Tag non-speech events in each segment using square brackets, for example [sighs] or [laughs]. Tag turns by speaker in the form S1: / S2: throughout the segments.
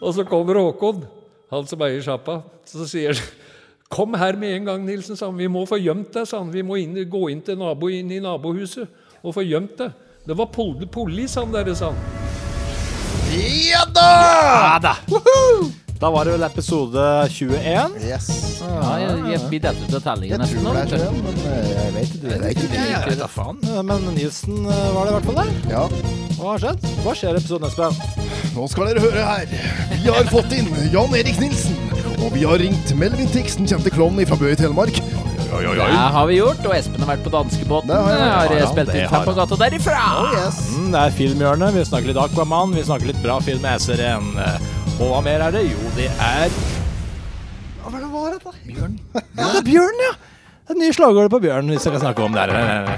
S1: Og så kommer Håkon, han som eier sjappa, så sier han Kom her med en gang, Nilsen, sa han. Vi må få gjemt deg, sa han. Vi må inn, gå inn til nabo, inn i nabohuset og få gjemt deg. Det var pol poli, sa han dere, sa han.
S2: Ja da!
S3: Ja da! Da var det vel episode 21.
S2: Yes.
S4: Ja, jeg, jeg, vi detter ut av tellingen
S2: Jeg
S4: nesten nå.
S2: tror det
S4: vet
S2: er
S4: du.
S2: sånn, men eh, jeg vet ikke. Jeg vet ikke.
S3: Jeg vet da faen. Men Nilsen eh, var det i hvert fall der.
S2: Ja,
S3: Hva har skjedd? Hva skjer i episoden, Espen?
S2: nå skal dere høre her. Vi har fått inn Jan Erik Nilsen. Og vi har ringt Melvin Tixen, kjente klovnen fra Bø i Telemark. Oi, oi,
S4: Det har vi gjort, og Espen har vært på danskebåten.
S2: Det har jeg vært. Oh,
S4: Har,
S3: Ja,
S4: spilt
S3: det
S4: inn
S3: har
S4: Fem på gata derifra!
S2: Yes.
S3: Mm, det er filmhjørnet. Vi snakker litt Aquaman, vi snakker litt bra film med SRN. Og hva mer er det? Jo, det er Hva var det var det da? Bjørn. [laughs] Ja, det er bjørn, ja! Det er nye slagordet på bjørn, hvis jeg kan snakke om det her. [laughs]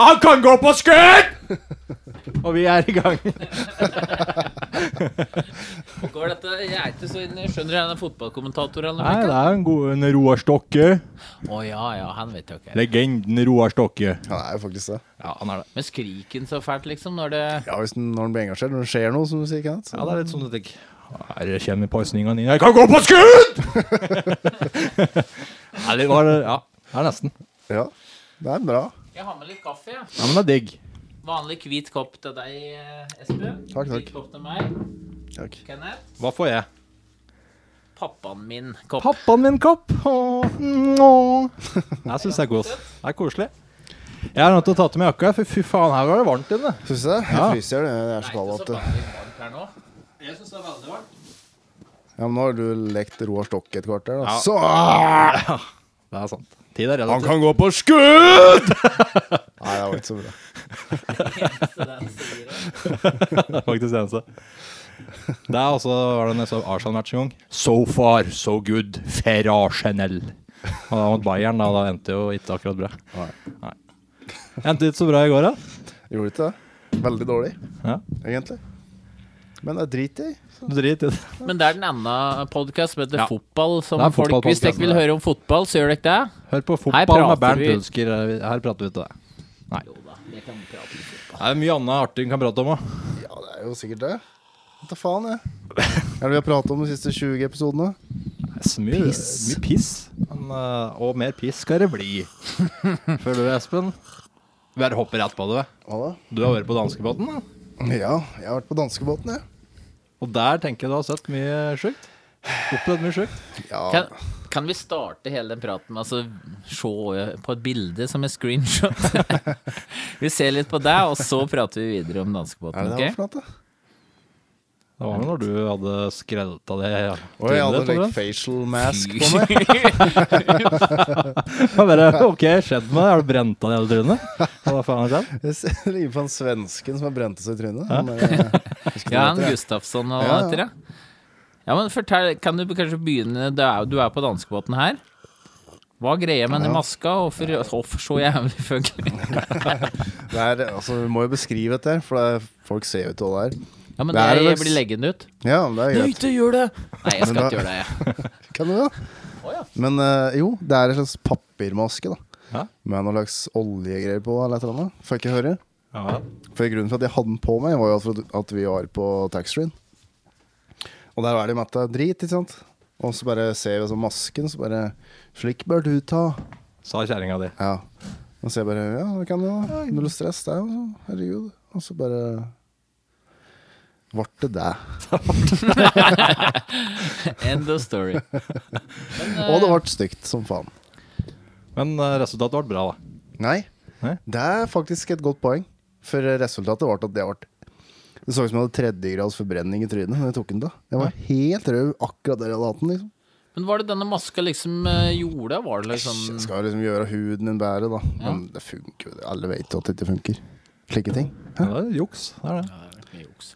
S3: Han kan gå på skudd! [laughs] Og vi er i gang.
S4: Går dette, jeg er ikke så inn, jeg skjønner jeg den fotballkommentatoren
S3: Nei,
S4: eller
S3: det
S4: noe?
S3: er en god en Roar Stokke.
S4: Å ja, ja, han vet jo ikke.
S3: Legenden Roar Stokke.
S2: Ja, det er jo faktisk det.
S3: Ja, han er det.
S4: Men skriken så fælt, liksom, når det
S2: Ja, hvis den, Når den blir engasjert, når det skjer noe, som du sier, Kenneth.
S3: Ja, det er litt sånn at jeg Her kommer pasninga di. Jeg kan gå på skudd! Nei, det var [laughs] Ja, det er nesten.
S2: Ja, det er bra.
S4: Jeg har med litt kaffe, jeg.
S3: Ja, men det er digg.
S4: Vanlig hvit kopp til deg, eh, Espen.
S2: Takk, takk.
S4: Hvit kopp til meg,
S2: Takk.
S4: Kenneth.
S3: Hva får jeg?
S4: Pappaen min kopp.
S3: Pappaen min kopp. Åh, nå. Jeg syns det er kos. Det er koselig. Jeg er nødt til å ta til meg jakka, for fy faen, her var det varmt inne.
S2: Syns du det? Jeg
S3: Ja.
S2: fryser, det. Jeg er så kald at
S4: veldig varmt her nå. Jeg syns det er veldig varmt.
S2: Ja, men nå har du lekt Roar Stokke et kvarter, da.
S3: Ja.
S2: Så
S3: Det er sant. Tid er
S2: Han
S3: relativt.
S2: kan gå på skudd! [laughs] Nei, det var ikke så bra.
S4: Så det er en sier.
S3: Det er [laughs] faktisk det eneste. Det er også var det en sånn Arsenal-match en gang. So far, so good, Ferragenel. Og da mot Bayern, da, da endte jo ikke akkurat bra. Nei. Endte ikke så bra i går, da.
S2: Gjorde ikke det? Veldig dårlig,
S3: Ja.
S2: egentlig. Men det er drit i.
S3: Du drit i det.
S4: Men det er den enda podkast som heter
S3: Ja.
S4: Fotball. Som
S3: Det er
S4: folk, hvis dere
S3: fotballpodcasten,
S4: vil
S3: det.
S4: høre om fotball, så gjør dere det.
S3: Hør på
S4: Her
S3: fotball
S4: prater
S3: med Bernt
S4: vi.
S3: Hulsker. Her prater vi til deg.
S4: Jo da, jeg kan prate litt.
S3: Det er mye annet artig en kan prate om òg.
S2: Ja, det er jo sikkert det. Hva faen, jeg. Er det vi har pratet om de siste 20 episodene?
S3: Mye piss. Mye piss. Men, eh, og mer piss skal det
S4: [laughs]
S3: bli. Før du, Espen. Vi bare hopper rett på det. vi.
S2: Hva da?
S3: Du har vært på danskebåten, da.
S2: Ja, jeg har vært på danskebåten, jeg.
S3: Og der tenker jeg du har sett mye sjukt. Opplevd mye sjukt.
S2: Ja.
S4: Kan, kan vi starte hele den praten med å altså, se på et bilde som en screenshot? [laughs] vi ser litt på deg, og så prater vi videre om
S2: Er
S4: danskebåten.
S2: det det
S4: ok?
S2: var for noe, da?
S3: Det var vel når du hadde skrelta det ja.
S2: Og jeg hadde
S3: trynet
S2: like
S3: ditt, Torbjørn.
S2: facial mask på meg.
S3: Ja, bare, Ok, skjedd med det. Har du brent av det hele trynet? Hva faen har skjedd?
S2: Jeg ser det ligner på han svensken som har brent seg i trynet. eh, Han bare- husker ikke
S4: Ja,
S2: hva
S4: han
S2: det heter, jeg.
S4: Gustafsson og
S2: Ja, ja.
S4: etter det. Ja, men fortell, kan du kanskje begynne Du er, du er på danskebåten her. Hva greier jeg med den maska? Hvorfor, hvorfor så jævlig fugl?
S2: Det er, altså, vi må jo beskrive dette, her, for det er, folk ser jo ikke hva det er.
S4: Ja, men
S2: Det er
S4: jeg,
S2: vel-
S4: jeg blir leggende ut.
S2: Ja, men det er greit.
S4: ikke gjør det! Nei, jeg
S2: Men
S4: skal
S2: da-
S4: ikke gjøre det, jeg.
S2: Kan du da? Men eh, jo, det er en slags papirmaske, da.
S3: Ja.
S2: Med noe slags oljegreier på, eller et eller annet. Får jeg ikke høre.
S3: Ja.
S2: For grunnen for at jeg hadde den på meg, var jo at- for at vi var på taxfree-en. Og der er det jo mett av drit, ikke sant. Og så bare ser vi sånn masken, så bare Slik bør du ta.
S3: Sa kjerringa di.
S2: Ja. Og så jeg bare Ja, det kan du da. Null stress, det er jo sånn. Herregud. Og så bare Vart det det?
S4: End of story.
S2: Og det vart stygt som faen.
S3: Men eh, resultatet ble bra, da.
S2: Nei.
S3: Nei?
S2: Det er faktisk et godt poeng. For resultatet var at det ble Det så ut som jeg hadde tredjegrads forbrenning i trynet da jeg tok den. da Jeg var helt rød akkurat der jeg hadde hatt den. liksom
S4: Men var det denne maska liksom eh, gjorde? Var det liksom
S2: Jeg skal liksom gjøre huden min bedre, da. Men det funker jo. Alle vet jo at det ikke funker. Slike ting.
S3: Ja, det er juks. Det er det.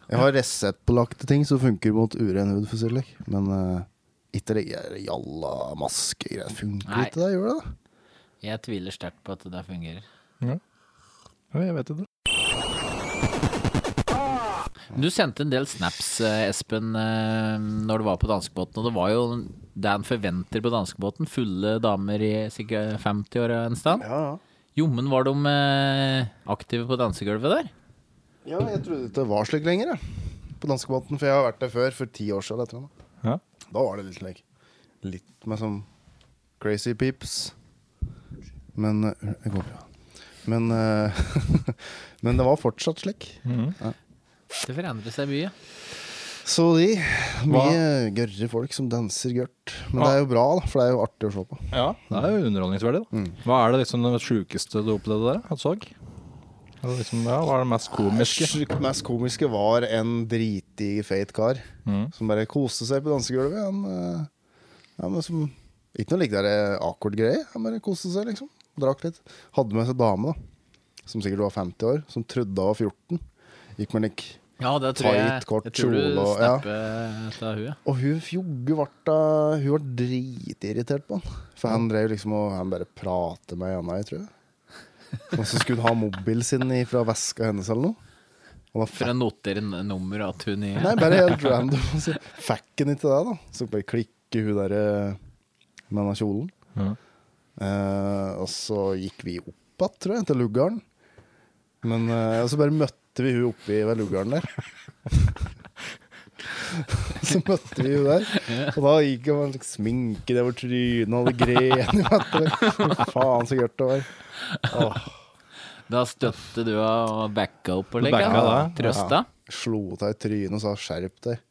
S2: Jeg har reseptbelagte ting som funker mot uren hud, for å si det slik. Men eh, ikke det der jalla maskegreier. Funker
S4: Nei.
S2: ikke det? Gjør det det?
S4: Jeg tviler sterkt på at det der fungerer.
S3: Ja, Jeg vet ikke.
S4: Du sendte en del snaps, eh, Espen, eh, når du var på danskebåten. Og det var jo det en forventer på danskebåten. Fulle damer i sikkert 50 år og en stand.
S2: Ja, ja.
S4: Jommen var de eh, aktive på dansegulvet der.
S2: Ja, jeg trodde det var slik lenger, jeg. På danskebåten, for jeg har vært der før, for ti år siden. eller et eller annet.
S5: Ja.
S2: Da var det litt slik. Litt med sånn crazy peeps. Men eh, Det går bra. Men, eh, [laughs] men det var fortsatt slik.
S4: Det forandrer seg mye.
S2: Så de Mye gørre folk som danser gørt. Men det er jo bra, da, for det er jo artig å se på.
S5: Ja, det er jo underholdningsverdig, da. Hva er det liksom det sjukeste du opplevde der? At sag? Eller Liksom, ja, hva er det mest komiske?
S2: Det mest komiske var en dritig feit kar som bare koste seg på dansegulvet. Han, eh, ja, men som, ikke noe like der akkord greie. Han bare koste seg, liksom. Drakk litt. Hadde med seg dame, da, som sikkert var 50 år, som trodde hun var 14. Gikk med lik
S4: Ja, det tror jeg.
S2: Tight, kort
S4: Jeg tror du
S2: kjole og- ja.
S4: snapper ut av huet.
S2: Og hun fjogge varta Hun var dritirritert på han. For han drev liksom og han bare prater med ei anna, jeg tror jeg. Og så skulle han ha mobilen sin i- fra veska hennes eller noe. Og da
S4: For å notere n- nummer at hun i
S2: Nei, bare helt [laughs] random. Og så Fikk han ikke det, da? Så bare klikker hun der eh, med denne kjolen.
S5: Ja.
S2: Eh, og så gikk vi opp igjen, tror jeg, til Lugaren. Men eh, og så bare møtte vi hun oppe ved Lugaren der. [laughs] så møtte vi hun der, og da gikk hun med en sminke over trynet og hadde gren i vettet. Faen, så gørt det var.
S4: Da støtte du og backa opp og
S5: Du
S4: legge?
S5: backa deg,
S4: Trøsta?
S2: Slo av i trynet og sa 'skjerp deg'.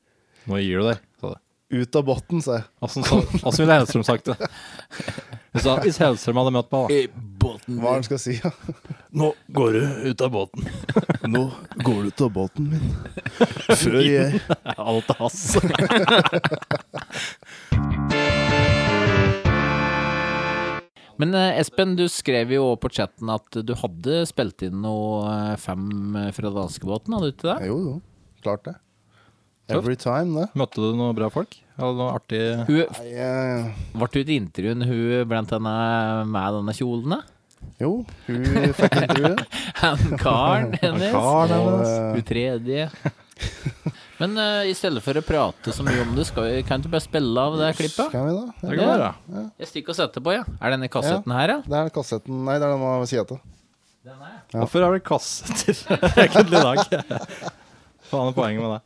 S5: Nå gir du deg, sa det.
S2: Ut av båten, sa jeg.
S5: Åssen så- åssen ville Hellstrøm sagt [laughs] det? Hun sa hvis Hellstrøm hadde møtt meg, da.
S4: I båten
S2: Hva er det han skal si? Ja?
S5: Nå går du ut av båten.
S2: Nå går du ut av båten min.
S5: [laughs]
S2: Før jeg
S5: Alt er hans.
S4: Men eh, Espen, du skrev jo også på chatten at du hadde spilt inn noe eh, fem fra danskebåten, hadde du ikke det?
S2: Jo, jo. Klart det. Every time, det.
S5: Møtte du noen bra folk? Hadde noe artig
S4: Hun,
S2: Nei, eh,
S4: ble du i et intervju med hun blant henne med denne kjolen? da? [laughs]
S2: jo, hun fikk
S5: [laughs]
S2: intervjuet.
S4: Han
S6: [laughs]
S4: karen hennes?
S5: kar der?
S2: Og,
S5: da?
S2: eh,
S4: Hun tredje? Men eh, i stedet for å prate så mye om det, skal, kan du bare spille av det klippet?
S2: Kan vi da?
S5: Det kan være.
S4: Jeg stikker og setter på, ja. Er denne kassetten her, ja?
S2: Det er kassetten Nei, det er den ved sida av.
S5: Hvorfor er det
S3: [laughs]
S5: kassetter egentlig i dag? Faen er poenget med det?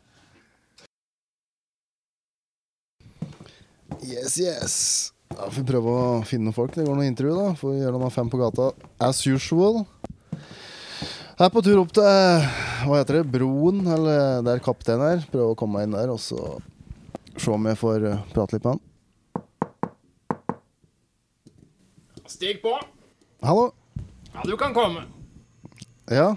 S2: Yes, yes. Da får vi prøve å finne noen folk. Det går noen intervju, da. Får vi gjøre noen fem på gata as usual. Jeg er på tur opp til eh, hva heter det, broen, eller der kapteinen er. Prøve å komme meg inn der, og så se om jeg får eh, prate litt med han.
S3: Stig på.
S2: Hallo.
S3: Ja, du kan komme.
S2: Ja,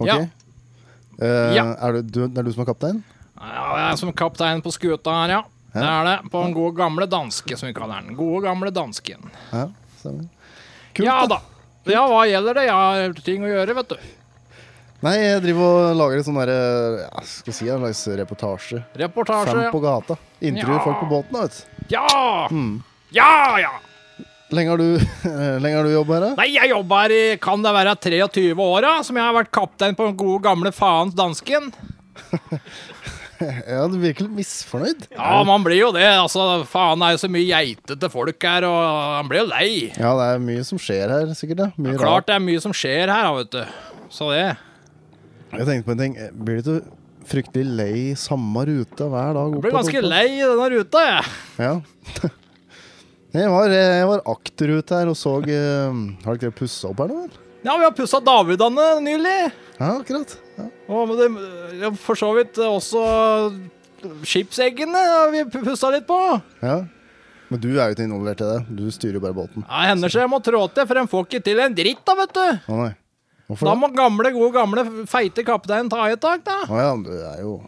S2: ok.
S3: Ja.
S2: Eh,
S3: Ja.
S2: Er, det du, det er du som er kaptein?
S3: Ja, det er som kaptein på skuta her, ja. Det er det. På den gode gamle danske, som vi kaller den. Gode gamle dansken.
S2: Ja, stemmer. Kult,
S3: ja
S2: da.
S3: da. Ja, hva gjelder det? Jeg har ting å gjøre, vet du.
S2: Nei, jeg driver og lager litt sånn derre ja, Skal vi si en slags reportasje. Fem
S3: Reportasje.
S2: på gata. Intervjuer
S3: Ja.
S2: folk på båten, da, vet du.
S3: Ja!
S2: Mm.
S3: Ja, ja.
S2: Lenge har du, [laughs] lenge har du jobb her, da?
S3: Nei, jeg jobber i Kan det være 23 åra som jeg har vært kaptein på den gode gamle faens dansken?
S2: Ja, du virker litt misfornøyd.
S3: Ja, man blir jo det. Altså, faen, det er jo så mye geitete folk her, og man blir jo lei.
S2: Ja, det er mye som skjer her, sikkert. Da. Mye
S3: Klart det er mye som skjer her, da, vet du. Så det.
S2: rart. Jeg tenkte på en ting. Eh, Blir du ikke fryktelig lei samme ruta hver dag?
S3: Jeg
S2: opp
S3: blir
S2: og
S3: ganske
S2: opp?
S3: lei i denne ruta, jeg.
S2: Ja. [laughs] Jeg var, eh, jeg var akterute her og så eh, Har dere pussa opp her nå, vel?
S3: Ja, vi har pussa Davidane nylig.
S2: Ja, akkurat. Ja.
S3: Og med det, ja, for så vidt også skipseggene har vi pussa litt på.
S2: Ja. Men du er jo ikke involvert i det. Du styrer jo bare båten.
S3: Ja, det hender så jeg må trå til, for de får ikke til en dritt, da, vet du.
S2: Å nei. Hvorfor
S3: Da
S2: det?
S3: må gamle, gode gamle feite kapteinen ta i et tak, da.
S2: Å ja, men du er jo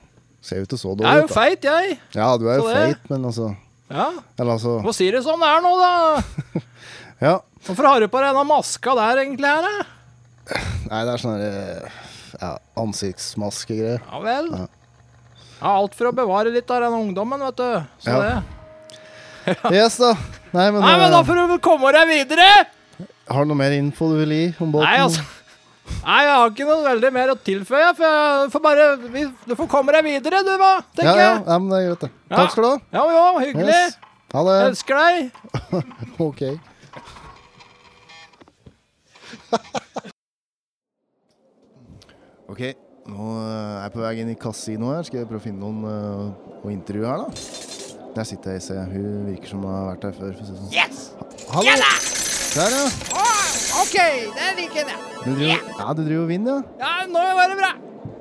S2: Ser jo ikke så
S3: Jeg er
S2: dårlig
S3: jo
S2: ut, da.
S3: feit, jeg.
S2: Ja, du er jo
S3: så det.
S2: feit, men altså
S3: Ja,
S2: Eller altså
S3: Må si det som det er nå, da.
S2: Ja.
S3: Hvorfor har du på deg denne maska der, egentlig? her, da?
S2: Nei, det er sånn derre ja, ansiktsmaskegreier.
S3: Ja vel.
S2: Ja.
S3: Ja, alt for å bevare litt av den ungdommen, vet du. Så
S2: Ja.
S3: det.
S2: Yes, da. Nei, men,
S3: Nei, men da
S2: eh,
S3: får du komme deg videre!
S2: Har du noe mer info du vil gi om båten?
S3: Nei, altså. Nei, jeg har ikke noe veldig mer å tilføye. For jeg får bare, vi, du får komme deg videre, du, hva?
S2: ja,
S3: Tenker
S2: ja,
S3: jeg.
S2: ja, men det er greit, det.
S3: Ja.
S2: Takk skal du ha.
S3: Ja, jo, hyggelig.
S2: Yes. Ha det.
S3: Elsker deg.
S2: Ok. ok, Nå eh, er jeg på vei inn i kasinoet her. Skal jeg prøve å finne noen eh, å intervjue her, da? Der sitter ei, se. Hun virker som hun har vært her før. For å si det sånn.
S6: Yes!
S2: Hallo!
S6: Ja da!
S2: Der, ja.
S6: Å, ok, der liker jeg det.
S2: Du driver, ja, du driver og vinner, ja?
S6: Ja, nå var det bra.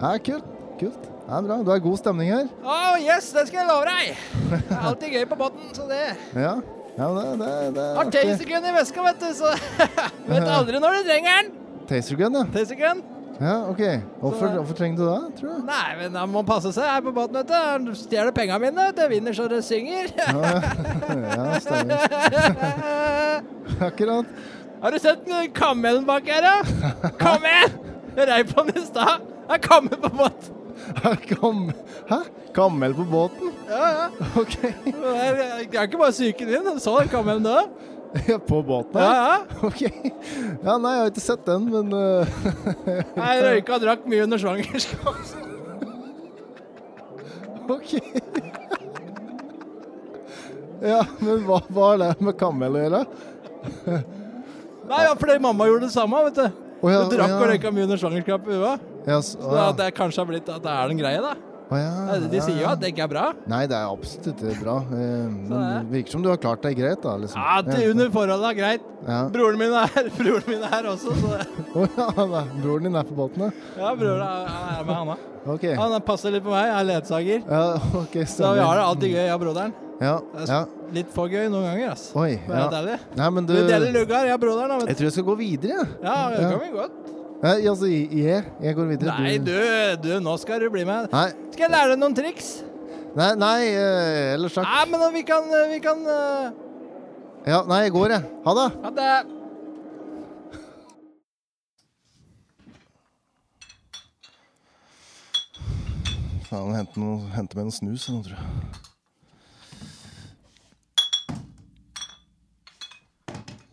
S2: Ja, kult. Kult. Ja, bra. Du har god stemning her.
S6: Å, yes, det skal jeg love deg. Det er alltid gøy på båten, så det
S2: Ja. ja men det, det, det er
S6: har tasergun i veska, vet du, så vet aldri når du trenger den.
S2: Taser gun, ja.
S6: Tasergun?
S2: ja ok. Hvorfor, hvorfor trenger du det, tror du?
S6: Nei, men han må passe seg her på båten, vet du. Han stjeler penga mine, vet du. Vinner så det synger.
S2: Ja,
S6: [laughs]
S2: stemmer. Akkurat.
S6: Har du sett den kamelen bak her, da? Kom igjen! Jeg rei på den i stad. Han kommer på båt.
S2: Kam Hæ? Kamel på båten?
S6: Ja, ja.
S2: Ok.
S6: Jeg jeg kan ikke bare psyke den inn. Så den kamelen da.
S2: Ja, på båten?
S6: Ja,
S2: her?
S6: ja.
S2: Ok. Ja, nei, jeg har ikke sett den, men eh, [laughs]
S6: Jeg røyka og drakk mye under svangerskap.
S2: ok. Ja, men hva, hva har det med kamel å gjøre?
S6: Nei, ja, fordi mamma gjorde det samme, vet du.
S2: Å ja,
S6: Du drakk
S2: å ja.
S6: og røyka mye under svangerskapet, hun òg.
S2: Ja, s- å
S6: Så
S2: ja.
S6: at det kanskje har blitt at det er den greia, da.
S2: Å ja,
S6: De sier jo
S2: ja.
S6: at det ikke er bra.
S2: Nei, det er absolutt ikke bra. eh, Men
S6: det
S2: det virker som du har klart deg greit, da. liksom.
S6: Ja, til under forholda, greit.
S2: Ja.
S6: Broren min er her, broren min er her også, så
S2: Å ja, da. broren din er på båten, ja.
S6: ja, broren er han er med, han òg.
S2: Ok.
S6: Han er- passer litt på meg, jeg er ledsager.
S2: Ja, ok,
S6: Så
S2: stemmer.
S6: vi har det alltid gøy, jeg og broderen.
S2: Ja, ja.
S6: Litt for gøy noen ganger, ass.
S2: Oi.
S6: For å være
S2: Ja.
S6: helt ærlig.
S2: Nei, men du
S6: Vi deler
S2: Jeg
S6: luggar, jeg og broderen. da, vet du.
S2: tror jeg skal gå videre, jeg.
S6: Ja, det kan vi godt.
S2: Ja. Ja, altså, jeg, jeg går videre.
S6: Nei, du, du, nå skal du bli med.
S2: Nei,
S6: Skal jeg lære deg noen triks?
S2: nei, nei eh, ellers takk.
S6: Nei, men vi kan, vi kan eh,
S2: Ja, nei, jeg går, jeg. Ha det.
S6: Ha det.
S2: Faen, hente, noe, hente meg noe snus eller noe, tror jeg.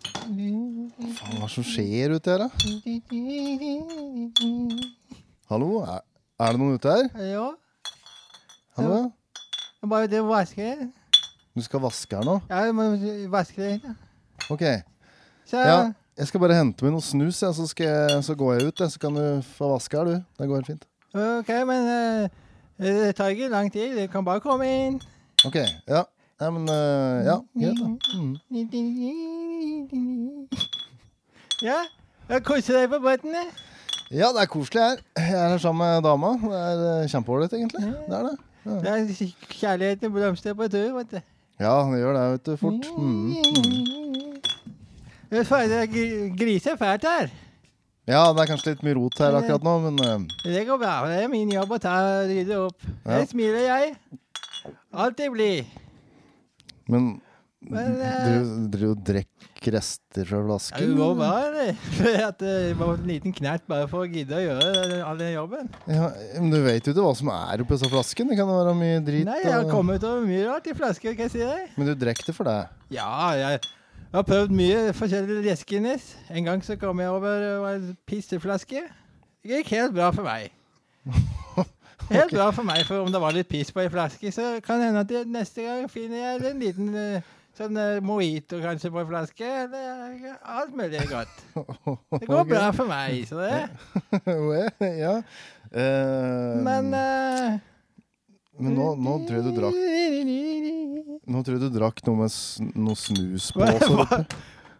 S2: Faen, hva er det som skjer ute her, da? Hallo, er, er det noen ute her?
S6: Ja,
S2: Hallo? ja?
S6: jeg bare det vasker.
S2: Du skal vaske her nå?
S6: Ja, jeg må vaske det. ja.
S2: Ok.
S6: Så
S2: Ja, jeg skal bare hente meg noe snus, jeg, så, skal jeg, så går jeg ut, jeg, så kan du få vaske her, du. Det går helt fint.
S6: OK, men eh, det tar ikke lang tid. Du kan bare komme inn.
S2: Ok, ja. Nei, men eh, Ja, greit, da. Mm.
S6: Ja, jeg koser deg på båten. jeg.
S2: Ja, det er koselig her. Jeg er her sammen med dama. Det er eh, kjempeålreit, egentlig. Det er det.
S6: Det er kj- Kjærligheten blomstrer på tur, vet du.
S2: Ja, det gjør det, vet du, fort. Mm.
S6: Det er faen, det gr- griser fælt her.
S2: Ja, det er kanskje litt mye rot her akkurat nå, men eh,
S6: Det går bra. Det er min jobb å ta rydde opp.
S2: Ja.
S6: Jeg smiler, jeg. Alltid blid.
S2: Men
S6: Men eh,
S2: du driver og drikker rester fra
S6: Ja, Det
S2: flasken?
S6: går bra, [laughs] eller? For at eh, det var en liten knert bare for å gidde å gjøre den- all den jobben.
S2: Ja, men du vet jo ikke hva som er oppi disse flaskene. Det kan være mye drit.
S6: Nei, jeg har
S2: og-
S6: kommet over mye rart i flasker, kan jeg si deg.
S2: Men du drikker det for deg? [laughs]
S6: Ja, jeg har prøvd mye forskjellige leskenis. En gang så kom jeg over eh, var en pisseflaske. Det gikk helt bra for meg. Helt bra for meg, for om det var litt piss på ei flaske, så kan det hende at jeg, neste gang finner jeg en liten eh, sånn eh, mojito kanskje på ei flaske, eller eh, alt mulig godt. Det går
S2: Ok.
S6: bra for meg, så det.
S2: ja. Eh,
S6: Men eh,
S2: men nå, nå tror jeg du drakk Nå tror jeg du drakk noe med s noe snus på også. vet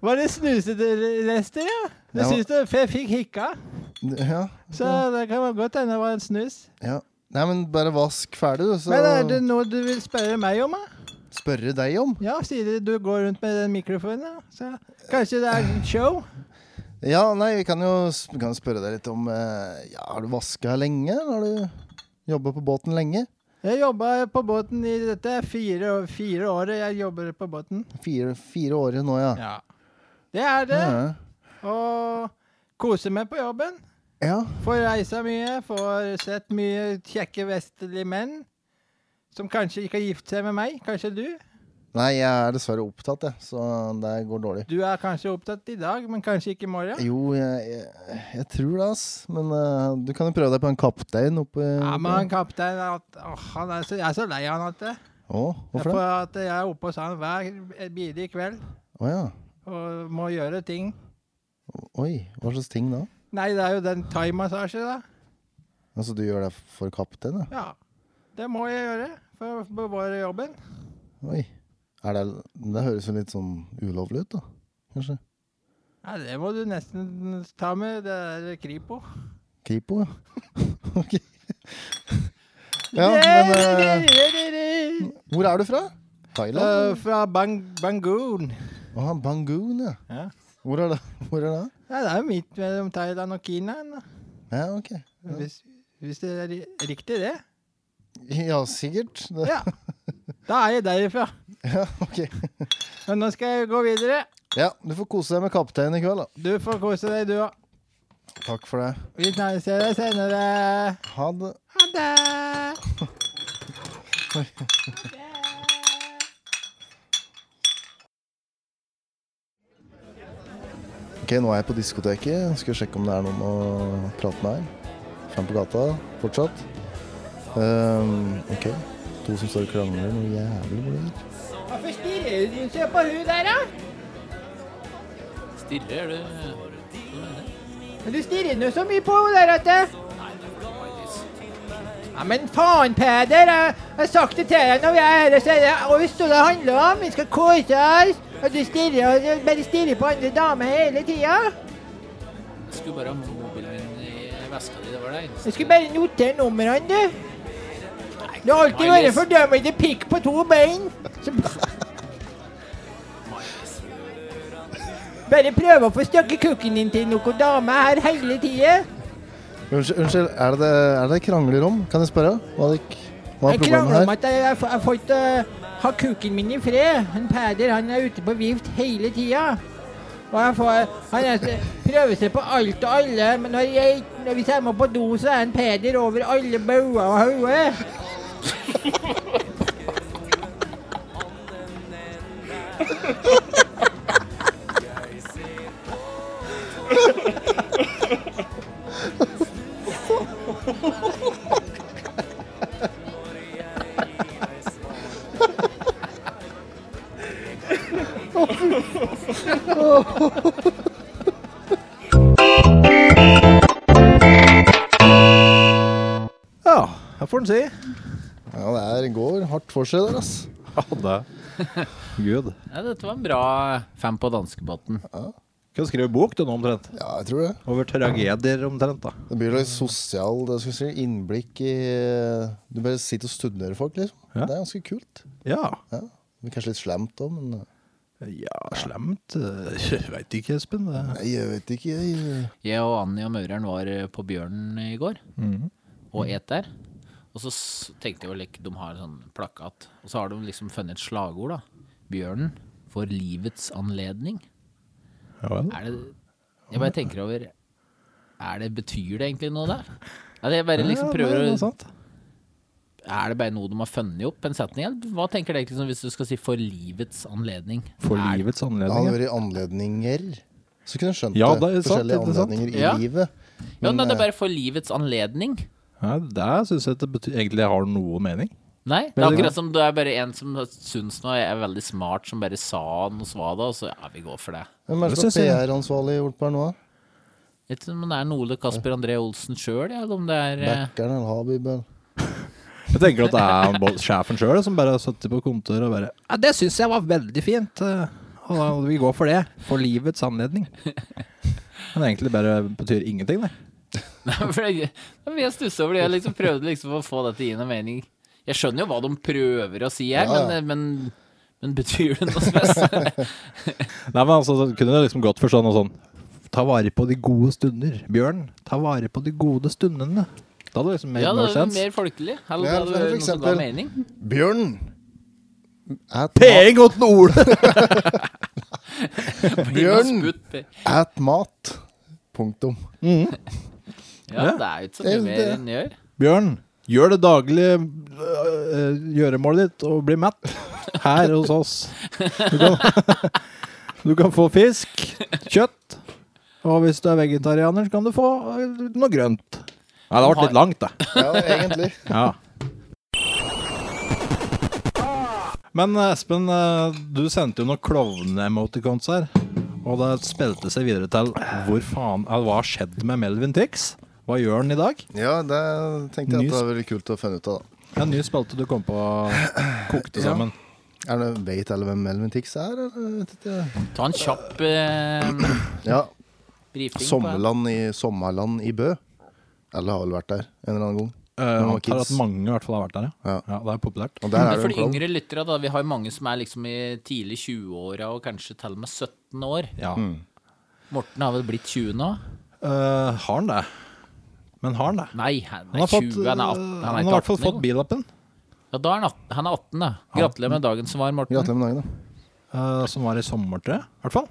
S6: Var det snusete rester, ja? Du
S2: Ja, hva-
S6: syns du jeg fikk hikka?
S2: du. Ja,
S6: Så det kan være godt hende det var en snus.
S2: ja. Nei, men bare vask ferdig, du, så
S6: Men eh, er det noe du vil spørre meg om, da?
S2: spørre deg om.
S6: Ja, siden du går rundt med den mikrofonen, da. så kanskje det er show?
S2: Ja, nei, vi kan jo s- vi kan spørre deg litt om eh, ja, Har du vaska her lenge? eller Har du jobba på båten lenge?
S6: Jeg jobba på båten i dette er fire, fire året jeg jobber på båten.
S2: Fire, fire år nå, ja.
S6: Ja. Det er det.
S2: Ja.
S6: Og koser meg på jobben.
S2: ja.
S6: Får reisa mye, får sett mye kjekke vestlige menn. Som kanskje ikke har gift seg med meg. Kanskje du?
S2: Nei, jeg er dessverre opptatt, jeg, så det går dårlig.
S6: Du er kanskje opptatt i dag, men kanskje ikke i morgen?
S2: Jo, jeg, jeg, jeg tror det, ass. Men eh, du kan jo prøve deg på en kaptein oppe
S6: Ja, men han kaptein er at- åh, han er så, Jeg er så lei av han at det.
S2: Å, hvorfor
S6: For
S2: det?
S6: at jeg er oppe hos han hver bidige kveld
S2: Å ja.
S6: og må gjøre ting.
S2: Oi, hva slags ting da?
S6: Nei, det er jo den thaimassasje, da.
S2: Altså, du gjør det for kaptein, ja?
S6: Ja, det må jeg gjøre for å bevare jobben.
S2: Oi. Er det, det høres jo litt sånn ulovlig ut, da. Kanskje.
S6: Nei, det må du nesten ta med. Det er Kripo.
S2: Kripo, ja. ok. Ja, men eh, hvor er du fra?
S6: Eh,
S2: Thailand?
S6: fra Bang Bangoon.
S2: Å, Bangoon, ja.
S6: Ja.
S2: Hvor er det? [laughs] Hvor er det?
S6: Ja, det er jo midt mellom Thailand og Kina. da.
S2: Ja, ok.
S6: Hvis, hvis det er ri- riktig, det.
S2: Ja, sikkert. [laughs] Det.
S6: Ja. Da er jeg derifra.
S2: Ja, ok.
S6: Men nå skal jeg gå videre.
S2: Ja, du får kose deg med kapteinen i kveld, da.
S6: Du får kose deg, du òg.
S2: Takk for det.
S6: Vi snakkes deg senere.
S2: Ha det.
S6: Ha det.
S2: Ok, nå er jeg på diskoteket. Skal sjekke om det er noen å prate med her. Fem på gata, fortsatt. Ehm, ok. To som står og krangler noe jævlig blod.
S6: Hvorfor stirrer du seg på hun der, da?
S4: Stirrer du?
S6: Men du stirrer nå så mye på henne der at Ja, men faen, Peder. Jeg har sagt det til deg når vi er her og sier det. Og hvis det handler om vi skal kose oss, og du stirrer og du bare stirrer på andre damer hele tida
S4: Jeg skulle bare ha mobilen min i veska di. Det var det eneste.
S6: Jeg skulle bare notere numrene, du. Du har alltid vært fordømmende pikk på to bein. Så bare prøve å få stukket kukken din til noen dame her hele tida.
S2: Unnskyld, unnskyld er, det det, er det det krangler om? Kan jeg spørre? Hva er, det, hva er
S6: Jeg krangler om
S2: problemet her?
S6: at jeg jeg får- jeg får ikke eh, ha kuken min i fred. En Peder han er ute på vift hele tida. Og jeg får, han er, prøver seg på alt og alle, men når jeg, ikke- når- hvis jeg må på do, så er en Peder over alle bauger og hauger.
S3: Ja, jeg får den si.
S2: Ja, det er, går hardt for seg der, ass.
S3: Ja, det Gud.
S4: Ja, dette var en bra fem på danskebåten.
S3: Kan skrive bok du nå, omtrent.
S2: Ja, jeg tror det.
S3: Over tragedier, omtrent. da.
S2: Det blir litt sosial det skal jeg si, innblikk i Du bare sitter og studerer folk, liksom.
S3: Ja.
S2: Det er ganske kult.
S3: Ja.
S2: Ja. Men kanskje litt slemt òg, men
S3: Ja, slemt Veit ikke, Espen. Det.
S2: Nei, eh, jeg vet ikke, jeg. eh,
S4: Jeg og Anni og Maureren var eh, på Bjørnen i går
S6: Mhm.
S4: og et der. Og så s- tenkte jeg vel ikke De har en sånn plakat, og så har de liksom funnet et slagord, da. Bjørnen for livets anledning.
S3: Ja, vel.
S4: Er det Jeg bare tenker over Er det Betyr det egentlig noe der? Ja, det er bare liksom
S3: Ja,
S4: prøver
S3: det er
S4: å
S3: sant.
S4: Er det bare noe de har funnet opp, en setning? Eller hva tenker du egentlig sånn hvis du skal si 'for livets anledning'?
S3: For
S4: Er-
S3: livets
S2: Det hadde
S3: anledning.
S2: vært anledninger. Så kunne jeg skjønt
S3: Ja,
S2: det.
S3: det er sant,
S2: Forskjellige
S3: det er sant.
S2: anledninger i
S4: Ja.
S2: livet.
S4: Ja, nei, det
S3: eh,
S4: er bare 'for livets anledning'.
S3: Ja, der syns jeg det betyr, egentlig har noe mening.
S4: Nei, det er
S3: det-
S4: akkurat som det er bare en som syns noe er veldig smart, som bare sa noe svada, og så ja, vi går for det.
S2: Hvem er
S3: Det
S2: det som
S3: synes jeg.
S2: er PR-ansvarlig i Oltberg nå? da?
S4: Vet du om det er Nole Kasper André Olsen sjøl, eller om det er eh,
S2: Backeren eller Habib? eller?
S3: Jeg tenker at det er bo- sjefen sjøl som bare sitter på kontoret og bare ja, 'Det syns jeg var veldig fint'. eh, Og vi går for det. For livets anledning. Men egentlig bare betyr ingenting, det.
S4: [laughs] Nei, for jeg, jeg stusset over det. Jeg liksom prøvde liksom å få dette inn en mening. Jeg skjønner jo hva de prøver å si her,
S2: Ja, ja.
S4: Men, eh, men, men betyr det
S2: [laughs]
S4: noe spesielt?
S3: Nei, men altså, så kunne det liksom gått for sånn og sånn Ta vare på de gode stunder. Bjørn, ta vare på de gode stundene. Da hadde det liksom made
S4: ja, det
S3: more
S4: er jo
S3: sense.
S4: mer folkelig. Eller
S2: Ja,
S4: det
S2: for
S4: er jo noe som ga
S2: eksempel-
S4: mening.
S2: Bjørn! Et mat.
S3: Peng åtten ord!
S2: Bjørn!
S4: Sputt pe-
S2: Et mat. Punktum.
S4: Ja, det er jo ikke så mye
S2: Det-
S4: mer enn gjør.
S3: Bjørn, gjør det daglige øh, øh, gjøremålet ditt og bli mett her hos oss. Du kan, [laughs] du kan få fisk, kjøtt, og hvis du er vegetarianer, så kan du få øh, noe grønt. Nei, det har vært litt langt, det.
S2: Ja, egentlig.
S3: Ja. Men eh, Espen, eh, du sendte jo noen klovne-emoticons her. Og det spilte seg videre til hvor faen eh, Hva har skjedd med Melvin Tix? Hva gjør den i dag?
S2: Ja, det tenkte jeg at
S3: Nys-
S2: det var veldig kult å finne ut av, da.
S3: Ja, ny spalte du kom på kokte
S2: Ja.
S3: sammen.
S2: Er det Vet alle hvem Melvin Tix er, eller? Vet ikke.
S4: Ta en kjapp eh,
S2: Ja.
S4: brifing.
S2: Sommerland i, sommerland i Bø. Alle har vel vært der en eller annen gang.
S3: Eh,
S2: var
S3: antar at
S2: kids.
S3: mange i hvert fall har vært der, ja.
S2: Ja.
S3: ja det sånn. er populært.
S2: Og
S4: på
S2: der
S4: det
S2: er det jo
S4: for de
S2: en klovn.
S4: yngre lyttere, da. Vi har jo mange som er liksom i tidlig 20-åra og kanskje til og med 17 år.
S3: Ja.
S4: Morten har vel blitt 20 nå?
S3: Eh, har han det? Men har han det?
S4: Nei, han
S3: Han har,
S4: er
S3: fått,
S4: 20, han er
S3: eh,
S4: 18. Han
S3: han
S4: er
S3: har i hvert fall fått
S4: bil.
S3: billappen,
S4: Ja, da er han 18, han er 18 da. Gratulerer med dagen som var, Morten. [laughs]
S2: Gratulerer med dagen, da.
S3: eh, som var i sommertre, i hvert fall.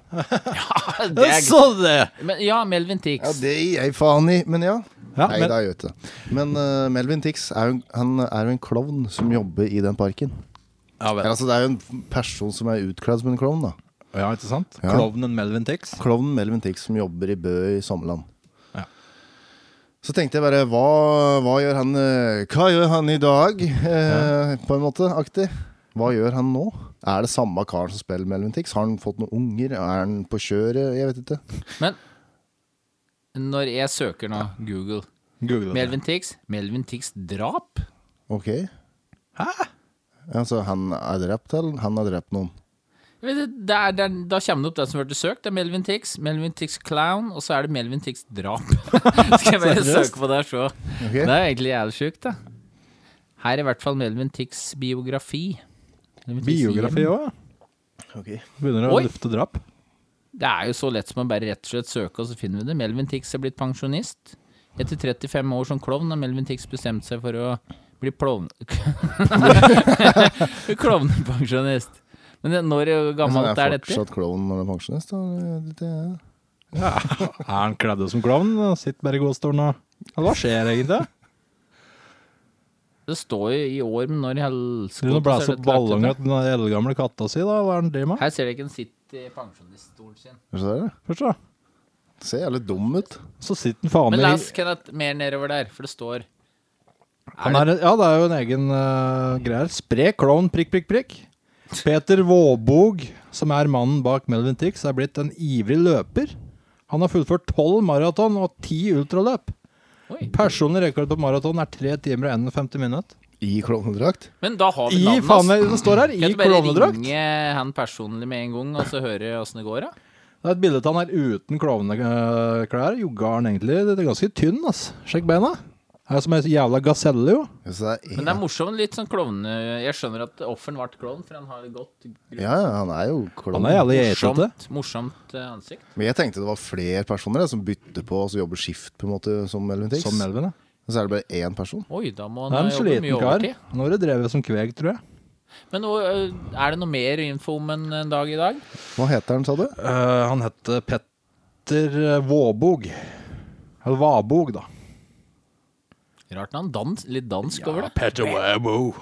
S4: Det er
S3: Så det!
S4: Men, ja, Melvin Tix.
S2: Ja, det gir jeg faen i, men ja.
S3: Ja,
S2: Nei,
S3: men,
S2: det er jo ikke det. Men eh, Melvin Tix er jo, en- han er jo en klovn som jobber i den parken.
S3: ja,
S2: Eller,
S3: vel.
S2: altså, det er jo en person som er utkledd som en klovn, da.
S3: ja, ikke sant?
S2: Ja.
S3: Klovnen Melvin Tix.
S2: Klovnen Melvin Tix som jobber i Bø i Sommerland.
S3: Ja.
S2: Så tenkte jeg bare hva, hva gjør han eh, Hva gjør han i dag? Eh, På en måte aktig. Hva gjør han nå? Er det samme karen som spiller Melvin Tix? Har han fått noen unger? Er han på kjøret? Jeg vet ikke.
S4: Men når jeg søker nå, Google
S3: Google det.
S4: Melvin Tix, Melvin Tix drap?
S2: Ok. Altså, han er drept, eller? Han har drept noen.
S4: Jeg vet ikke, Det er, det er, da kommer det opp den som ble søkt. Det er Melvin Tix, Melvin Tix Clown, og så er det Melvin Tix drap. [laughs] Skal jeg bare søke på det og se.
S2: Ok.
S4: Det er jo egentlig jævlig sjukt, da. Her er i hvert fall Melvin Tix biografi. Melvin Tix
S3: Biografi
S4: hjem.
S3: òg,
S2: Ok.
S3: Begynner å
S4: Oi.
S3: lufte drap.
S4: Det er jo så lett som å bare rett og slett søke, og så finner vi det. Melvin Tix er blitt pensjonist. Etter 35 år som klovn har Melvin Tix bestemt seg for å bli plovn... [laughs] Klovnepensjonist. Men det- når gammelt er dette?
S2: fortsatt klovn når han er pensjonist, da? Det er-
S3: Er han kledd som klovn? Sitter bare i godstolen og Eller hva skjer egentlig?
S4: Det står jo i år, men når i helskolen
S3: Driver han og blæser
S4: så
S3: opp
S4: er det lagt ut,
S3: ballonger
S4: da.
S3: til den eldgamle katta si, da? Hva er det han driver med?
S4: Her ser du ikke en sitt i pensjoniststolen sin.
S2: Hva er det?
S3: Først, da.
S2: Ser jævlig dum ut.
S3: Så sitter han faen
S4: Men la
S3: meg
S4: oss Kenneth, mer nedover der, for det står
S3: Han er, ja, det er jo en egen uh, greie. her. Sprek klovn, prikk, prikk, prikk. Peter Våbog, som er mannen bak Melvin Tix, er blitt en ivrig løper. Han har fullført tolv maraton og ti ultraløp.
S4: Oi.
S3: Personlig rekord på maraton er tre timer og 51 minutter.
S2: I klovnedrakt.
S4: Men da har vi
S3: I
S4: navnet
S3: faen
S4: hans.
S3: meg, det står her,
S4: Kan
S3: i
S4: du bare
S3: klovnedrakt.
S4: ringe han personlig med en gang, og så høre åssen det går, da?
S3: Det er et bilde av han her uten eh, klovneklær. Jogga han egentlig. Det er ganske tynn, ass. Sjekk beina. Er som ei jævla gaselle, jo.
S2: Så det er
S4: Men det er morsomt, litt sånn klovne... Jeg skjønner at offeren ble klovn, for han har et godt grunn.
S2: Ja, ja, han er jo klovn.
S3: Han er jævlig geitete.
S4: morsomt, morsomt eh, ansikt.
S2: Men jeg tenkte det var flere personer jeg, som bytter på og så jobber skift på en måte som Melvin Tix.
S3: Som Melvin, ja.
S2: Og så er det bare én person.
S4: Oi, da må
S3: Det er en
S4: han eh, jobbe mye
S3: sliten kar.
S4: overtid.
S3: Nå har det drevet som kveg, tror jeg.
S4: Men nå, eh, er det noe mer info om en en dag i dag?
S2: Hva heter han, sa du?
S3: Eh, han heter Petter eh, Våbog. Eller Vabog, da.
S4: Rart han dans, litt dansk over det.
S3: Petter Våbog.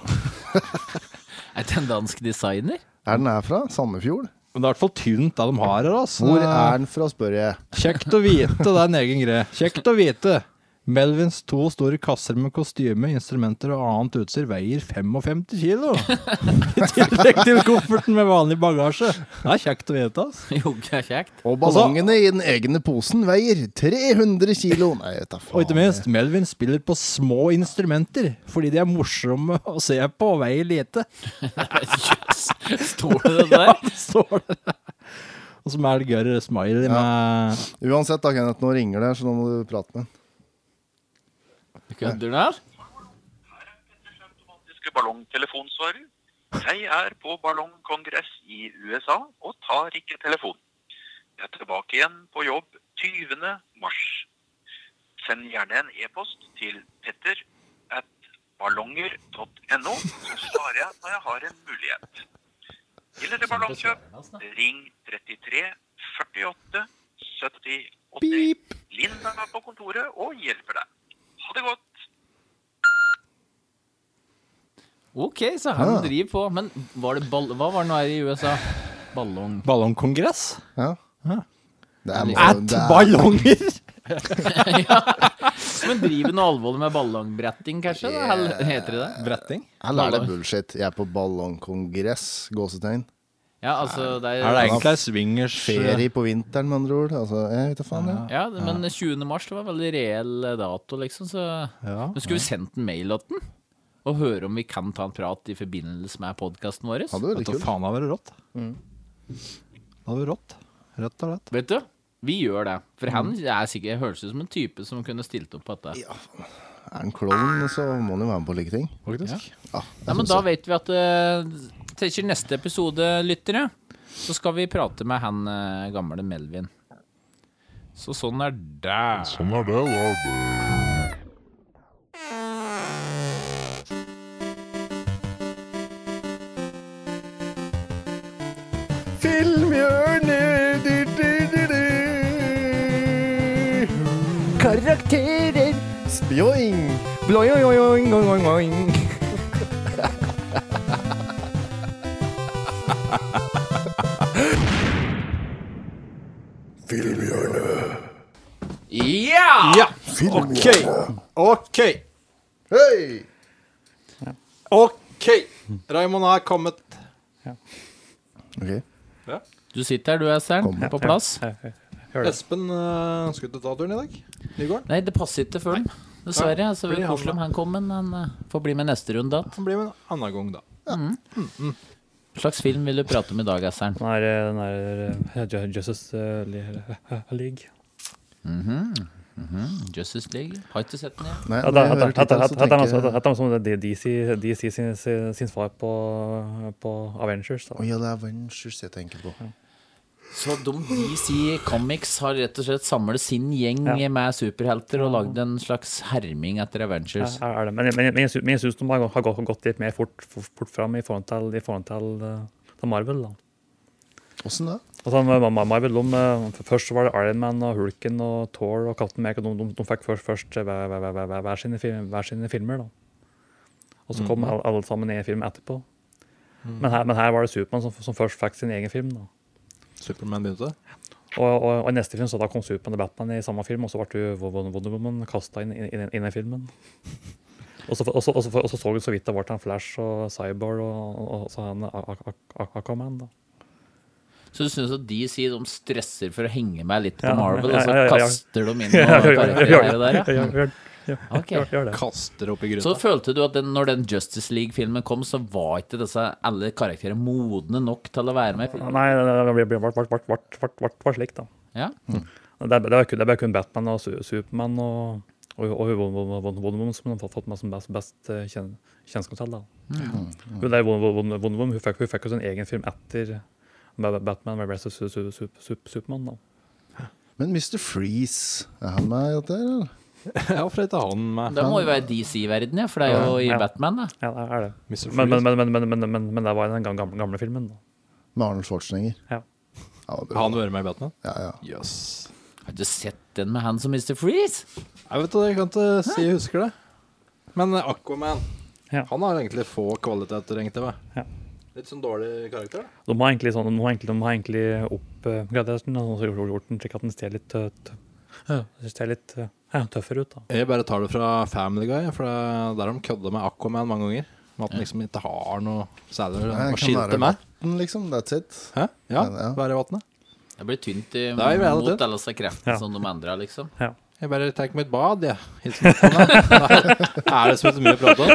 S4: Er det en dansk designer? [laughs]
S2: Er den herfra? Sandefjord?
S3: Men det er i hvert fall tynt, det de har her. Altså.
S2: Hvor er den fra, spør jeg.
S3: Kjekt å vite, det er en egen greie. Kjekt å vite. Melvins to store kasser med kostyme, instrumenter og annet utstyr veier 55
S4: [laughs]
S3: kilo. I tillegg til kofferten med vanlig bagasje. Det er kjekt å vite, altså. ass.
S4: Jo, det er kjekt.
S3: Altså-
S2: Og ballongene i den egne posen veier 300 kilo! Nei, vet da faen.
S3: Og ikke minst, Melvin spiller på små instrumenter fordi de er morsomme å se på og veier lite.
S4: Yes. Står det det
S3: [laughs]
S4: der?
S3: står det Og så er det gørr smiley med
S2: Uansett, da, Kenneth, nå ringer det, så nå må du prate med han.
S4: Kødder du her?
S7: automatiske ballongtelefonsvarer. Jeg er på ballongkongress i USA og tar ikke telefonen. Jeg er tilbake igjen på jobb 20. mars. Send gjerne en e-post til petter at ballonger.no, så svarer jeg når jeg har en mulighet. Gjelder det ballongkjøp, ring 33 48 78. Linda er på kontoret og hjelper deg. Ha det godt!
S4: Ok, så han driver på. Men var det ball hva var det nå her i USA?
S3: [sighs]
S4: [laughs] Ballong.
S3: ballongkongress.
S2: Ja. Det er,
S3: At
S2: det er-
S3: ballonger!
S2: [laughs]
S4: Men driver noe alvorlig med ballongbretting, kanskje? Da? Eller Heter det det?
S3: Bretting.
S2: Eller er det bullshit? Jeg er på ballongkongress, gåsetegn.
S4: Ja, altså det
S3: Er det
S4: er,
S3: egentlig ei swingers eh,
S2: Ferie på vinteren, med andre ord. Altså, jeg vet da faen, jeg.
S4: ja, det- Men 20. mars det var en veldig reell dato, liksom. Så
S3: Ja.
S4: Men skulle vi sendt en mail til den? Og høre om vi kan ta en prat i forbindelse med podkasten vår?
S2: Hadde vært
S3: Vet du,
S2: kult.
S3: faen, det hadde vært rått. Det hadde vært rått. Rett og slett.
S4: Vet du, vi gjør det. For han er sikkert, høres ut som en type som kunne stilt opp på dette.
S2: Er han klovn, så må han jo være med på like ting.
S3: Faktisk.
S2: Ja,
S4: Nei, men da vet vi at uh, Tenker neste episode, lyttere, så skal vi prate med han eh, gamle Melvin. Så sånn er det.
S2: Filmhjørnet! Karakterer! Spjoing!
S4: Ja!
S3: OK. OK.
S2: Hei!
S3: OK. Raymond er kommet.
S2: Ok,
S4: Du sitter her, du, Estern, på plass.
S3: Espen uh, ønsket å ta turen i dag. Nygården.
S4: Nei, det passer ikke for dem, dessverre. Så det
S3: blir
S4: blir
S3: han
S4: koselig om han kommer, men han eh, får bli med neste runde. da.
S3: Han blir med en annen gang, da.
S4: Hva slags film vil du prate om i dag, Estern?
S8: Den er, eh, den er eh, Ju- Justice eh, Li- League.
S4: Justice League? Har ikke sett den, jeg.
S2: Nei,
S8: At
S2: når jeg
S8: det-
S2: hører
S8: at- at-
S2: tittelen,
S8: at-
S2: så
S8: at det er noe
S2: tenker
S8: sånn-
S2: jeg
S8: at det er noe som det er DC, DC sin, sin, sin svar på, på Avengers. Da.
S2: Oi, ja, det er Ventures jeg tenker på.
S4: Så de DC Comics har rett og slett samlet sin gjeng
S8: Ja.
S4: med superhelter og lagd en slags herming etter
S8: Ja,
S4: Avengers.
S8: er det. Men, men, men jeg sy- men jeg syns de har, gå- har gått, gått litt mer fort, fort, fort fram i forhold til, i forhold til, eh, til Marvel. da.
S2: Åssen da?
S8: Altså, med- med Marvel, de, eh, f- først så var det Iron Man og Hulken og Thor og Captain America. De, de, de fikk først, først eh, hver, hver, hver, hver, hver, sine, film- hver sine filmer. da. Og så kom alle, alle sammen i en film etterpå. Men, her, men her var det Supermann som, som først fikk sin egen film. da.
S3: Superman begynte.
S8: Og, og, og i neste film så da kom Superman og Batman i samme film, og så ble jo Wonder Wonder Woman kasta inn, inn, inn, inn i [laughs] filmen. Og så, og, så, og, så, og så så vi så vidt det ble han Flash og Cyborg og, og, og så han A- A- A- Aquaman. da.
S4: Så du syns at DC de stresser for å henge med litt på
S8: Ja,
S4: Marvel, og
S8: ja,
S4: så
S8: ja, ja, ja.
S4: kaster de inn
S8: [laughs] Ja,
S4: noen
S8: gjør- gjør-
S4: karakterer der? ja?
S8: gjør- gjør- gjør-
S4: Ok.
S8: gjør- gjør det.
S3: Kaster opp i gryta.
S4: Så følte du at den, når den Justice League-filmen kom, så var ikke disse alle karakterene modne nok til å være med i filmen?
S8: Nei, det det ble- ble- ble- ble- ble- ble- ble- ble slik, da.
S4: Ja?
S8: Det er- det er kun- det er bare kun Batman og Su- Supermann og, og, og Wonder Wonder- Wonder Woman som har fått- fått meg som best, best eh, kjen- kjennskap til. da. Hun der Wonder Wonder- Wonder Woman hun fikk, hun fikk jo sin egen film etter Ba- Batman vs. Su Su Su Su Supermann. da.
S2: Men Mr. Freeze, er han med i dette? her, eller?
S3: [laughs] Ja, for dette har han med.
S4: Da må jo være DC-verden, ja, for det er jo i
S8: Ja.
S4: Batman, da.
S8: Ja, det er det.
S3: Mr.
S8: Men, men,
S3: Freeze.
S8: men, men, men, men, men, men det var i den gam- gamle, gamle filmen. da.
S2: Med Arnold Schwarzenegger?
S8: Ja.
S2: Ja, det er bra.
S3: Har han vært med i Batman?
S2: ja, ja.
S3: Jøss. Yes.
S4: Har du sett den med han som Mr. Freeze?
S3: Jeg vet det, jeg kan ikke si jeg husker det. Men eh, Aquaman
S8: Ja.
S3: Han har egentlig få kvaliteter, egentlig. va?
S8: Ja.
S3: Litt sånn dårlig karakter. da.
S8: De har egentlig, sånn, de har egentlig, de har egentlig eh, oppgradert den og så sånn, gjort- gjort den slik at den ser litt, eh, tø- ja, ser litt eh, ja, tøffere ut. da.
S3: [laughs] Jeg bare tar det fra Family Guy, for det er der de kødda med Aquaman mange ganger. Med at han liksom ikke har noe særlig
S2: Nei,
S3: å
S2: kan være
S3: skilte med.
S2: vatten, liksom. That's it.
S3: Hæ? Ja,
S2: Ja.
S3: være i vannet.
S4: Det blir tynt
S3: Det
S4: i,
S3: er jo veldig
S4: mot
S3: tynt.
S4: alle disse kreftene
S8: Ja.
S4: som de endra, liksom.
S3: Jeg bare tar meg et bad, jeg. Ja. Hilsen Aquaman.
S6: [laughs]
S3: Da Er det så mye å prate om?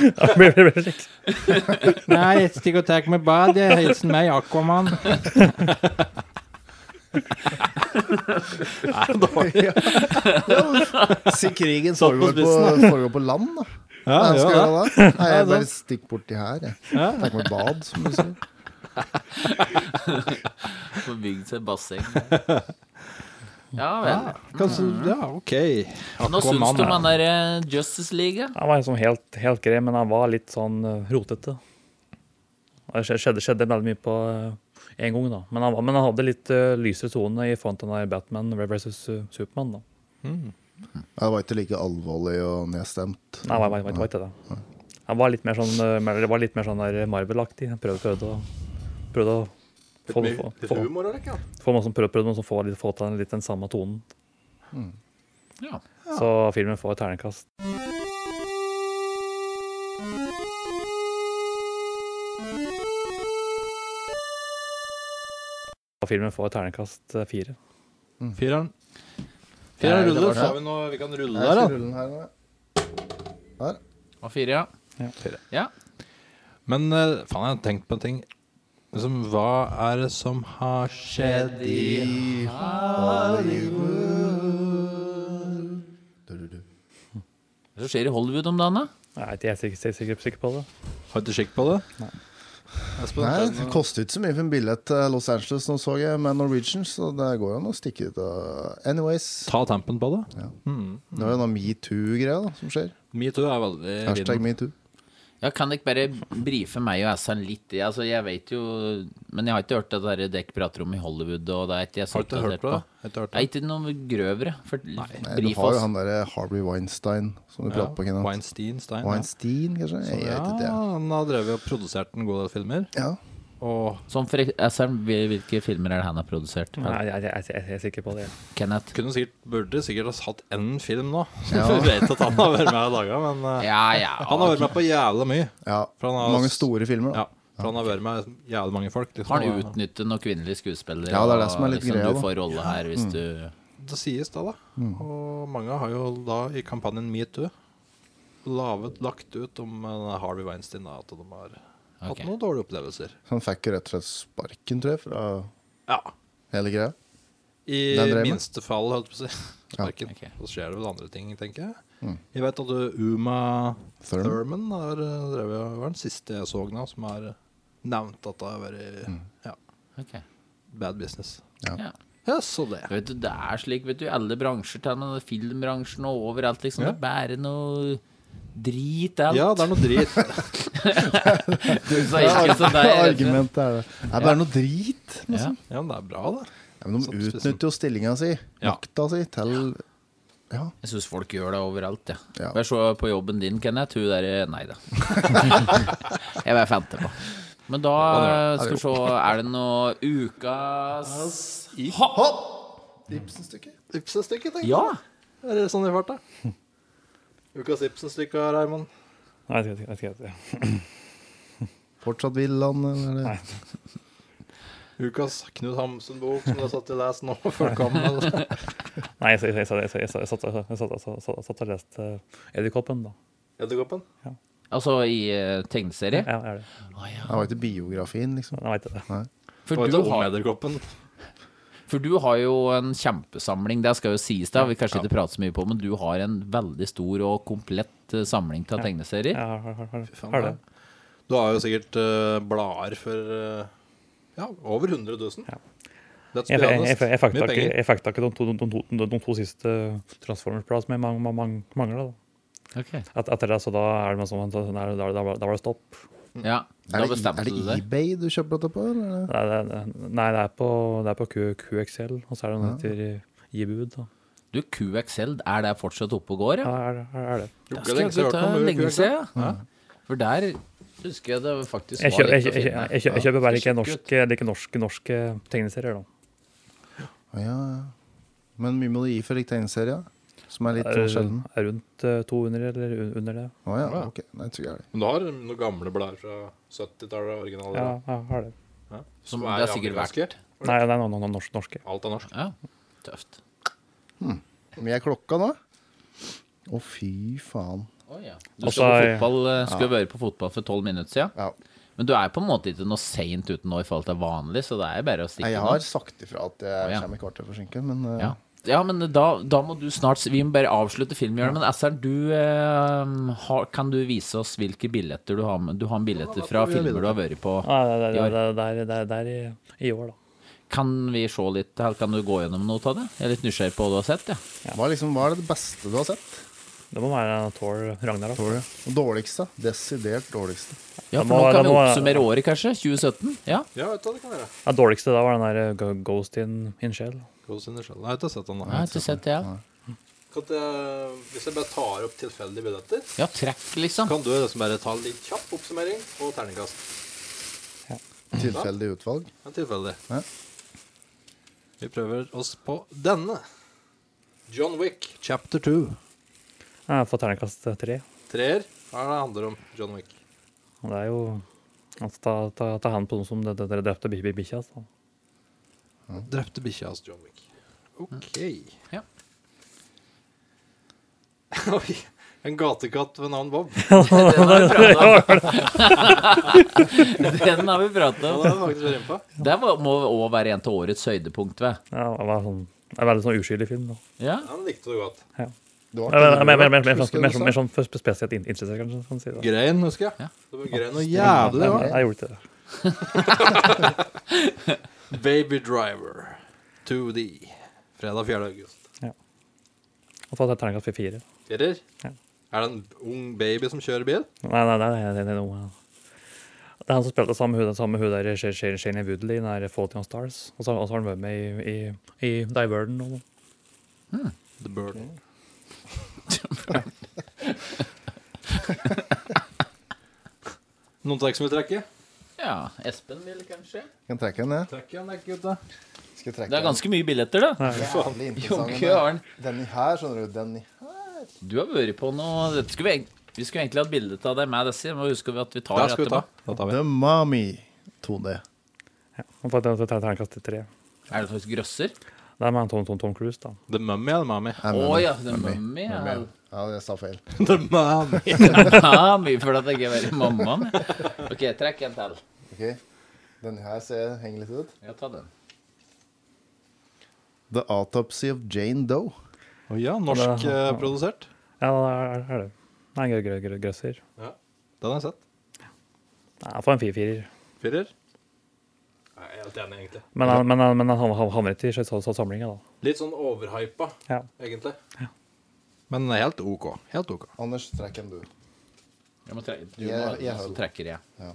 S8: Det blir- det blir slik.
S6: Nei, jeg stikker og tar meg bad. Jeg hilser meg
S3: [laughs]
S6: Aquaman.
S2: Se krigen foregår på, foregår på land, da.
S3: Ja,
S2: Nei, skal
S3: [laughs] ja,
S2: jeg gjøre det? Nei, jeg
S3: da.
S2: bare stikk borti her, jeg. Tenk meg bad, som du sier.
S4: Får bygd seg basseng. Ja vel.
S3: ja. Kanskje, ja, OK.
S4: Nå syns du om
S3: Aquaman.
S4: den der eh, Justice League? ja?
S8: Han var liksom helt, helt grei, men han var litt sånn eh, rotete. Og Det skje- skjedde, skjedde veldig mye på én gang, da. Men han, var- men han hadde litt eh, lysere tone i front av Batman versus eh, Supermann. da.
S2: Jeg var ikke like alvorlig og nedstemt.
S8: Nei, det var, var, var ikke det. Han var litt mer sånn, eh, mer- det var litt mer sånn der Marvel-aktig. Han Prøvde, prøvde å prøvde å få, få, få,
S3: Humor, eller ikke?
S8: få noen som prøvde, prøvde noen som får litt, få til den, litt den samme tonen.
S4: Ja.
S8: Så filmen får et terningkast. filmen får terningkast eh, fire.
S3: Fireren.
S2: Nei,
S3: Fireren
S2: det var
S3: ruller.
S2: det.
S3: Så har vi noe vi kan rulle
S2: Jeg skal
S3: der, da.
S2: rulle den her nå, jeg.
S4: Og fire, ja.
S3: Men eh, faen, jeg har tenkt på en ting. Liksom, hva er det som har skjedd i
S4: Hva skjer i Hollywood om dagen, da?
S8: Nei, jeg er ikke sikker, sikker, sikker på det.
S3: Har du ikke kikk på det?
S2: Nei, det koster ikke så mye for en billett til Los Angeles nå, så jeg, med Norwegian, så det går jo an å stikke dit. og- Anyways,
S3: Ta tempen på det.
S2: det er jo noe metoo-greia da, som skjer.
S3: Metoo er veldig
S2: Hashtag metoo.
S4: Ja, Kan dere bare brife meg og Assan litt? i- Altså, jeg vet jo Men jeg har ikke hørt det der dere prater om i Hollywood. Og det er ikke jeg så
S3: Har du ikke hørt
S4: oppdatert
S3: på det?
S4: på.
S3: Har du ikke hørt på
S4: Nei, ikke noe grøvere. For,
S2: Nei, Du
S4: brif
S2: har jo
S4: oss.
S2: han derre Harvey Weinstein som du
S3: Ja,
S2: prater på. Kenneth.
S3: Weinstein, Stein. ja.
S2: Weinstein, kanskje? Jeg
S3: ja,
S2: vet ikke, jeg.
S3: han har drevet og produsert en god del filmer.
S2: Ja.
S3: Og
S4: Som for Assan, hvilke filmer er det han har produsert?
S8: Nei, jeg, jeg, jeg, jeg er sikker på det.
S4: Kenneth?
S3: kunne sikkert, burde sikkert ha hatt én film nå. [laughs] Vi vet at han har vært med og laga, men eh,
S4: Ja, ja.
S3: han har vært med på jævla mye.
S2: ja.
S3: For han har-
S2: Mange store filmer.
S3: Ja,
S2: da.
S3: for han har vært med jævlig mange folk. Liksom.
S4: Har han utnyttet noen kvinnelige skuespillere?
S2: Ja, det er det
S4: og
S2: som er litt
S4: liksom,
S2: greia,
S4: Du
S2: da. Mm.
S4: får rolle her hvis du
S3: Det sies da, da. Og mange har jo da i kampanjen Metoo lavet, lagt ut om eh, Harvey Weinstein da, at de har hatt
S4: Ok.
S3: noen dårlige opplevelser.
S2: Så han fikk jo rett og slett sparken, tror jeg, fra
S3: Ja.
S2: hele greia.
S3: I
S2: Den drev med.
S3: minste fall, holdt på å si.
S2: [laughs]
S3: Sparken.
S4: ok.
S3: Så skjer det vel andre ting, tenker jeg. Jeg vet at uh,
S2: Mm.
S3: Uma
S2: Thurman.
S3: Thurman har eh, drevet, var den siste jeg så nå, som har uh, nevnt at det har vært
S2: Mm.
S3: ja,
S4: Ok.
S3: bad business.
S4: Ja.
S3: Ja, så det.
S4: Vet du, det er slik vet du, i alle bransjer, til og med filmbransjen og overalt. liksom,
S3: Ja.
S4: Det er bare noe drit alt.
S3: Ja, det er noe drit.
S4: [laughs]
S3: [laughs]
S4: Så ikke så det er-
S2: Argumentet er det. Det er bare noe drit.
S4: Ja.
S3: Ja, men det er bra, det.
S2: Ja, men de
S3: Sånn spesielt.
S2: utnytter jo stillinga si,
S3: Ja.
S2: makta si, til Ja.
S4: Jeg syns folk gjør det overalt, ja.
S2: Ja.
S4: Jeg så på jobben din, Kenneth. Hun derre Nei
S2: [laughs]
S4: da. jeg bare fant det på. Men da skal vi se Er det noe ukas
S2: Ibsen-stykket.
S3: Ibsen-stykket, tenker jeg.
S4: Ja!
S3: Er det sånn i [laughs] farta? Ukas Ibsen-stykket, Raymond.
S8: Nei, jeg, vet ikke- jeg, vet ikke.
S2: Fortsatt vil han, eller?
S3: Ukas Knut Hamsun-bok som du har satt til les nå før kom.
S8: Nei, jeg, jeg, jeg, jeg, jeg, jeg, jeg, satt- jeg, satt- jeg satt- jeg satt og leste eh, Edderkoppen, da.
S3: [laughs] Edderkoppen.
S4: Altså i eh, tegneserie.
S8: Ja, jeg er det.
S2: Han var ikke biografien, liksom.
S8: Jeg vet det.
S4: For
S3: Hva
S4: du,
S3: heter om
S4: har,
S3: Edderkoppen?
S4: for du har jo en kjempesamling, det skal jo sies, da. Vi kanskje ikke prater så mye på, men du har en veldig stor og komplett eh, samling av tegneserier.
S8: Jeg har, har, har, har,
S3: faen,
S8: har det.
S3: Du har jo sikkert eh, blader for eh, ja, over 100 000. Let's
S8: Jeg,
S3: be
S8: jeg, jeg,
S3: honest.
S8: jeg fikk
S3: Mye
S8: tak i-
S3: penger.
S8: jeg fikk tak i de to, de, to- de, de to siste Transformers-plass som jeg mang- mang- mang- mangla. da.
S4: Ok.
S8: Et, etter det så da er det sånn, da, da, da, da, da var det stopp.
S4: Ja,
S2: Er
S4: da
S2: det, er
S4: bestemte
S2: det
S4: du deg.
S2: eBay du kjøper dette på? Eller?
S8: Nei, det, er- nei, det er på, det er på Q, QXL, og så er det noe etter Gibud. da.
S4: Du, QXL, er det fortsatt oppe og går,
S8: Ja,
S4: ja?
S8: er, er, er det.
S4: Det
S3: det er
S4: skal
S3: lenge
S4: jeg
S3: siden jeg
S4: ta
S3: har hørt om
S4: lenge
S3: QXL.
S4: siden, ja. For der husker jeg det faktisk
S8: Jeg
S4: var
S8: kjøper,
S4: litt
S8: jeg,
S4: å
S8: jeg,
S4: finne.
S8: jeg, jeg, jeg kjøper bare ikke
S4: Skal sjekke ut.
S8: norske, like norske, norske tegneserier, da.
S2: Å, Ja, ja. Men mye må du gi for en tegneserie, da? som er litt sånn sjelden.
S8: Er- er Rundt eh, 200 eller un- under det.
S2: Å ja, ok. Nei, jeg tror jeg er det.
S3: Men du har noen gamle blader fra 70-tallet, originaler,
S8: Ja, jeg har det.
S4: Som det har sikkert
S3: amerikanske.
S4: vært.
S8: Nei, nei, nei, nei, norsk, norske.
S3: Alt er norsk.
S4: Ja, tøft.
S2: Men jeg er klokka nå? Å, fy faen.
S4: Å ja. Du
S8: Altså,
S4: skal på
S8: jeg-
S4: fotball, eh, skulle være på fotball for tolv minutter siden.
S2: Ja.
S4: Men du er på en måte ikke noe seint ute nå i forhold til vanlig, så det er bare å
S2: Nei,
S4: stikke
S2: jeg
S4: nå.
S2: har sagt ifra at jeg
S4: ja.
S2: kommer et kvarter forsinket, men eh,
S4: Ja. ja, men da, da må du snart Vi må bare avslutte filmhjørnet. Men Essern, du eh, har, kan du vise oss hvilke billetter du har med? Du har en billetter fra filmer du har vært på.
S8: Nei, det er- det er- det er- det er- det er i- i år, da.
S4: Kan vi se litt her? Kan du gå gjennom noe av det? Jeg er litt nysgjerrig på hva du har sett, ja.
S2: hva, er liksom, hva er det beste du har sett?
S8: Det må være Thor Ragnarok.
S2: Tror du? Det Dårligste? Desidert dårligste.
S4: Ja,
S8: Da
S4: for
S8: må-
S4: nå
S8: da
S4: kan vi
S8: må-
S4: oppsummere året, kanskje. 2017. Ja.
S3: Ja, vet du hva det kan være?
S8: Det dårligste da var den der eh, Go- Ghost in, in Shell.
S3: Ghost in the Shell. Nei, jeg har ikke sett den.
S4: Jeg har ikke sett det, ja.
S3: Kan jeg, hvis jeg bare tar opp tilfeldige billetter
S4: Ja, trekk, liksom.
S3: Kan du liksom bare ta en litt kjapp oppsummering og terningkast?
S2: Tilfeldig utvalg.
S3: Det er tilfeldig.
S2: Ja.
S3: Vi prøver oss på denne. John Wick, chapter 2.
S8: Jeg får terningkast eh, tre.
S3: Treer. Hva er det det handler om? John Wick.
S8: Og det er jo altså, ta, ta, ta hand på noen som d- d- dere drepte bi- bi- bikkja. altså.
S3: Drepte bikkja hans, John Wick. OK.
S4: Ja.
S3: [laughs] Oi. En gatekatt ved navn Bob.
S4: Den har vi pratet om. Den har vi pratet
S3: Ja,
S4: om.
S3: det er faktisk jeg redd på.
S4: Det må òg være en til årets høydepunkt, vet
S8: Ja, det var sånn, det er veldig sånn uskyldig film. da.
S4: Ja.
S3: Ja, den likte du godt.
S2: Det var
S8: Ja, men-
S2: ikke
S8: men- men- men-
S2: rørt,
S8: men-
S2: husker
S8: men-
S2: du
S8: men-
S2: det
S8: men sånn for spesielt in- interessert, kanskje. Sånn, si det.
S3: Grein, husker jeg.
S4: Ja.
S3: Det var grein og
S8: Nei,
S3: jævlig.
S8: nei, jeg gjorde ikke det.
S3: Ja. Baby Driver 2D. Fredag 4. august.
S8: Og så hadde jeg terningkast fire.
S3: Firer.
S8: Ja.
S3: Er det en ung baby som kjører bil?
S8: Nei, nei, nei, det er- det er noe Det er han som spilte sammen med hun, sammen med hun der Sh- Sh- Shania Woodley i den der Fault in Our Stars. Og så og så har han vært med i, i, i Diverden og noe.
S3: The Burden. Noen trekk som vil trekke?
S4: ja. Espen vil kanskje?
S2: Kan trekke den, ja.
S3: Trekke en dekk, gutta.
S2: Skal jeg trekke
S4: Det er ganske mye billetter, da.
S2: den? Jævlig interessant.
S4: Jonke Arn.
S2: den. Denne her, skjønner du. Den
S4: Du har vært på noe dette skulle vi, egent- vi skulle egentlig hatt bilde av deg med Desi, men husker vi at vi tar
S3: Da skal vi ta. Da tar vi.
S2: The Mummy 2D.
S8: Og så hadde jeg terningkast tre.
S4: Er det faktisk grøsser?
S8: Det er med han Tom, Tom, Tom Cruise, da.
S3: The Mummy eller Mummy?
S4: Å ja, det er mummy. Ja.
S2: Ja, det sa feil.
S3: The Mummy.
S4: Ja, mye for at jeg ikke er mammaen. OK, trekk en til.
S2: Ok. Denne her ser henger litt ut.
S4: Ja, ta den.
S2: The Autopsy of Jane Doe.
S3: Å ja, norsk eh, produsert.
S8: Ja, det er, er det. Nei, grø, grø, grø, grøsser.
S3: Den har jeg sett.
S8: Nei, for en firefirer.
S3: Firer. Nei, jeg er helt enig, egentlig.
S8: Men, han- men, han- men han han havner ikke i så- så- så samlinga, da.
S3: Litt sånn overhypa,
S8: Ja.
S3: egentlig. Men helt OK. Helt OK.
S2: Anders, trekk en du.
S4: Jeg må trekke. Du
S2: Jeg-
S4: må,
S2: jeg
S4: så
S2: holder.
S4: trekker jeg.
S2: Ja.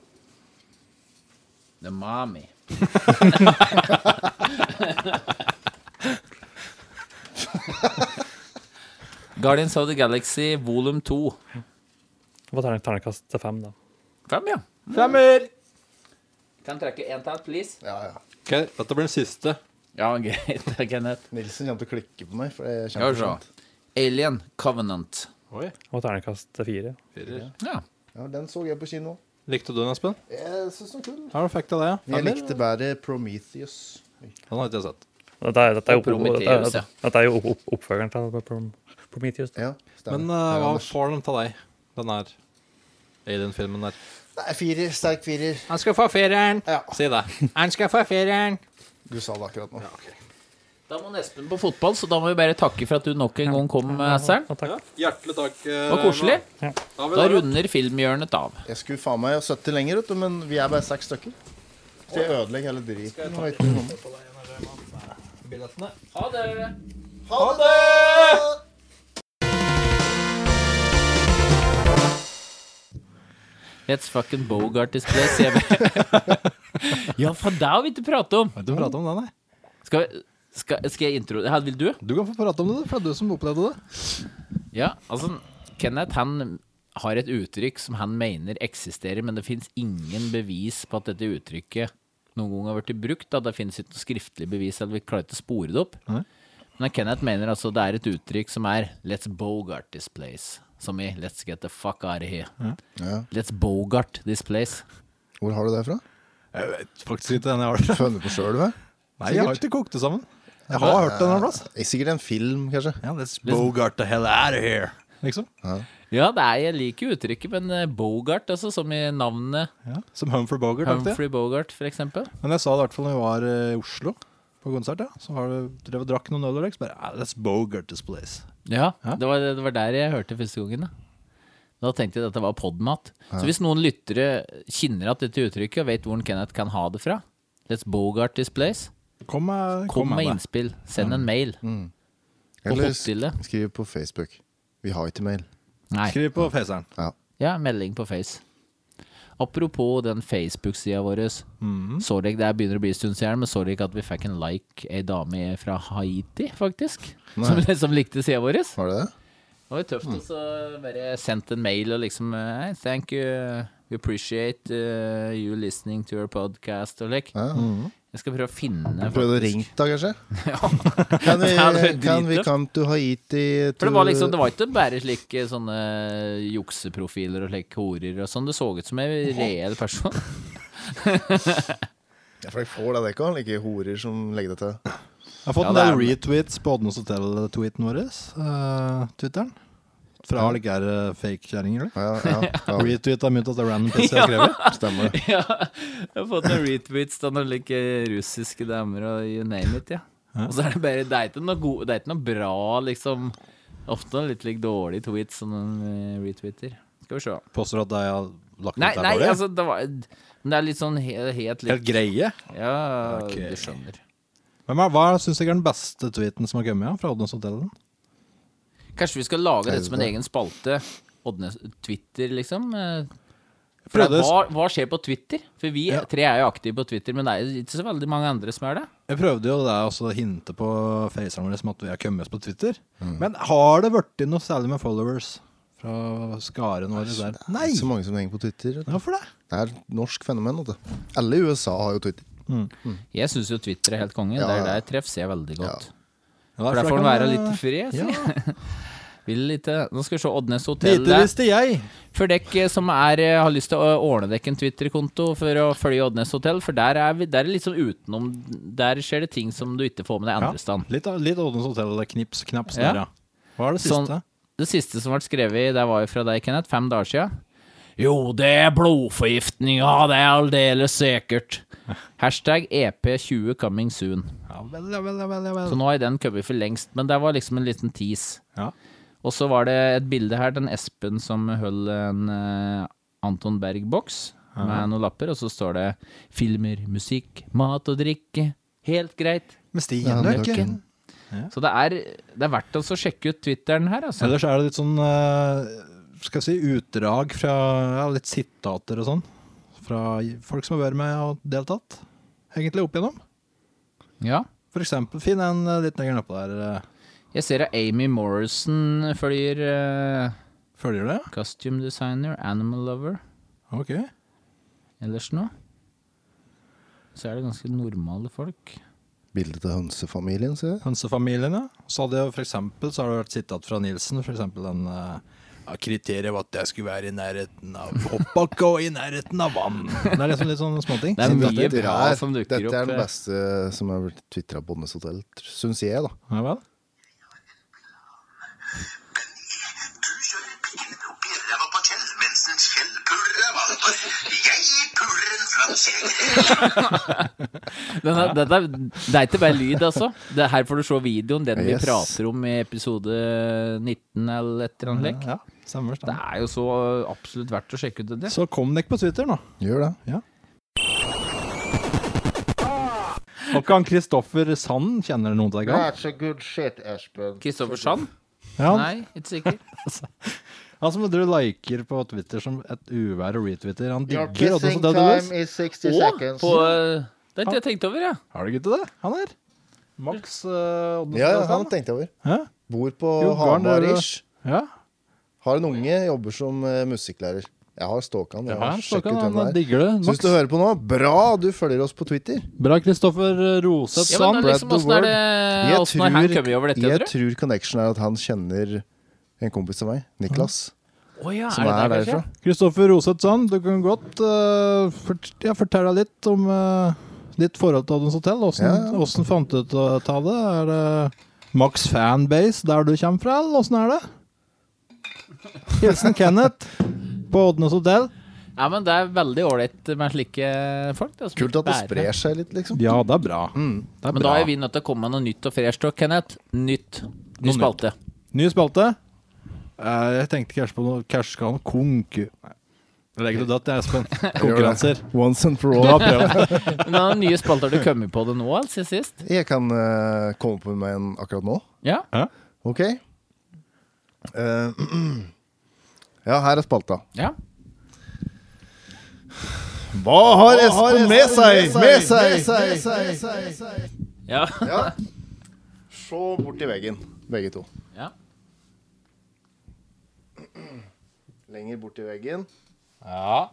S4: The mommy.
S2: [laughs]
S4: Guardians of the Galaxy volum 2.
S8: Og så terningkast fem, da.
S4: Fem, ja.
S3: Femmer!
S4: Kan trekke en til, please?
S2: Ja, ja.
S3: Ok, Dette blir den siste.
S4: Ja, [laughs] greit. Kenneth.
S2: Nilsen kommer til å klikke på meg. For det er
S4: Skal vi se.
S2: kjempefint.
S4: Alien Covenant.
S3: Oi,
S8: Og terningkast fire.
S3: firer.
S4: Ja.
S2: Ja, den så jeg på kino.
S3: Likte du den, Espen?
S2: Jeg syns den var kul.
S3: Har du fikk deg det? ja?
S2: Jeg
S3: Eller?
S2: likte bedre Prometheus.
S3: Den har ikke jeg sett.
S8: Dette er, dette er, jo-
S4: Prometheus,
S8: dette er-
S1: altså.
S4: ja.
S8: dette er jo opp- oppfølgeren til Prom- Prometheus. da.
S2: Ja,
S3: Men
S2: stemmer.
S3: eh,
S2: Ja,
S3: hva
S2: Anders.
S3: får de til deg, den her alien-filmen der?
S2: Nei, firer. Sterk firer.
S9: Han skal få fireren.
S3: Si det.
S9: Han skal få fireren.
S2: Du sa det akkurat nå.
S4: Da må Espen på fotball, så da må vi bare takke for at du nok en gang kom, Ser'n.
S8: Og takk.
S3: Ja, hjertelig takk. eh,
S4: Det var koselig.
S3: Da,
S4: Da runder filmhjørnet av.
S2: Jeg skulle faen meg 70 lenger, vet du, men vi er bare seks stykker. Skal jeg ødelegge hele driten? og ikke noe om det?
S4: Ha det! Let's fucking Bogart this place, sier vi. [laughs] ja, for det har vi ikke pratet om.
S3: Du prate om den, nei.
S4: Skal, vi- skal, skal jeg intro... Ja, vil du?
S3: Du kan få prate om det, for det er du som opplevde det.
S4: Ja, altså, Kenneth han har et uttrykk som han mener eksisterer, men det finnes ingen bevis på at dette uttrykket noen gang har blitt brukt. Da. Det finnes ikke noe skriftlig bevis, eller vi klarer ikke å spore det opp. Men Kenneth mener altså det er et uttrykk som er 'let's bogart this place'. Som i 'let's get the fuck out of here'.
S2: Ja.
S4: Let's bogart this place.
S2: Hvor har du det fra?
S3: Jeg vet faktisk ikke den jeg har det.
S2: Funnet på sjøl, vel?
S3: Nei, jeg har ikke kokt det sammen. Jeg har hørt den en plass.
S2: Sikkert en film, kanskje.
S3: Ja, let's bogart the hell out of here. Liksom.
S4: Ja, det er, jeg liker uttrykket, men eh, Bogart, altså, som i navnet
S3: Ja, som Humphrey Bogart. aktig.
S4: Humphrey Bogart, for eksempel.
S3: Men jeg sa det i hvert fall når vi var eh, i Oslo på konsert. Ja. Så var det, drev og drakk noen øl og liksom bare ah, Let's bogart this place.
S4: Ja,
S3: Ja.
S4: Det, var, det var der jeg hørte første gangen. Da, da tenkte jeg at det var podmat. Så hvis noen lyttere kjenner at dette uttrykket, og vet hvor Kenneth kan ha det fra, Let's Bogart this place,
S3: Kom med,
S4: kom med
S3: det.
S4: innspill. Send en mail. På
S2: Eller
S4: fotstille.
S2: sk- skriv på Facebook. Vi har ikke mail.
S4: Nei,
S3: Skriv på faceren.
S4: ja, melding på Face. Apropos den Facebook-sida vår. Så dere, det begynner å bli en stund siden, men så dere ikke at vi fikk en like ei dame fra Haiti, faktisk? Som, som likte sida vår?
S2: Var det det?
S4: Det var jo tøft
S2: Mm.
S4: å så bare sendt en mail og liksom hey, Thank you, we appreciate uh, you listening to your podcast og like.
S2: Ja.
S4: Jeg skal prøve å finne
S2: Prøvde å
S4: faktisk-
S2: ringe da,
S4: [laughs]
S2: kanskje? Kan vi,
S4: Ja, det er
S2: kan vi
S4: drittøft.
S2: come to Haiti to
S4: For det var liksom, det var ikke bare slike sånne jukseprofiler og slike horer og sånn. Det så ut som en reell person.
S2: Ja, for jeg får det, det er ikke han like horer som legger det til.
S3: Jeg har fått
S4: Ja,
S3: en del
S4: det
S3: retweets på Oddnes Hotel-tweeten vår. eh, Twitteren. Fra like er eh, fake-kjerringer, eller?
S4: [laughs]
S2: Ja, ja, ja,
S3: Retweet er mynt at det er random piss jeg har skrevet.
S2: stemmer det.
S4: [laughs] Ja, jeg har fått noen retweets av noen like russiske damer og you name it, ja. Og så er det bare Det er ikke noe, god, det er ikke noe bra, liksom. Ofte litt like dårlige tweets som den eh, retweeter. Skal vi se.
S3: Påstår at jeg har lagt ut
S4: Nei,
S3: der
S4: nei,
S3: dårlig.
S4: altså det var Men det er litt sånn helt, helt
S3: Helt
S4: likt.
S3: greie.
S4: Ja,
S3: Ok.
S4: du skjønner.
S3: Hvem er, hva syns dere er den beste tweeten som har kommet ja, fra Oddnes Hotel?
S4: Kanskje vi skal lage dette som en
S2: Helvete.
S4: egen spalte? Oddnes Twitter, liksom? eh, For
S3: Prøvde-
S4: hva, hva skjer på Twitter? For vi
S3: Ja.
S4: tre er jo aktive på Twitter, men det er jo ikke så veldig mange andre som er det.
S3: Jeg prøvde jo det der også å hinte på faceren vår som at vi har kommet oss på Twitter.
S4: Mm.
S3: Men har det blitt noe særlig med followers fra skaren vår der? Nei!
S2: Så mange som henger på Twitter. vet du.
S3: Hvorfor det?
S2: Det er et norsk fenomen. vet du. Alle i USA har jo Twitter.
S4: Jeg syns jo Twitter er helt konge.
S2: Ja,
S4: Der,
S2: ja.
S4: der treffes jeg veldig godt.
S3: Ja,
S4: For der får
S3: kan
S4: han være
S3: det-
S4: litt fri. jeg sier.
S3: Ja,
S4: [laughs] Vil litt, eh, nå skal vi se Oddnes hotell.
S3: Lite
S4: der.
S3: visste jeg.
S4: For dere eh, som er, eh, har lyst til å ordne dere en Twitter-konto for å følge Oddnes hotell, for der er, vi, der er liksom utenom Der skjer det ting som du ikke får med deg andre steder.
S3: Litt, litt Oddnes Hotel-knips, knaps
S4: Ja.
S3: der, ja. Hva er det
S4: Sånn-
S3: siste?
S4: Det siste som ble skrevet, det var jo fra deg, Kenneth, fem dager siden. Jo, det er blodforgiftning, ja, det er
S3: [laughs]
S4: aldeles sikkert. Hashtag EP20 coming soon.
S3: Ja vel, ja vel, ja vel. Ja,
S4: Så
S3: vel.
S4: nå har den kommet for lengst, men det var liksom en liten tease.
S3: Ja.
S4: Og så var det et bilde her, den Espen som holdt en eh, Anton Berg-boks med noen lapper, og så står det filmer, musikk, mat og drikke. Helt greit.
S3: Med Stian Løkken.
S4: Så det er, det er verdt oss å sjekke ut Twitteren her, altså.
S3: Ellers er det litt sånn eh, Skal jeg si utdrag fra ja, litt sitater og sånn. Fra folk som har vært med og deltatt. Egentlig opp igjennom.
S4: Ja.
S3: For eksempel, finn en eh, litt lenger nedpå der. eh,
S4: Jeg ser at Amy Morrison følger eh,
S3: Følger det?
S4: costume designer, animal lover,
S3: Ok.
S4: ellers noe. Så er det ganske normale folk.
S2: Bildet til hønsefamilien, sier jeg.
S3: Hønsefamiliene. Så hadde jeg for eksempel, så har det vært sitat fra Nilsen, for eksempel den eh, ja, kriteriet var at jeg skulle være i nærheten av hoppbakke og i nærheten av vann. Det er liksom litt sånne småting.
S4: Det er mye
S2: Dette
S4: bra
S2: er-
S4: som dukker
S2: Dette er
S4: opp. eh.
S2: den beste som har blitt tvitra på Bondes hotell, syns jeg, da.
S3: Ja vel?
S10: Du kjører pikken opp i ræva på Kjell, mens en Kjell puler ræva vår. Jeg puler en flankjeger.
S4: Den er, den er, det er ikke bare lyd, altså. Det her får du se videoen, den
S2: Yes.
S4: vi prater om i episode 19 eller et eller annet. lek.
S3: Ja, stemmer.
S4: Det
S3: stemmer.
S4: er jo så absolutt verdt å sjekke ut det.
S3: Så kom dere på Twitter nå.
S2: Gjør det.
S3: Og kan Kristoffer Sand kjenner noen til deg? Gal?
S10: That's a good shit, Espen.
S4: Kristoffer Sand?
S3: Ja, han-
S4: Nei, ikke sikker.
S3: han som du liker på Twitter som et uvær og retwitter. Han digger Oddnes Hotel Dues.
S10: is 60
S4: Å, på eh, Det har ikke jeg tenkt over, ja.
S3: Har du ikke det? Han er Max uh, Oddnes
S2: Ja, ja,
S3: Hotel
S2: han
S3: Sand.
S2: tenkte jeg over.
S3: Hæ?
S2: Bor
S3: Jo,
S2: på
S3: Garn, det er det.
S2: Hamar-ish.
S3: Ja,
S2: Har en unge, jobber som eh, musikklærer. Jeg har stalka han. Jeg
S3: ja
S2: har
S3: han,
S2: sjekket
S3: stakkar,
S2: ut hvem
S3: han
S2: det er.
S3: digger det.
S2: Så hvis
S3: Max.
S2: du hører på nå, bra du følger oss på Twitter.
S4: Eh,
S3: Bra Kristoffer Roseth
S4: ja men
S3: Sand.
S4: det er liksom,
S2: Brad the
S4: åssen er det
S2: Jeg
S4: Åssen har han
S2: tror-
S4: kommet over dette,
S2: Jeg
S4: tror du?
S2: tror connection er at han kjenner en kompis av meg, Niklas,
S4: Å ja,
S2: som
S4: er
S2: er
S4: det der, kanskje?
S2: derfra.
S3: Kristoffer Roseth Sand, du kan godt eh, fort, ja, fortelle litt om eh, ditt forhold til Oddnes Hotel.
S2: Ja,
S3: Åssen
S2: ja.
S3: åssen fant du ut av det? Er det Max fanbase der du kommer fra, eller åssen er det? Hilsen Kenneth på Oddnes Hotel.
S4: Ja, men det er veldig ålreit med slike folk. Da, som
S2: Kult at det
S4: bærer.
S2: sprer seg litt, liksom.
S3: Ja, det er bra. Det er
S4: Men da
S3: bra.
S4: er vi nødt til å komme med noe nytt og fresh, da, Kenneth. Nytt.
S3: Noe
S4: Ny
S3: nytt.
S4: spalte.
S3: Ny spalte. Eh, jeg tenkte kanskje på noe Kanskje skal han konku... Nei. Legg det dødt,
S2: [laughs]
S3: jeg, Espen. Konkurranser.
S2: Once and for
S3: Da
S2: all.
S3: prøver jeg.
S4: Men det er nye spalter du kommer på det nå, altså, siden sist?
S2: Jeg kan eh, komme på med en akkurat nå.
S4: Ja.
S2: OK? Eh, [clears throat] ja, her er spalta.
S4: ja.
S2: Hva har Espen med seg? Med seg!
S4: ja.
S2: Se bort i veggen, begge to.
S4: ja.
S2: Lenger bort i veggen. Ja.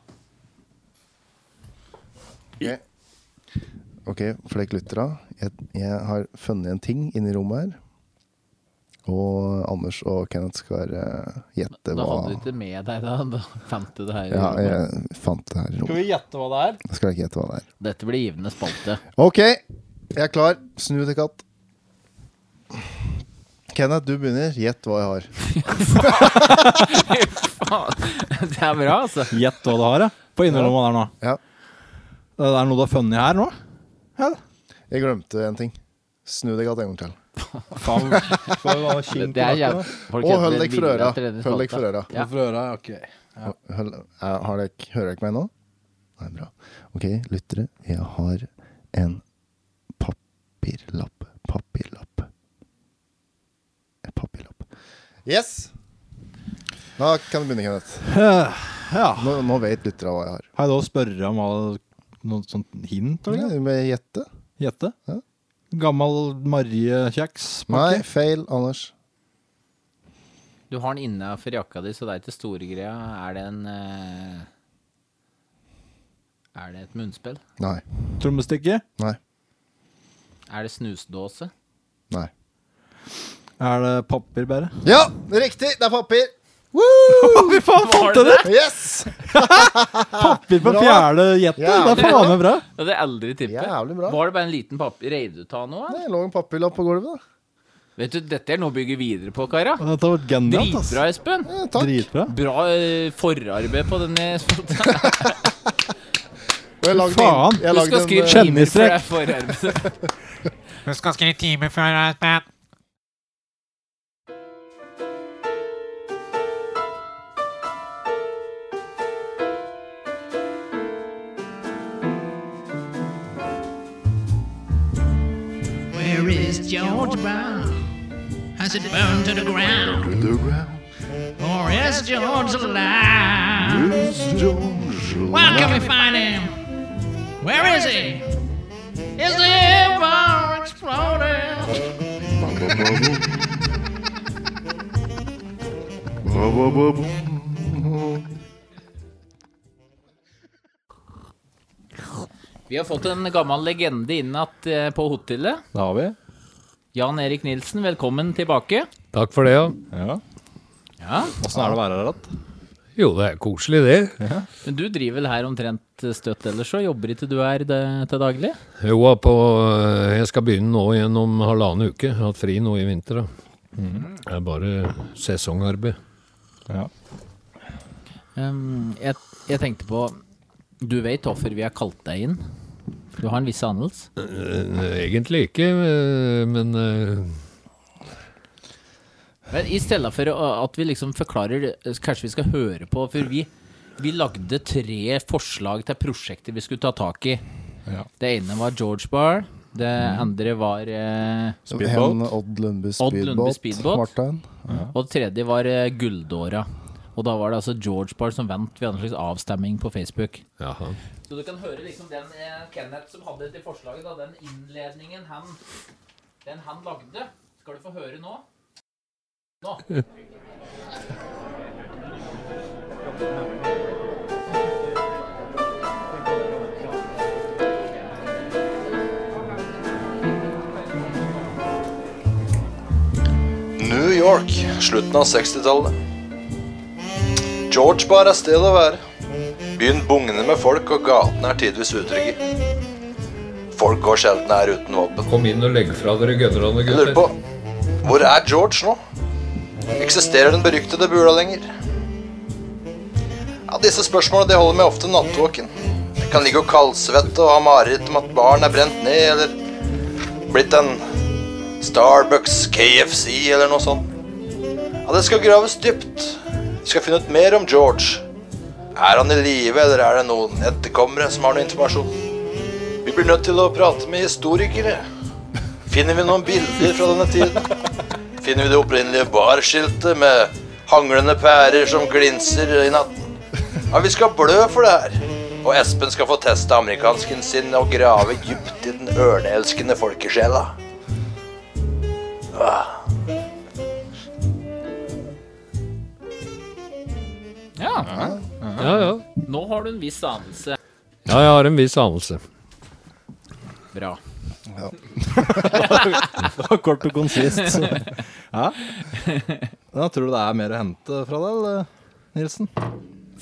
S2: OK, flekk lyttere. Jeg, jeg har funnet en ting inni rommet her Og Anders og Kenneth skal eh, gjette
S4: Da
S2: hva
S4: hadde du ikke med deg da. Da fant du det her.
S2: Ja, jeg fant det her i rommet.
S11: vi gjette hva det er?
S2: Jeg skal ikke gjette hva det er.
S4: Dette blir givende spalte.
S2: OK, jeg er klar. Snu til katt. Kenneth, du begynner. Gjett hva jeg har.
S4: [laughs] Det er bra, altså.
S12: Gjett hva du har, ja. På innerlomma der nå.
S2: Ja.
S12: Det er noe du har funnet her nå?
S2: Jeg glemte en ting. Snu deg katt en gang til.
S12: Faen,
S4: Det er jæv- folk
S2: Og
S4: heter
S2: hold deg for
S4: Lilla
S2: øra.
S4: Trene
S2: Hold deg
S4: Spalte.
S2: for øra.
S4: Ja.
S2: for øra, ok. Har dere, hører dere meg nå? Nei, bra. Ok, lyttere. Jeg har en papirlapp. Papirlapp. En papirlapp. Yes! Da kan du begynne, Kenneth.
S12: ja.
S2: Nå, nå vet lyttere hva jeg har.
S12: Har jeg da å spørre om hva, noe sånt hint? eller?
S2: Du må gjette.
S12: Gjette?
S2: Ja.
S12: Gammel Marie-kjeks?
S2: Nei, feil, Anders.
S4: Du har den innafor jakka di, så det er ikke store greia. Er det en eh, Er det et munnspill?
S2: Nei.
S12: Trommestikke?
S2: Nei.
S4: Er det snusdåse?
S2: Nei.
S12: Er det
S2: [laughs]
S12: papirbære?
S2: Ja, riktig! Det er papir!
S12: Fy faen, fant jeg det?
S2: Yes!
S12: Papir på fjerde gjettet?
S2: Jævlig
S12: det er faen meg bra.
S4: Det hadde jeg aldri tippet.
S2: Jævlig bra.
S4: Var det bare en liten papir? Reide du ta noe? da?
S2: Det lå en papirlapp på gulvet, da.
S4: Vet du, Dette er noe å bygge videre på, kara.
S12: Dette var genialt, ass.
S4: Dritbra, Espen.
S2: Ja, takk.
S12: Dritbra.
S4: Bra eh, forarbeid på denne. spalten.
S2: Og jeg lagde
S12: Faen.
S2: en- jeg
S4: Du
S2: lagde
S4: skal
S2: en,
S4: skrive
S2: eh,
S4: timer for
S12: kjendisstrekk.
S4: det forarbeidet.
S13: Du skal skrive time før Espen.
S6: Where is George Brown? Has it burned to the ground? Or is George alive? Where can we find him? Where is he? Is the ever exploding?
S4: Vi har fått en gammel legende inn at, eh, på hotellet.
S12: Det har vi.
S4: Jan Erik Nilsen, velkommen tilbake.
S1: Takk for det, ja.
S12: Ja.
S4: Ja,
S12: Åssen er det å være her igjen?
S1: Jo, det er koselig, det.
S4: Men du driver vel her omtrent eh, støtt ellers, så jobber ikke du her det- til daglig?
S1: Jo, ja, på, eh, jeg skal begynne nå igjen om halvannen uke. Jeg har hatt fri nå i vinter. da.
S12: Mm.
S1: Det er bare sesongarbeid.
S12: Ja.
S4: Um, jeg, jeg tenkte på Du vet hvorfor vi har kalt deg inn? Du har en viss anelse?
S1: Eh, Egentlig ikke, eh, men eh,
S4: Men I stedet for å- at vi liksom forklarer, kanskje vi skal høre på. For vi, vi lagde tre forslag til prosjekter vi skulle ta tak i.
S12: Ja. Mm.
S4: Det ene var George Bar. Det andre var eh,
S2: Hen Odd Lundby
S4: Odd Lundby
S2: Speedbåt.
S4: Speedbåt.
S2: Martin.
S4: Og det tredje var eh, Gulldåra. Og da var det altså George Bar som vant. Vi hadde en slags avstemming på Facebook.
S1: jaha.
S4: Så du kan høre liksom den eh, Kenneth som hadde til forslaget, da, den innledningen han, den han lagde. Skal du få høre nå? Nå.
S3: New York, slutten av 60-tallet. George Bar er stedet å være. Byen bugner med folk, og gatene er tidvis utrygge. Folk går sjelden her uten våpen.
S1: Kom inn og legg fra dere gønnerne,
S3: Jeg lurer på, hvor er George nå? Eksisterer den beryktede bula lenger? Ja, disse spørsmålene de holder meg ofte nattvåken. Jeg kan ligge og kaldsvette og ha mareritt om at baren er brent ned, eller blitt en Starbucks, KFC eller noe sånt. Ja, det skal graves dypt. Vi skal finne ut mer om George. Er han i live, eller er det noen etterkommere som har noe informasjon? Vi blir nødt til å prate med historikere. Finner vi noen bilder fra denne tiden? Finner vi det opprinnelige barskiltet med hanglende pærer som glinser i natten? Ja, vi skal blø for det her. Og Espen skal få teste amerikansken sin og grave dypt i den ørneelskende folkesjela.
S4: Ja,
S1: Ja, ja.
S4: nå har du en viss anelse.
S1: Ja, jeg har en viss anelse.
S4: Bra.
S3: [laughs]
S12: Kort og konsist.
S3: Ja. Da tror du det er mer å hente fra deg, eller, Nilsen?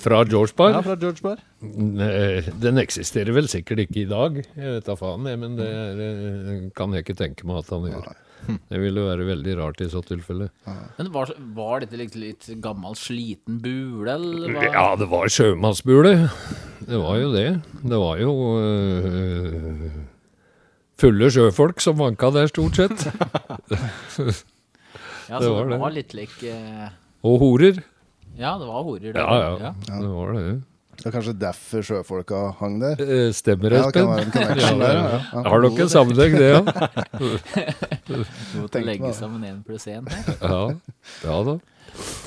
S1: Fra George
S3: Ja,
S1: Bar?
S3: fra George Bar.
S1: Nei, Eh, Den eksisterer vel sikkert ikke i dag, jeg vet da faen, jeg, men det er, eh, kan jeg ikke tenke meg at han gjør. Det ville jo være veldig rart i så tilfelle.
S4: Men var, var dette litt, litt gammel, sliten bule, eller hva?
S1: Ja, det var sjømannsbule. Det var jo det. Det var jo øh, fulle sjøfolk som vanka der, stort sett.
S4: Ja,
S1: det
S4: så
S1: var
S4: det
S1: det.
S4: var litt lik eh,
S1: Og horer.
S4: Ja, det var horer der.
S1: Ja, ja. Det var det.
S2: Det er kanskje derfor sjøfolka hang der.
S1: Eh, Stemmer,
S2: Ja, det kan
S1: Espen?
S2: være en connection der, ja, ja.
S1: Har dere en sammenheng, det òg?
S2: [laughs]
S4: Godt å
S2: tenkte
S4: legge
S2: meg det.
S4: sammen én pluss én.
S1: Ja. ja da.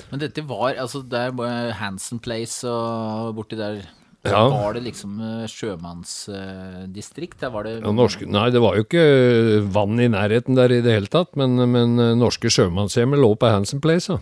S4: Men dette var altså der var Hansen Place og borti der
S1: Ja.
S4: Var det liksom sjømannsdistrikt? Der var det
S1: Ja, norske, nei, det var jo ikke eh, vann i nærheten der i det hele tatt, men, men eh, norske sjømannshjemmet lå på Hansen Place. Da.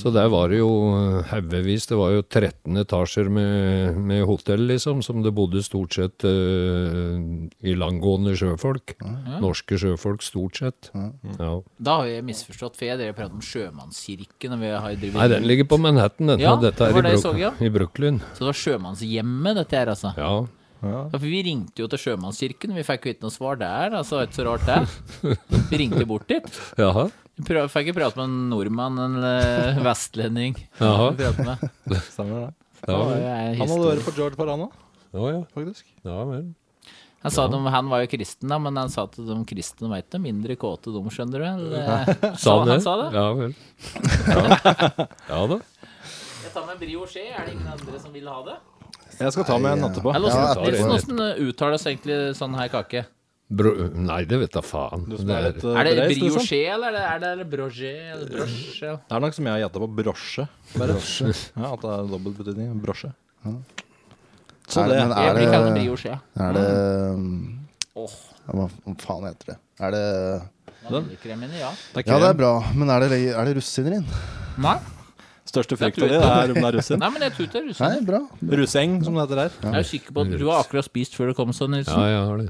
S1: Så der var det jo eh, haugevis. Det var jo 13 etasjer med, med hotell, liksom, som det bodde stort sett uh, i langgående sjøfolk. Norske sjøfolk, stort sett. Ja.
S4: Da har jeg misforstått, for jeg drev og pratet om sjømannskirken. Og vi har jo drevet-
S1: Nei, den ligger på Manhattan, den.
S4: Ja,
S1: Dette
S4: det
S1: er
S4: var
S1: i,
S4: det jeg
S1: Brook-
S4: så, ja.
S1: i Brooklyn.
S4: Så det var sjømannshjemmet, dette her, altså.
S1: Ja.
S4: Ja, for vi ringte jo til sjømannskirken, vi fikk jo ikke noe svar der. Altså, det var ikke så rart, det. Vi ringte bort dit.
S1: Jaha.
S4: Vi prøv- fikk ikke prate med en nordmann, en eh, vestlending.
S1: Jaha.
S4: Vi pratet med.
S3: Stemmer det.
S1: Ja,
S4: Det
S1: vel.
S4: er
S3: Han hadde hørt på George Parana,
S1: Ja, ja.
S3: faktisk.
S1: ja vel.
S4: Han sa at de, han var jo kristen, da, men han sa at de kristne veit det. Mindre kåte, de, skjønner du. [laughs] Eller,
S1: Sa han det?
S4: sa det.
S1: Ja vel. Ja, ja da.
S4: Jeg tar med brio skje, er det ingen andre som vil ha det?
S3: Jeg skal ta med en etterpå.
S4: Eller
S2: Ja,
S4: åssen-
S2: jeg
S4: Nilsen,
S1: tar
S4: åssen uttales egentlig sånn her kake?
S1: Bro, nei, det vet da faen.
S3: Du som er litt, uh,
S4: Er det
S3: bereist, liksom.
S4: brioche, eller er det, er det, er det brosje? Eller brosje?
S3: Det er nok som jeg gjetta på brosje. Ja, at det er dobbeltbetydning. Brosje. Så
S2: Er
S3: det,
S2: det, men
S4: Jeg
S2: er
S4: blir kalt en
S2: det,
S4: brioche.
S2: er det um,
S4: Åh,
S2: ja, Hva hva faen heter det? Er det
S4: vaniljekrem inni, ja.
S3: det er
S2: Ja,
S3: krem.
S2: det er bra, men er det, er det russiner inn?
S4: Nei,
S3: Største frykta di er om det er [laughs] russin.
S4: nei, men jeg tror ikke det er russen.
S2: Nei, bra.
S3: Russeng, som det heter her.
S4: Jeg er jo sikker på at du har akkurat spist før du kom, sånn,
S1: Ja,
S4: Nilsen.
S1: jeg har det.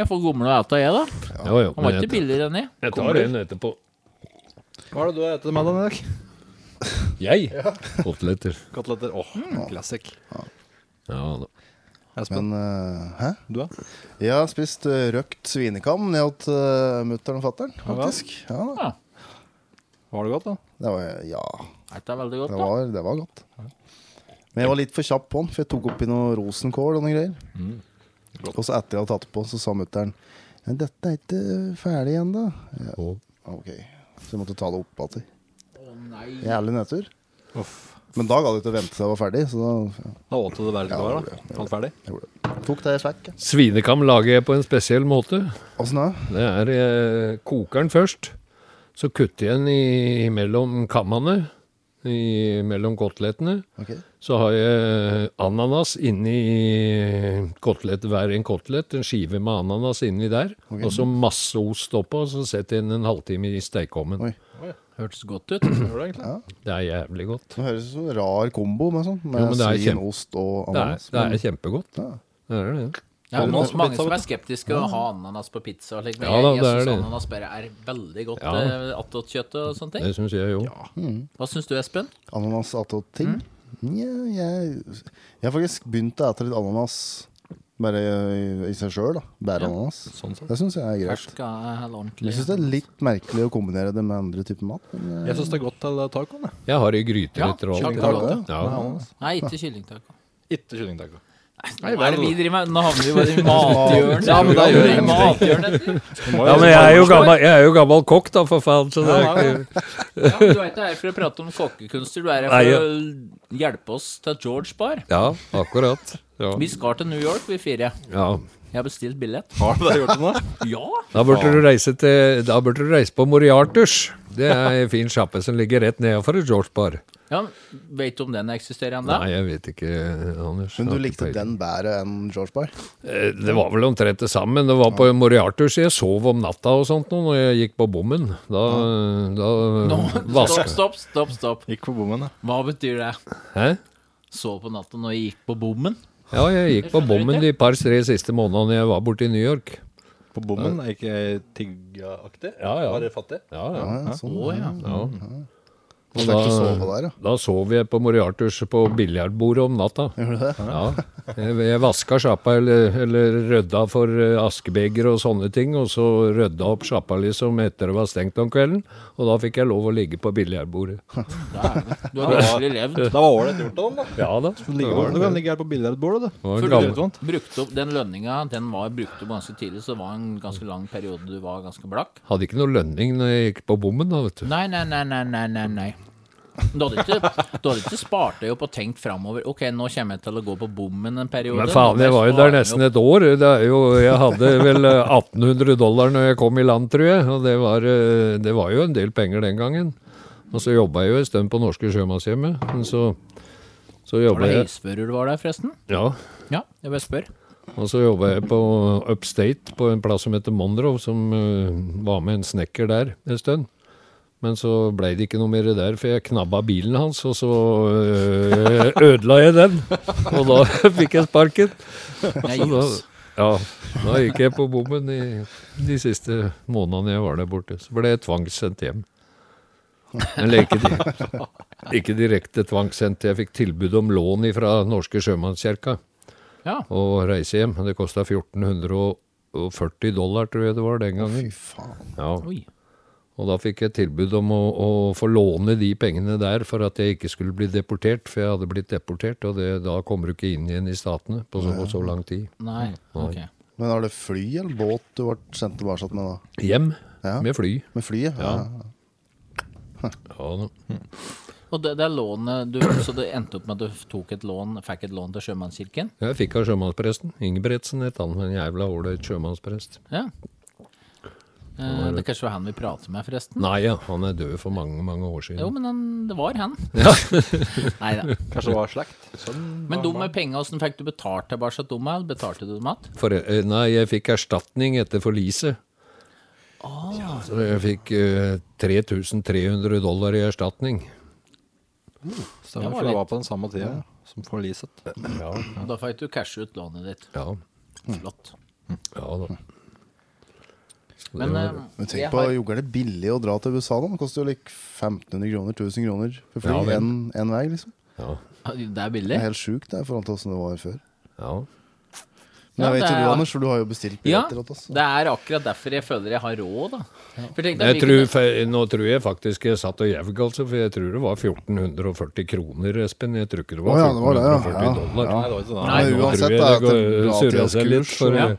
S4: Jeg får gomle og ete, jeg, da.
S1: Jo, jo,
S4: Han var
S1: men
S4: ikke
S1: jeg,
S4: billigere enn jeg.
S1: jeg tar en etterpå.
S3: Hva er det du har spist med deg i dag? [laughs]
S1: Jeg? Koteletter.
S3: Koteletter. Åh,
S2: Mm.
S3: classic.
S1: Ja da.
S3: Espen,
S2: Men eh, hæ?
S3: du da?
S2: Jeg har spist eh, røkt svinekam ned hos uh, mutter'n og fatter'n, faktisk. Ja, da.
S3: Var det godt, da?
S2: det var, ja,
S4: Dette er veldig godt,
S2: det
S4: da.
S2: var, det var godt. Men jeg var litt for kjapp på den, for jeg tok oppi noe rosenkål og noen greier.
S1: Mm.
S2: Og så etter jeg hadde tatt det på, så sa mutter'n Men dette er ikke ferdig ennå. Ja,
S1: Å.
S2: ok. Så jeg måtte ta det opp igjen.
S4: Å nei.
S2: Jævlig nedtur.
S3: Uff.
S2: Men da ga det ikke å vente til jeg var ferdig, så da ja,
S3: Da åt du det verre
S2: Ja,
S3: det
S2: det
S3: var, da.
S2: gjorde jeg.
S3: Alt ferdig.
S2: jeg gjorde det. Tok det jeg fikk. jeg.
S1: Svinekam lager jeg på en spesiell måte.
S2: Åssen da?
S1: Det er eh, kokeren først. Så kutter jeg den i, mellom kammene, i, mellom kotelettene.
S2: Ok.
S1: Så har jeg eh, ananas inni kotelett, hver en kotelett, en skive med ananas inni der. Og så masse ost oppå, og så setter jeg den en halvtime i stekeovnen.
S2: Oi.
S4: Hørtes godt ut.
S1: Det er jævlig godt.
S2: Det høres ut som en rar kombo med sånn. Med
S1: Jo, men det er
S2: svin,
S1: kjempe-
S2: ost og
S1: Det er,
S2: ananas.
S1: det er
S2: Men-
S1: kjempegodt.
S2: Ja.
S1: Det er det.
S4: Det er mange, mange som er skeptiske å ha ananas på pizza. og slikt, men
S1: Ja da,
S4: jeg
S1: det
S4: jeg
S1: er
S4: syns
S1: det.
S4: ananas bare er veldig godt
S1: Ja.
S4: eh, attåtkjøtt og sånne ting.
S1: Det syns jeg jo.
S4: Hva syns du, Espen?
S2: Ananas attåt ting?
S4: Mm.
S2: Nja, jeg, jeg har faktisk begynt å ete litt ananas bare i, i seg sjøl. Bare ananas. Det syns jeg er greit.
S4: Fersk eh, eller ordentlig?
S2: Jeg syns det er litt merkelig å kombinere det med andre typer mat. Men
S3: Jeg syns det er godt til eh, tacoen, jeg.
S1: Jeg har i gryter
S4: Ja,
S1: etter alt.
S4: kjempegodt,
S1: Ja.
S4: Nei, ikke kyllingtaco.
S3: Ikke kyllingtaco.
S4: Nå er det vi driver med? Nå havner vi bare i mathjørnet.
S3: Ja, men da gjør jeg
S4: I mathjørnet.
S1: Ja, men jeg er jo gammel, jeg er jo gammel kokk, da, for faen. Så det er ikke
S4: Ja, men du er ikke her for å prate om kokkekunster, du er her
S1: Nei,
S4: for
S1: ja.
S4: å hjelpe oss til George Bar.
S1: Ja, akkurat. Ja.
S4: Vi skal til New York, vi fire.
S1: ja.
S4: Jeg har bestilt billett.
S3: Har du det gjort det nå?
S4: [laughs] Ja!
S1: Da burde du reise til Da burde du reise på Moriarters. Det er en fin sjappe som ligger rett nedenfor et George Bar.
S4: ja Veit du om den eksisterer ennå?
S1: Nei, jeg vet ikke, Anders.
S2: men
S1: Jeg
S2: du
S1: har ikke
S2: likte
S1: peiling.
S2: den bedre enn George Bar?
S1: Eh, Det var vel omtrent det samme. Det var på Moriarters. Jeg sov om natta og sånt nå, når jeg gikk på bommen. Da, da
S4: Stopp,
S1: vaska
S4: stopp, stopp. stopp
S3: Gikk på bommen, ja.
S4: Hva betyr det?
S1: Hæ?
S4: Sov på natta når jeg gikk på bommen?
S1: Ja, jeg gikk på bommen de par-tre siste månedene jeg var borte i New York.
S3: På bommen? Er ikke tiggeaktig?
S1: Ja, ja.
S3: Bare fattig?
S1: Ja, ja.
S2: Ja, ja, sånn.
S4: Å, ja.
S1: Ja.
S2: Og da, å sove der, ja.
S1: Da sov jeg på Moriarters på biljardbordet om natta. Ja. Jeg, jeg vaska sjappa eller, eller rydda for eh, askebeger og sånne ting, og så rydda opp sjappa liksom etter det var stengt om kvelden, og da fikk jeg lov å ligge på biljardbordet.
S4: Du har virkelig levd.
S1: [laughs]
S3: Da var ålreit gjort av dem, da.
S1: Ja da.
S3: Du kan ligge her på billedbordet, du.
S1: Det var
S4: For
S1: en
S4: du
S1: gammel.
S4: brukte- brukte opp den lønninga den var brukt opp ganske tidlig, så det var en ganske lang periode du var ganske blakk.
S1: Hadde ikke noe lønning når jeg gikk på bommen, da, vet du.
S4: Nei, nei, nei, nei, nei, nei, nei. Du hadde ikke, du hadde ikke spart deg opp og tenkt framover. Ok, nå kommer jeg til å gå på bommen en periode.
S1: Men faen, jeg var jo der nesten et år. Det er jo, jeg hadde vel eh, 1800 dollar når jeg kom i land, tror jeg. Og det var, eh, det var jo en del penger den gangen. Og så jobba jeg jo en stund på Norske Sjømannshjemmet. Men så, så
S4: Var
S1: jobba
S4: det
S1: jeg
S4: heisfører du var der, forresten?
S1: ja,
S4: Ja, jeg bare spør.
S1: og så jobba jeg på Upstate, på en plass som heter Monroe, som eh, var med en snekker der en stund. Men så blei det ikke noe mer der, for jeg knabba bilen hans, og så eh, ødela jeg den. Og da [laughs] fikk jeg sparken.
S4: Nei,
S1: Så da,
S4: jøss.
S1: ja, da gikk jeg på bommen i de siste månedene jeg var der borte. Så ble jeg tvangssendt hjem. Eller ikke, di ikke direkte tvangssendt. Jeg fikk tilbud om lån fra Norske Sjømannskirka
S4: Ja.
S1: å reise hjem. Det kosta 1440 dollar, tror jeg det var den gangen. Ja.
S4: Oi.
S1: Og da fikk jeg tilbud om å, å få låne de pengene der for at jeg ikke skulle bli deportert, for jeg hadde blitt deportert, og det, da kommer du ikke inn igjen i statene på så, så lang tid.
S4: Nei, ok.
S2: Men var det fly eller båt du ble sendt tilbake med da?
S1: Hjem
S2: Ja.
S1: med fly.
S2: Med flyet? Ja.
S1: Ja, da.
S4: Og det, det er lånet du, Så det endte opp med at du tok et lån, fikk et lån til Sjømannskirken?
S1: Jeg fikk av sjømannspresten. Ingebretsen het han, en jævla ålreit sjømannsprest.
S4: Ja. Eh, det kanskje var han vi prater med, forresten?
S1: Nei ja, han er død for mange, mange år
S4: Jo,
S1: siden.
S4: men han, det var han. Nei da.
S3: Kanskje det var slekt?
S4: Men de med penga, åssen fikk du betalt tilbake dem? eller Betalte du dem igjen?
S1: For, eh, nei, jeg fikk erstatning etter forliset.
S4: Ah.
S1: Så jeg fikk eh, 3300 dollar i erstatning.
S3: Stemmer,
S4: Det
S3: for
S4: var
S3: det
S4: litt-
S3: var på den samme tida som forliset.
S4: Og da fikk du cashe ut lånet ditt.
S1: Ja,
S4: Flott.
S1: ja da. Så det
S4: Men
S1: var-
S4: eh,
S2: Men
S4: jeg
S2: tenk på,
S4: har-
S2: jogger det billig å dra til USA da? Det koster jo like 1500 kroner, 1000 kroner for fly
S1: Ja, vel.
S2: en, en vei, liksom.
S1: ja,
S4: Det er
S2: Det
S4: billig?
S2: er helt sjukt det, i forhold til hvordan det var før.
S1: ja.
S2: Men jeg
S4: Ja,
S2: vet
S4: det
S2: jo
S4: er-
S2: du, Anders, for du har jo bestilt
S4: Ja,
S2: billetter. åt oss, altså. så.
S4: det er akkurat derfor jeg føler jeg har råd, da. For tenk deg
S1: Jeg tror,
S4: hvilken-
S1: fe- nå tror jeg faktisk jeg satt og gjevg, altså, for jeg tror det var 1440 kroner, Espen. Jeg tror ikke det var
S2: Å ja, det var det, ja.
S1: 1440
S2: Ja,
S1: dollar.
S2: ja.
S3: det var ikke
S1: Nei,
S4: Nei,
S1: nå
S2: uansett
S1: tror jeg
S2: da,
S1: det
S2: at
S1: går,
S2: det la
S1: surrer
S2: til
S1: seg litt.
S2: kurs,
S1: For,
S4: ja.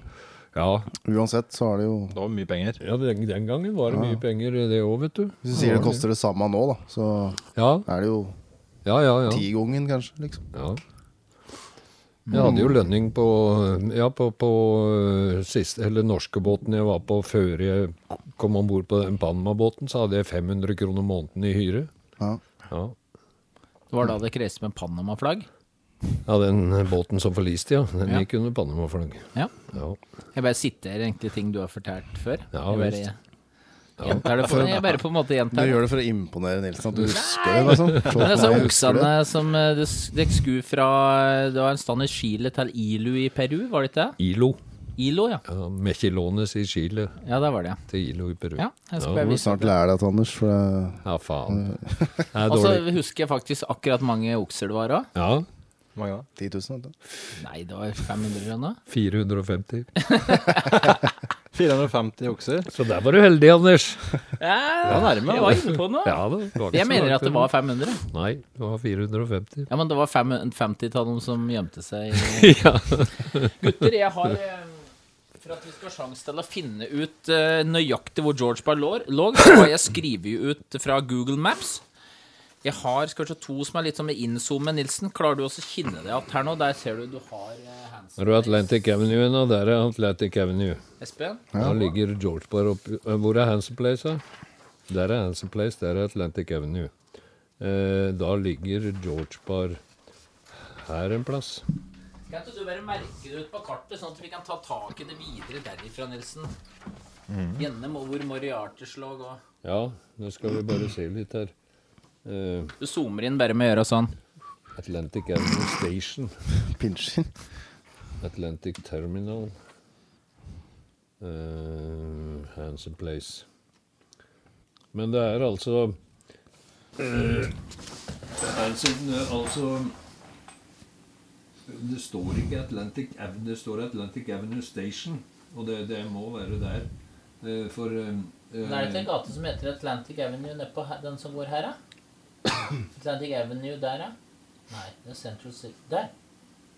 S1: ja,
S2: Uansett så er det jo
S3: Det var mye penger.
S1: ja den, den gangen var det mye penger, det òg, vet du.
S2: Hvis du sier det koster det samme nå, da, så
S1: Ja,
S2: er det jo
S1: ja, ja. ja.
S2: tigangen, kanskje. liksom
S1: ja. Jeg hadde
S2: Mm.
S1: jo lønning på, ja, på, på øh, siste, eller norskebåten jeg var på før jeg kom om bord på den Panama-båten, så hadde jeg 500 kroner måneden i hyre.
S2: Ja.
S1: Ja.
S4: Det var da det kreiste med Panama-flagg.
S1: Ja, den båten som forliste, ja. Den
S4: Ja.
S1: gikk under Panama-flagg.
S4: Ja.
S1: Ja.
S4: Jeg bare sitter egentlig ting du har fortalt før.
S1: Ja,
S4: jeg bare,
S1: visst.
S4: gjentar det for, jeg bare på en måte
S2: Du
S4: gjentar det.
S2: gjør det for å imponere Nilsen, at du husker det. liksom Slå
S4: Men
S2: på
S4: altså,
S2: meg, jeg husker
S4: oksene
S2: det.
S4: som eh, det s- det skulle fra eh, Det var en stand i Chile til Ilu i Peru, var det ikke det?
S1: Ilo.
S4: Ilo, ja.
S1: Ja, Mechilones i Chile
S4: Ja, der var det, ja.
S1: til Ilo i Peru.
S4: ja jeg skal
S2: Du
S4: bare
S2: må
S4: vise.
S2: snart lære deg det, Anders. For det
S1: Ja, faen.
S2: Mm.
S1: Det er
S4: Og så
S1: dårlig.
S4: husker jeg faktisk akkurat mange okser det var òg.
S1: Ja,
S3: Mange da?
S2: 10 000, vet du.
S4: Nei, det var 500 kroner.
S1: 450.
S3: 450 okser.
S1: Så der var du heldig, Anders.
S4: Ja, nærme. Jeg var inne på noe.
S1: Ja, det var ikke
S4: Jeg
S1: så
S4: mener
S1: langt
S4: at det
S1: unna.
S4: var 500.
S1: Nei, det var 450.
S4: Ja, men det var fem- 50 av dem som gjemte seg.
S1: [laughs] Ja.
S4: Gutter, jeg har eh, For at vi skal ha sjanse til å finne ut eh, nøyaktig hvor George Ball lå- lå, så har jeg skrevet ut fra Google Maps. Jeg har skal vi se, to som er litt sånn med innzoom med Nilsen. Klarer du også å kinne deg igjen her nå? Der ser du du har eh, hands
S1: Her er Atlantic Avenue nå, der er Atlantic Avenue.
S4: Espen?
S1: Der ligger George Bar oppi. eh, Hvor er Hanson Place, da? Der er Hanson Place, der er Atlantic Avenue. Eh, da ligger George Bar her en plass.
S4: Kan ikke du bare merke det ut på kartet, sånn at vi kan ta tak i det videre derifra, Nilsen? Gjerne må- hvor Moriarters lå og
S1: Ja, nå skal vi bare se litt her. Eh,
S4: Du zoomer inn bare med å gjøre sånn.
S1: Atlantic Avenue Station.
S2: [laughs] Pinsjer.
S1: Atlantic Terminal. eh, Handsome Place. Men det er altså eh, Det er sin, eh, altså Det står ikke Atlantic Avenue, det står Atlantic Avenue Station. Og det, det må være der. Eh, for eh,
S4: Men er det ikke en gate som heter Atlantic Avenue nedpå den som går her, da? Atlantic Avenue der, da? Nei, det er Central City. Der.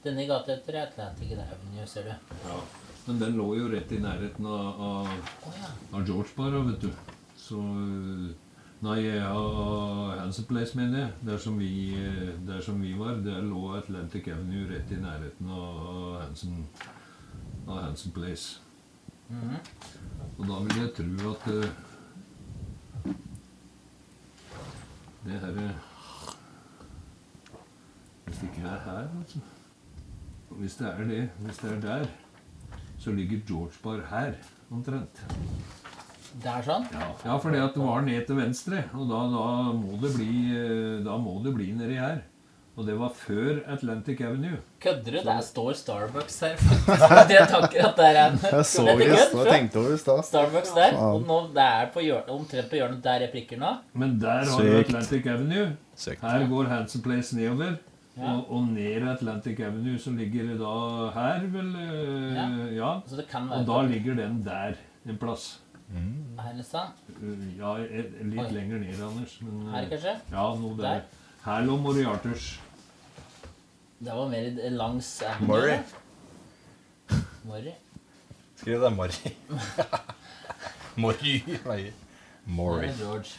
S4: Denne gata heter Atlantic Avenue, ser du.
S1: Ja, men den lå jo rett i nærheten av, av, av George Barra, vet du. Så eh, Nei, av Hansen Place, mener jeg. Der som, vi, eh, der som vi var, der lå Atlantic Avenue rett i nærheten av, av, Hansen, av Hansen Place. Og da vil jeg tro at eh, det her eh, Hvis det ikke er her, altså Hvis det er det, hvis det er der, så ligger George Bar her, omtrent.
S4: Der sånn.
S1: Ja, ja for det at det var ned til venstre, og da, da, må det bli, eh, da må det bli nedi her. Og det var før Atlantic Avenue.
S4: Kødder du? Der står Starbucks her, faktisk. [laughs] Jeg tenker at der er en
S2: Jeg så
S4: Dette
S2: det i
S4: kødd,
S2: stad.
S4: tror jeg.
S2: Tenkte over det i stad.
S4: Starbucks der. Og nå, det er på hjørnet, omtrent på hjørnet der jeg prikker nå.
S1: Men der har du
S3: Sykt.
S1: Atlantic Avenue.
S3: Sykt.
S1: Her går Hanson Place nedover. Og, og ned Atlantic Avenue, så ligger det da her, vel eh, Ja.
S4: Så det kan
S1: Og
S4: være
S1: da ligger den der en plass.
S4: her, liksom.
S1: Eh, Ja, eh, litt
S4: Oi.
S1: lenger ned, Anders. Men, eh,
S4: Her, kanskje?
S1: Ja, noe der.
S4: Der?
S1: Her lå Moriarters.
S4: Det var mer i- langs Avenue,
S14: Murray.
S4: da. Murray.
S14: Skriv det Mari. [laughs] Mori. Nei. Mori.
S4: Murray. George.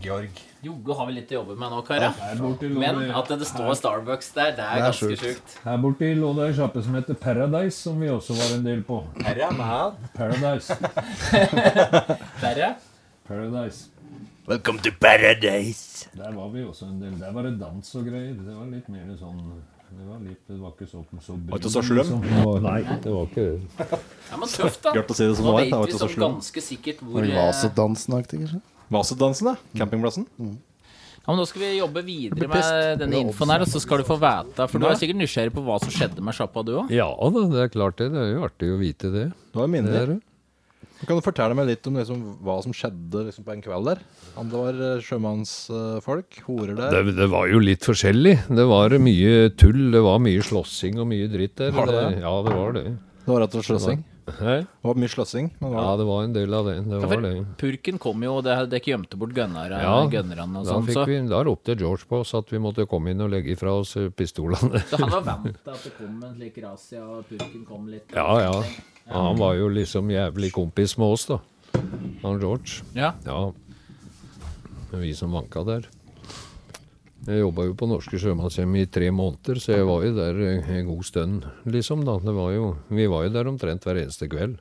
S14: Georg.
S4: Jogge har vi litt å jobbe med nå, karer.
S1: Her borte lå
S4: Men
S1: det-
S4: at det står Starbucks der, det er
S2: er
S4: ganske
S2: sjukt.
S4: sjukt.
S1: Her borte lå det ei sjappe som heter Paradise, som vi også var en del på.
S14: Herre man.
S1: Paradise.
S4: Verre.
S1: Paradise.
S14: Welcome to paradise.
S1: Der var vi også en del. Der var det dans og greier. Det var litt mer sånn Det var, litt, det var ikke så, så brun.
S3: Var ikke så slem?
S1: liksom. Det var- Nei, det var ikke det.
S4: Ja, men tøft, da.
S3: Gørt å si det som
S4: Nå
S3: det
S4: vet
S3: var.
S4: vi sånn ganske sikkert hvor eh,
S2: Vasedansen-aktig, kanskje.
S3: Vasedansen, da. Campingplassen.
S4: Ja, men Da skal vi jobbe videre med denne infoen her, og så skal du få vite. For du er sikkert nysgjerrig på hva som skjedde med sjappa, du òg?
S1: Ja da, det er klart det. Det er jo artig å vite det.
S3: Det var
S1: det
S3: minner.
S1: er det.
S3: Kan du fortelle meg litt om liksom, hva som skjedde liksom, på en kveld der? Om det var eh, sjømannsfolk, horer der?
S1: det. Det var jo litt forskjellig. Det var mye tull, det var mye slåssing og mye dritt der.
S3: Var det det?
S1: Ja, det var det.
S3: Det var rett og slett sløsing.
S1: Hæ?
S3: Det var mye sløsing. Men det var,
S1: Ja, det var en del av det. Det var det.
S4: Purken kom jo, og det det ikke gjemte bort gønnerne
S1: Ja,
S4: gønnerne og
S1: Da,
S4: sånn.
S1: fikk
S4: Så,
S1: vi, da ropte George på oss at vi måtte komme inn og legge ifra oss eh, pistolene.
S4: [laughs] så [laughs] han var vant
S1: [laughs]
S4: til at det kom en slik razzia, og purken kom litt
S1: Ja, ja. Ja, Han var jo liksom jævlig kompis med oss, da. Han George.
S4: Ja.
S1: Ja. Men Vi som vanka der. Jeg jobba jo på Norske Sjømannshjem i tre måneder, så jeg var jo der eh, en god stund, liksom. da. Det var jo, vi var jo der omtrent hver eneste kveld.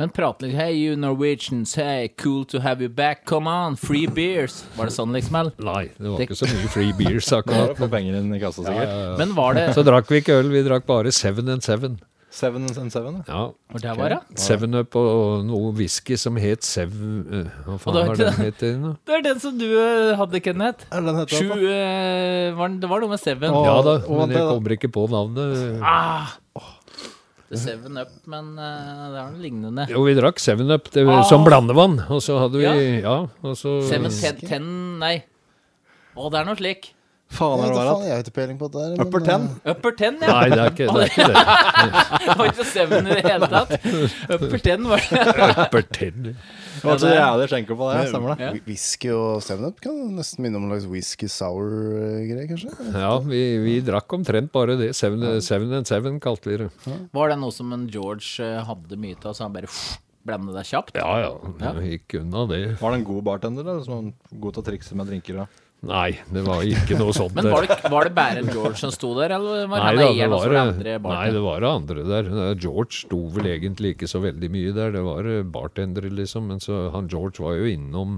S4: Men prate litt Hey you Norwegians, hey, cool to have you back, come on, free beers. Var det sånn liksom, eller?
S1: Nei, det var
S4: Det-
S1: ikke så mye free beers
S3: det
S1: akkurat.
S3: var å få penger inn i kassa, sikkert.
S4: Men
S1: [laughs]
S4: var det
S1: Så drakk vi ikke øl, vi drakk bare Seven and Seven.
S3: Seven and seven, ja.
S1: Ja,
S4: Hvor det var, ja?
S1: Seven Up og noe whisky som het Sev... eh, Hva faen
S4: det er
S1: var
S4: ikke
S1: den het igjen, da?
S4: Det er den som du eh, hadde, Kenneth.
S3: Er det den heter
S4: Sju
S3: da?
S4: eh, var, den- Det var noe med Seven.
S3: Å,
S1: Ja da,
S3: og
S1: men
S3: det
S1: jeg
S3: da.
S1: kommer ikke på navnet.
S4: The Seven Up, men eh, det er noe lignende.
S1: Jo, vi drakk Seven Up det, som blandevann, og så hadde vi Ja, og så
S4: Ah. Seven Ten, ten Nei. Å, det er noe slik.
S3: Faen
S2: Jeg vet
S3: er
S2: da
S3: det var
S2: faen, jeg har ikke peiling på dette her.
S3: Upper
S2: men,
S3: ten.
S2: eh,
S4: Upper Ten, ja.
S1: Nei, det er ikke det. Er ikke det.
S4: [laughs] Det var ikke Seven i det hele
S1: [laughs]
S4: tatt. Upper Ten var det.
S1: Bertel.
S3: Det var så jævlig skjenker på det, ja, stemmer det.
S4: Ja.
S2: Whi- Whisky og stand-up kan nesten minne om en slags whisky sour-greie, kanskje.
S1: Ja, vi, vi drakk omtrent bare det. Seven, seven and Seven kalte vi det.
S4: Var det noe som en George eh, hadde mye av, så han bare blanda det kjapt?
S1: Ja ja, det gikk unna det.
S3: Var det en god bartender eller, som var god til å trikse med drinker? Da?
S1: Nei, det var ikke noe sånt.
S4: Men
S1: der.
S4: var det, var det bare en George som sto der, eller var
S1: Nei,
S4: han
S1: da, det
S4: eieren og så
S1: var, eh,
S4: var det andre
S1: nei,
S4: bartender?
S1: det var det andre der. Eh, George sto vel egentlig ikke så veldig mye der. Det var eh, bartendere, liksom. Men så han George var jo innom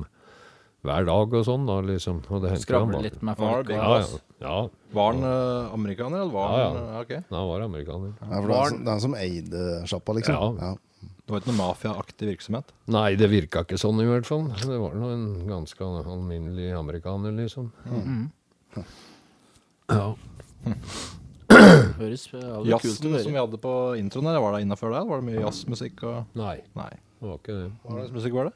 S1: hver dag og sånn, da, liksom. Og det hendte
S4: Skravle
S1: han
S4: litt med
S3: Var
S4: folk.
S3: det big
S1: Ja,
S3: boss?
S1: ja. ja.
S3: Var han eh, amerikaner, eller var
S1: Ja,
S3: han
S1: ja.
S3: ja, ok.
S1: Han var amerikaner.
S2: Ja, for det er han som- det er han som eide sjappa, liksom.
S1: Ja.
S2: Ja.
S3: Det var ikke noe mafiaaktig virksomhet?
S1: Nei, det virka ikke sånn i hvert fall. Det var nå en ganske alminnelig amerikaner, liksom. Ja.
S4: Høres eh, det var kult
S3: Jazzen
S4: å
S3: som vi
S4: høre.
S3: hadde på introen her, var det innafor der? Var det mye jazzmusikk og
S1: Nei,
S3: Nei.
S1: det var ikke det.
S3: Hva slags musikk var det?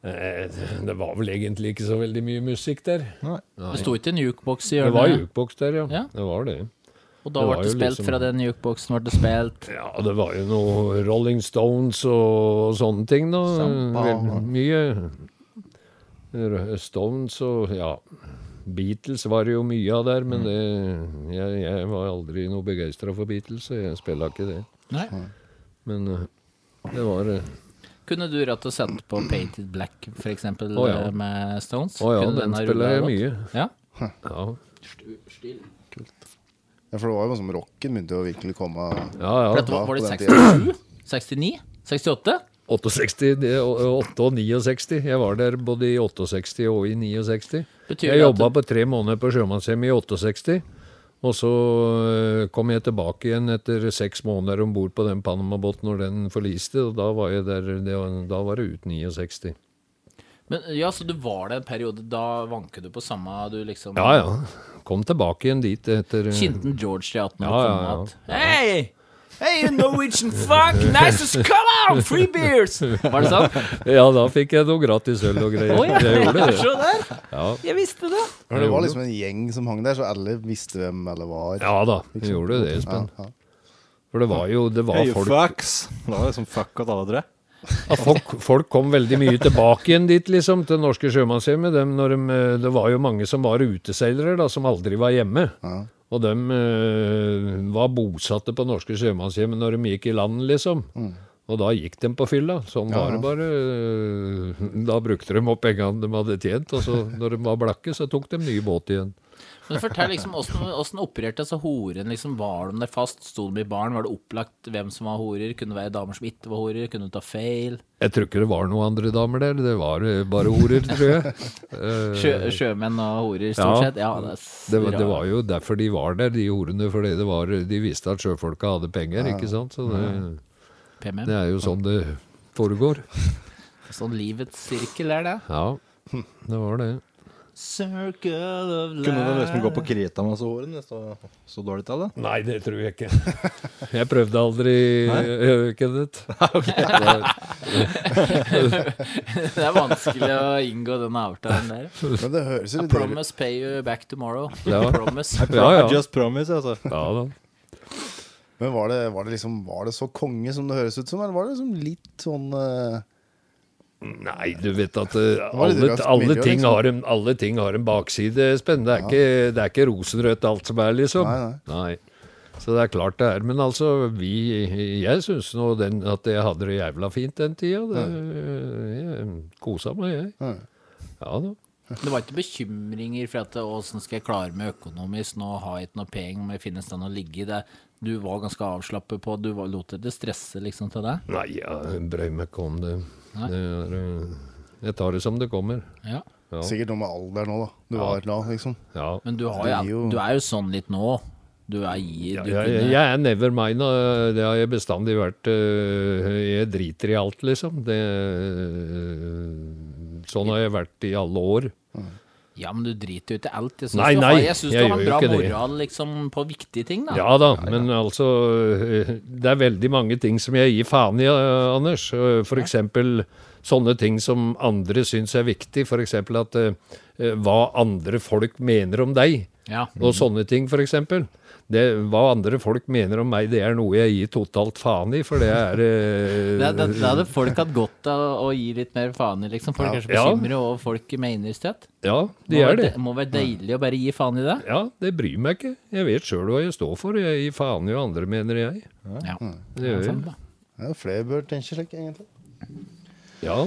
S1: Eh, Det var vel egentlig ikke så veldig mye musikk der.
S4: Det sto ikke en jukebox i
S1: Det var
S4: hjørnet,
S1: jukeboks der, ja.
S4: Ja.
S1: Det var det.
S4: og da
S1: det
S4: ble
S1: var
S4: det
S1: jo
S4: spilt
S1: liksom-
S4: fra den jukeboxen. Ble det spilt
S1: Ja, det var jo noe Rolling Stones og sånne ting, da. Vel, mye R- Stones og ja. Beatles var det jo mye av der,
S4: Mm.
S1: men det, jeg, jeg var aldri noe begeistra for Beatles, så jeg spilla ikke det.
S4: Nei.
S1: Men eh, det var eh,
S4: Kunne du rett og sett på Painted Black, for eksempel,
S1: Å, ja.
S4: eh, med Stones?
S1: Å ja,
S4: Kunne
S1: den
S4: ha
S1: spiller jeg
S4: rullet
S1: mye.
S4: godt? Ja?
S1: Ja,
S2: Ja, for det var jo som rocken begynte å virkelig komme
S1: ja.
S4: For
S1: ja.
S4: dette var, var det
S2: på den
S4: 67? 69? 68?
S1: 68, det, og- og 69. Jeg var der både i 68 og i 69.
S4: Betyr
S1: Jeg
S4: det at
S1: jobba på tre måneder på Sjømannshjemmet i 68. Og så øh, kom jeg tilbake igjen etter seks måneder om bord på den Panamabåten når den forliste. Og da var, jeg der, det var, da var det ut 69.
S4: Men, ja, så du var det en periode, da vanket du på samme Du liksom
S1: Ja ja. Kom tilbake igjen dit etter øh,
S4: Kinten George til 18 år
S1: Ja,
S4: ja,
S1: ja, ja.
S4: Hey! Hey, you Norwegian fuck! Nice as come on! Free
S1: [laughs]
S4: beers! Var det sånn?
S1: Ja, da fikk jeg noe gratis øl og greier.
S4: [laughs]
S1: Jeg gjorde det.
S4: Så der!
S1: Ja.
S4: Jeg visste det!
S2: For det var liksom en gjeng som hang der, så alle visste hvem alle var.
S1: Ja da, jeg gjorde det, Espen.
S2: Ja, ja.
S1: For det var jo det var
S3: Hey, you
S1: folk
S3: fucks! Det var liksom fuck at alle tre.
S1: Ja, folk, folk kom veldig mye tilbake igjen dit, liksom, til norske sjømannshjemmet. Dem når dem, eh, det var jo mange som var uteseilere, da, som aldri var hjemme. Og de var bosatte på norske sjømannshjemmet når de gikk i land, liksom. Og da gikk de på fylla. Sånn var det bare. eh, Da brukte de opp pengene de hadde tjent, og så, når de var blakke, så tok de ny båt igjen.
S4: Men fortell liksom, hvordan, hvordan opererte altså horen? liksom, Var de der fast? Sto de i baren? Var det opplagt hvem som var horer? Kunne det være damer som ikke var horer? Kunne du ta feil?
S1: Jeg tror ikke det var noen andre damer der. Det var eh, bare horer, tror jeg. Eh,
S4: Sjø, sjømenn og horer,
S1: Ja.
S4: stort sett? Ja, det, er s-
S1: Det var, det
S4: bra.
S1: var jo derfor de var der, de ordene, fordi det var, de visste at sjøfolka hadde penger, ikke sant? Så det,
S4: PMM.
S1: det er jo sånn det foregår.
S4: Sånn livets sirkel er det.
S1: Ja, det var det.
S4: Circle of life.
S3: Kunne du liksom gå på krita med så hårene? Så, så dårlig til det?
S1: Nei, det tror jeg ikke. Jeg prøvde aldri, eh, Kenneth.
S4: [laughs] Det er vanskelig å inngå den avtalen
S1: [laughs]
S4: der.
S2: Men det høres jo litt
S4: Promise pay you back tomorrow.
S1: Ja.
S4: [laughs] Promise.
S1: Ja,
S3: I
S1: ja.
S3: just promise, altså.
S1: ja da.
S2: Men var det, var det liksom Var det så konge som det høres ut som, eller var det liksom litt sånn eh,
S1: Nei, du vet at eh,
S2: var litt
S1: alle,
S2: røft
S1: alle,
S2: miljø,
S1: ting
S2: liksom.
S1: har en, alle ting har en bakside, Espen. Det er, ikke, det er ikke rosenrødt alt som er, liksom.
S2: Nei,
S1: Nei. Så det er klart det er. Men altså, vi Jeg syns nå den, at jeg hadde det jævla fint den tida. Det, jeg kosa meg, jeg. Ja da.
S4: Det var ikke bekymringer for at åssen skal jeg klare meg økonomisk, nå har jeg ikke noe penger, må jeg finne et sted å ligge i det. Du var ganske avslappet på, du var, lot deg ikke stresse liksom til deg.
S1: Nei, jeg brøy meg ikke om det.
S4: Nei.
S1: det er, eh, jeg tar det som det kommer.
S4: Ja.
S1: Ja.
S2: Sikkert noe med alder nå, da. Du
S1: Ja.
S2: var da, liksom.
S1: Ja.
S4: Men du, har
S2: Det er
S4: jo,
S2: jo-
S4: du er jo sånn litt nå. Du er i
S1: Ja,
S4: du
S1: jeg, jeg-
S4: kunne,
S1: jeg er never mind, og øh, det har jeg bestandig vært. øh, Jeg driter i alt, liksom. Det, øh, sånn har jeg vært i alle år.
S4: ja, men du driter jo ikke i alt. Jeg syns
S1: Nei,
S4: du,
S1: nei,
S4: har- jeg synes
S1: jeg
S4: du har
S1: gjør
S4: en
S1: jo
S4: bra
S1: ikke det.
S4: moral liksom, på viktige ting, da.
S1: Ja da, men altså øh, Det er veldig mange ting som jeg gir faen i, øh, Anders. Øh, For eksempel sånne ting som andre syns er viktig. For eksempel at øh, øh, hva andre folk mener om deg.
S4: Ja.
S1: Og sånne ting, f.eks. Hva andre folk mener om meg, det er noe jeg gir totalt faen i, for det er eh,
S4: Det, det, det hadde folk hatt godt av å gi litt mer faen i, liksom. Folk er så
S1: Ja.
S4: bekymret over hva folk mener i sted.
S1: Ja,
S4: Må
S1: det
S4: være
S1: er det.
S4: de- Må være deilig å bare gi faen i det.
S1: Ja, det bryr meg ikke. Jeg vet sjøl hva jeg står for. Jeg gir faen i hva andre mener, jeg.
S4: Ja.
S1: Det gjør
S4: sant
S1: jeg.
S4: da.
S2: Ja, flere bør tenke slik, egentlig.
S1: Ja.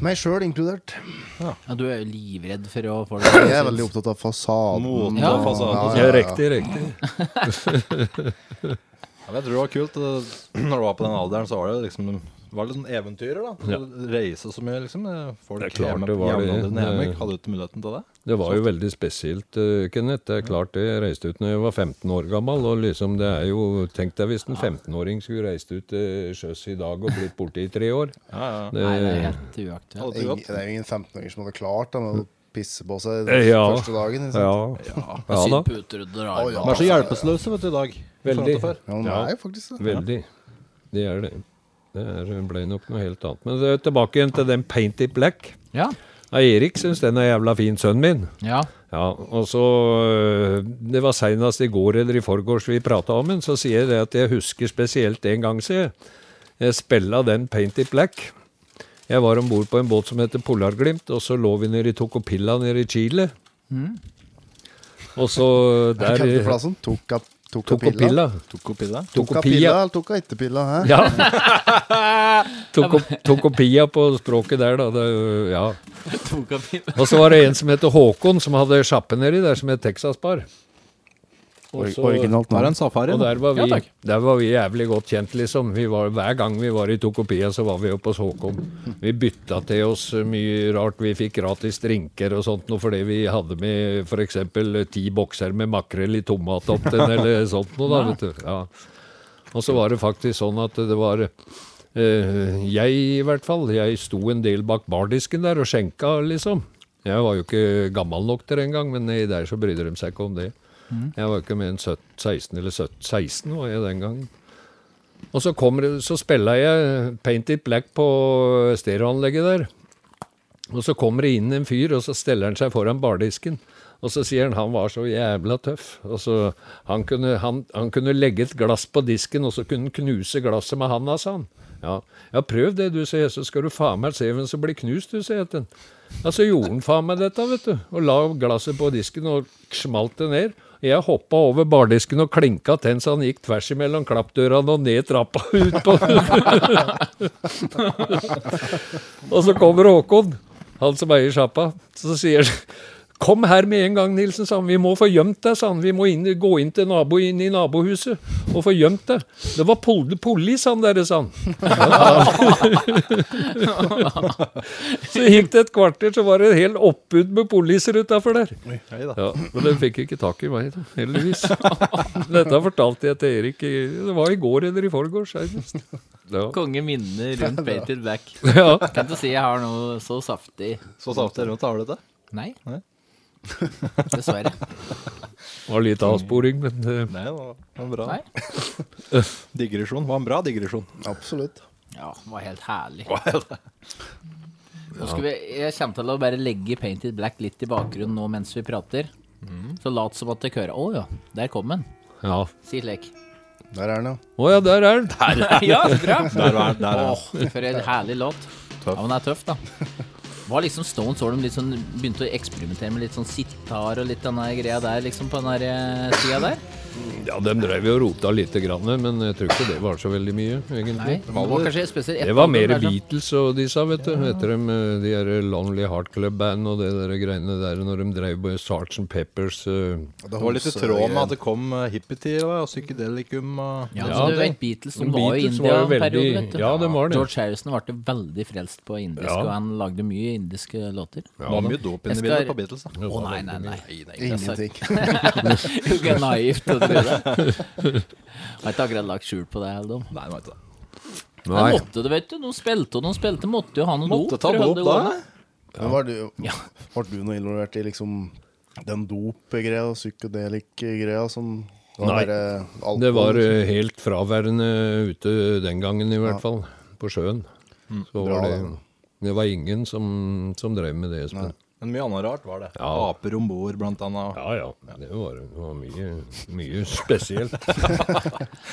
S2: Meg sjøl inkludert.
S4: Ja, du er jo livredd for å få det
S2: Jeg er veldig opptatt av fasaden.
S3: Moten og fasaden.
S1: Ja, riktig, riktig.
S3: [laughs] Ja, men jeg tror det var kult. eh, Når du var på den alderen, så var det liksom det var litt sånn eventyrer, da.
S1: Ja.
S3: Du Reise så mye, liksom. eh, Folk
S1: Det er klart
S3: hjemme-
S1: det var det.
S3: jevnaldrende hjemme
S1: Det-
S3: hadde ikke muligheten til det.
S1: Det var jo veldig spesielt, eh, Kenneth. Det er klart det. Jeg reiste ut når jeg var 15 år gammel. Og liksom, det er jo Tenk deg hvis en 15-åring skulle reist ut til sjøs i dag og blitt borte i tre år.
S3: Ja, ja.
S1: Det,
S4: Nei, det er helt uaktuelt.
S3: Hadde det
S2: Ingen,
S3: godt.
S2: det er jo ingen 15-åringer som hadde klart det, men pisse på seg den
S1: Ja.
S2: første dagen. Liksom. Ja.
S1: Ja, ja da.
S4: Sydd puter og drar
S2: Å, ja.
S3: De er så hjelpeløse vet du, i dag. i forhold til
S1: Veldig.
S3: før.
S2: men det er jo faktisk det.
S1: Veldig. Det er det. Det er, ble nok noe helt annet. Men eh, tilbake igjen til den Paint It Black.
S4: Ja.
S1: Ja, Erik syns den er jævla fin, sønnen min.
S4: ja.
S1: Ja, og så øh, Det var seinest i går eller i forgårs vi prata om den, så sier jeg det at jeg husker spesielt en gang, sier jeg. Jeg spilla den Paint It Black. Jeg var om bord på en båt som heter Polarglimt, og så lå vi nede i Tocopilla nede i Chile. Og så øh,
S2: Hva
S1: der
S2: kalte du plassen? Toka, toka pilla?
S1: Tocopilla.
S3: Tokopilla.
S2: Toka
S1: Tocopilla.
S2: pilla eller toka ikke pilla? Hæ?
S1: Ja. Toko- Tokopia på språket der, da. Det, ja. Og så var det en som heter Håkon, som hadde sjappe nedi der, som het Texas-bar. Og
S2: Or-
S1: så-
S2: Originalt
S3: Var
S2: navn.
S3: det en safari?
S1: og
S3: da?
S1: der var, vi,
S4: takk.
S1: der var vi jævlig godt kjent, liksom. Vi var, hver gang vi var i Tokopia, så var vi oppe hos Håkon. Vi bytta til oss mye rart. Vi fikk gratis drinker og sånt noe fordi vi hadde med f.eks. ti bokser med makrell i tomatopten eller sånt noe, da, vet du. Ja. Og så var det faktisk sånn at det var eh, Jeg, i hvert fall. Jeg sto en del bak bardisken der og skjenka, liksom. Jeg var jo ikke gammel nok til det engang, men i der så brydde de seg ikke om det. Jeg var ikke mer enn 17, 16 eller 17, 16 var jeg den gangen. Og så, kommer det- så spiller jeg Paint It Black på stereoanlegget der. Og så kommer det inn en fyr, og så steller han seg foran bardisken. Og så sier han han var så jævla tøff. Og så, han, kunne, han, han kunne legge et glass på disken, og så kunne han knuse glasset med handa, sa han. Ja, ja, prøv det, du, sier jeg, så skal du faen meg se hvem som blir knust, du, sier jeg til han. Ja, så gjorde han faen meg dette, vet du. Og la glasset på disken og smalt det ned. Jeg hoppa over bardisken og klinka til så han gikk tvers imellom klappdørene og ned trappa ut på Og så kommer Håkon, han som eier sjappa, så sier han Kom her med en gang, Nilsen, sa han. Vi må få gjemt deg, sa han. Vi må inn, gå inn, til nabo, inn i nabohuset og få gjemt deg. Det var pol politi, sa han dere, sa han. [laughs] Så gikk det et kvarter, så var det en hel oppbud med poliser utafor der. Ja, Men de fikk ikke tak i meg, da, heldigvis. Dette fortalte jeg til Erik i, Det var i går eller i forgårs. senest. Ja.
S4: Konge minner rundt Painted Black.
S1: ja.
S4: Kan ikke si jeg har noe så saftig.
S3: Så saftig rundt har du dette.
S4: Nei. [laughs] Dessverre.
S1: Det var litt avsporing, men eh,
S3: Nei, det var- det var bra.
S4: Nei.
S3: Digresjon. Det var en bra digresjon.
S2: Absolutt.
S4: Ja, det var helt herlig. Nå skal vi, jeg kommer til å bare legge Painted Black litt i bakgrunnen nå mens vi prater. Så lat som at dere hører Å ja, der kom den.
S1: ja.
S4: Si slik.
S2: Der er den, ja.
S1: Å ja, der er den.
S4: [laughs] Ja, så bra!
S3: Der var der er
S4: Åh, for en herlig låt. Ja, men den er tøff, da. Var liksom Stones var de litt sånn, begynte å eksperimentere med litt sånn sitar og litt denne greia der, liksom, på den der tida der?
S1: Ja, de drev jo og rota lite grann, men jeg tror ikke det var så veldig mye,
S4: Nei,
S1: egentlig.
S4: det var kanskje spesielt
S1: Det var mer Beatles og de sa, vet du. Etter dem, eh, de der Lonely Heart Club Band og det der greiene der når de drev med Sergeant Peppers eh,
S3: Det var litt i tråd med at det kom eh, hippietider og psykedelikum og
S4: Ja,
S1: Ja,
S4: så du
S1: det-
S4: vet, Beatles de
S1: Men
S4: var jo i
S1: Beatles
S4: India
S1: var jo
S4: en periode,
S1: veldig-
S4: vet du.
S1: ja, de var det.
S4: George Harrison ble veldig frelst på indisk,
S1: Ja.
S4: og han lagde mye indiske låter. Å
S3: Det var mye dop inni
S4: Jeg
S3: bildet
S4: skal-
S3: på Beatles. da.
S4: nei, nei, nei.
S2: Ingenting.
S4: Det er jo ikke naivt å tro det. Har ikke akkurat lagt skjul på det. Heldom.
S3: Nei, det var ikke det.
S4: Nei.
S1: Nei.
S4: Måtte det, vet du. Noen spilte og noen spilte. Måtte jo ha noe
S3: Måtte
S4: dop
S3: ta
S4: for å holde
S3: dop da.
S4: det gående.
S2: Men var du, var du noe involvert i liksom den dop-greia og psykedelik-greia som det var
S1: Nei.
S2: bare alkohol,
S1: Det var
S2: liksom?
S1: eh, helt fraværende ute den gangen, i hvert fall. På sjøen.
S3: Mm.
S1: Så
S2: Bra,
S1: var det
S2: da.
S1: Det var ingen som, som drev med det, Espen.
S3: Men mye annet rart var det.
S1: Ja.
S3: Aper om bord, blant annet.
S1: Ja, ja. Det var, det var mye, mye
S3: [laughs]
S1: spesielt.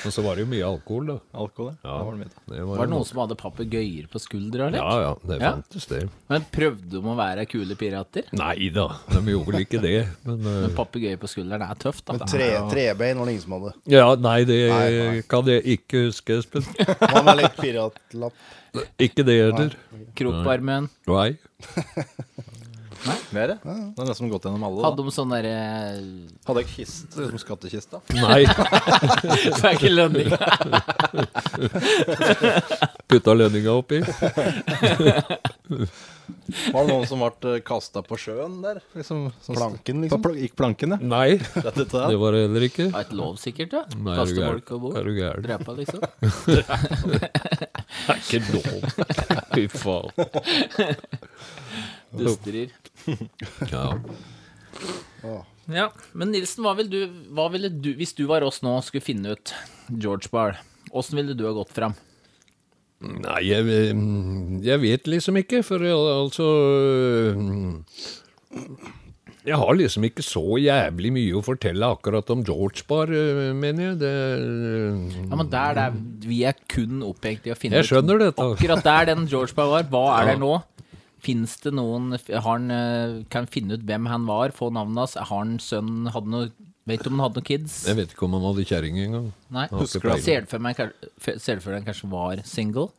S1: og så var det jo mye alkohol, da.
S3: Alkohol, ja. Det var det mye av.
S1: Det var,
S4: Var det noen som hadde papegøyer på skuldra? eller?
S1: Ja, ja. Det
S4: Ja.
S1: fantes, det.
S4: Men prøvde de å være kule pirater?
S1: Nei da, de gjorde vel ikke det. Men, eh,
S4: Men papegøyer på skulderen er tøft, da.
S2: Men tre, trebein var det ingen som hadde.
S1: [laughs] ja, nei, det
S2: Nei, nei.
S1: kan jeg ikke huske, Espen.
S2: Hva med litt
S1: [laughs]
S2: piratlapp?
S1: Ikke det heller.
S4: Krok på armen.
S1: Nei.
S3: Mer? ja. Det er nesten gått gjennom alle.
S4: Hadde
S3: Da.
S4: de sånn derre
S3: Hadde jeg liksom, kiste [laughs] som skattkiste?
S1: Nei.
S4: Det er ikke lønning.
S1: Putta lønninga oppi.
S3: Var det noen som ble kasta på sjøen der? Liksom, sånn-
S2: Planken,
S3: På
S2: liksom?
S3: pla- gikk planken, ja.
S1: Nei,
S3: Dette, dette,
S1: det
S3: der.
S1: var det heller ikke.
S4: Det er ikke lov, sikkert. da
S1: Nei, er du
S4: Kaste
S1: gæren.
S4: folk og bord.
S1: Er du gæren?
S4: Drepe, liksom.
S1: [laughs] Det er ikke lov. Fy faen.
S4: Dustrer.
S3: Ja.
S4: Ja, men Nilsen, hva, vil du, hva ville du, hvis du var oss nå og skulle finne ut George Bar, åssen ville du ha gått fram?
S1: Nei, jeg, jeg vet liksom ikke, for jeg, altså mm, Jeg har liksom ikke så jævlig mye å fortelle akkurat om George Bar, eh, mener jeg. Det, mm,
S4: Ja, men der, der, Vi er kun opphengt i å finne
S1: Jeg skjønner dette.
S4: Akkurat der den George Bar var, hva er der nå? Finnes det noen har han, eh, Kan finne ut hvem han var, få navnet hans? Har han sønn hadde noe, Vet du om han hadde noen kids?
S1: jeg vet ikke om han hadde kjerring engang.
S4: Nei.
S1: Husker
S4: Ser
S1: du-
S4: du for meg kanskje- Ser du for deg han kanskje var single?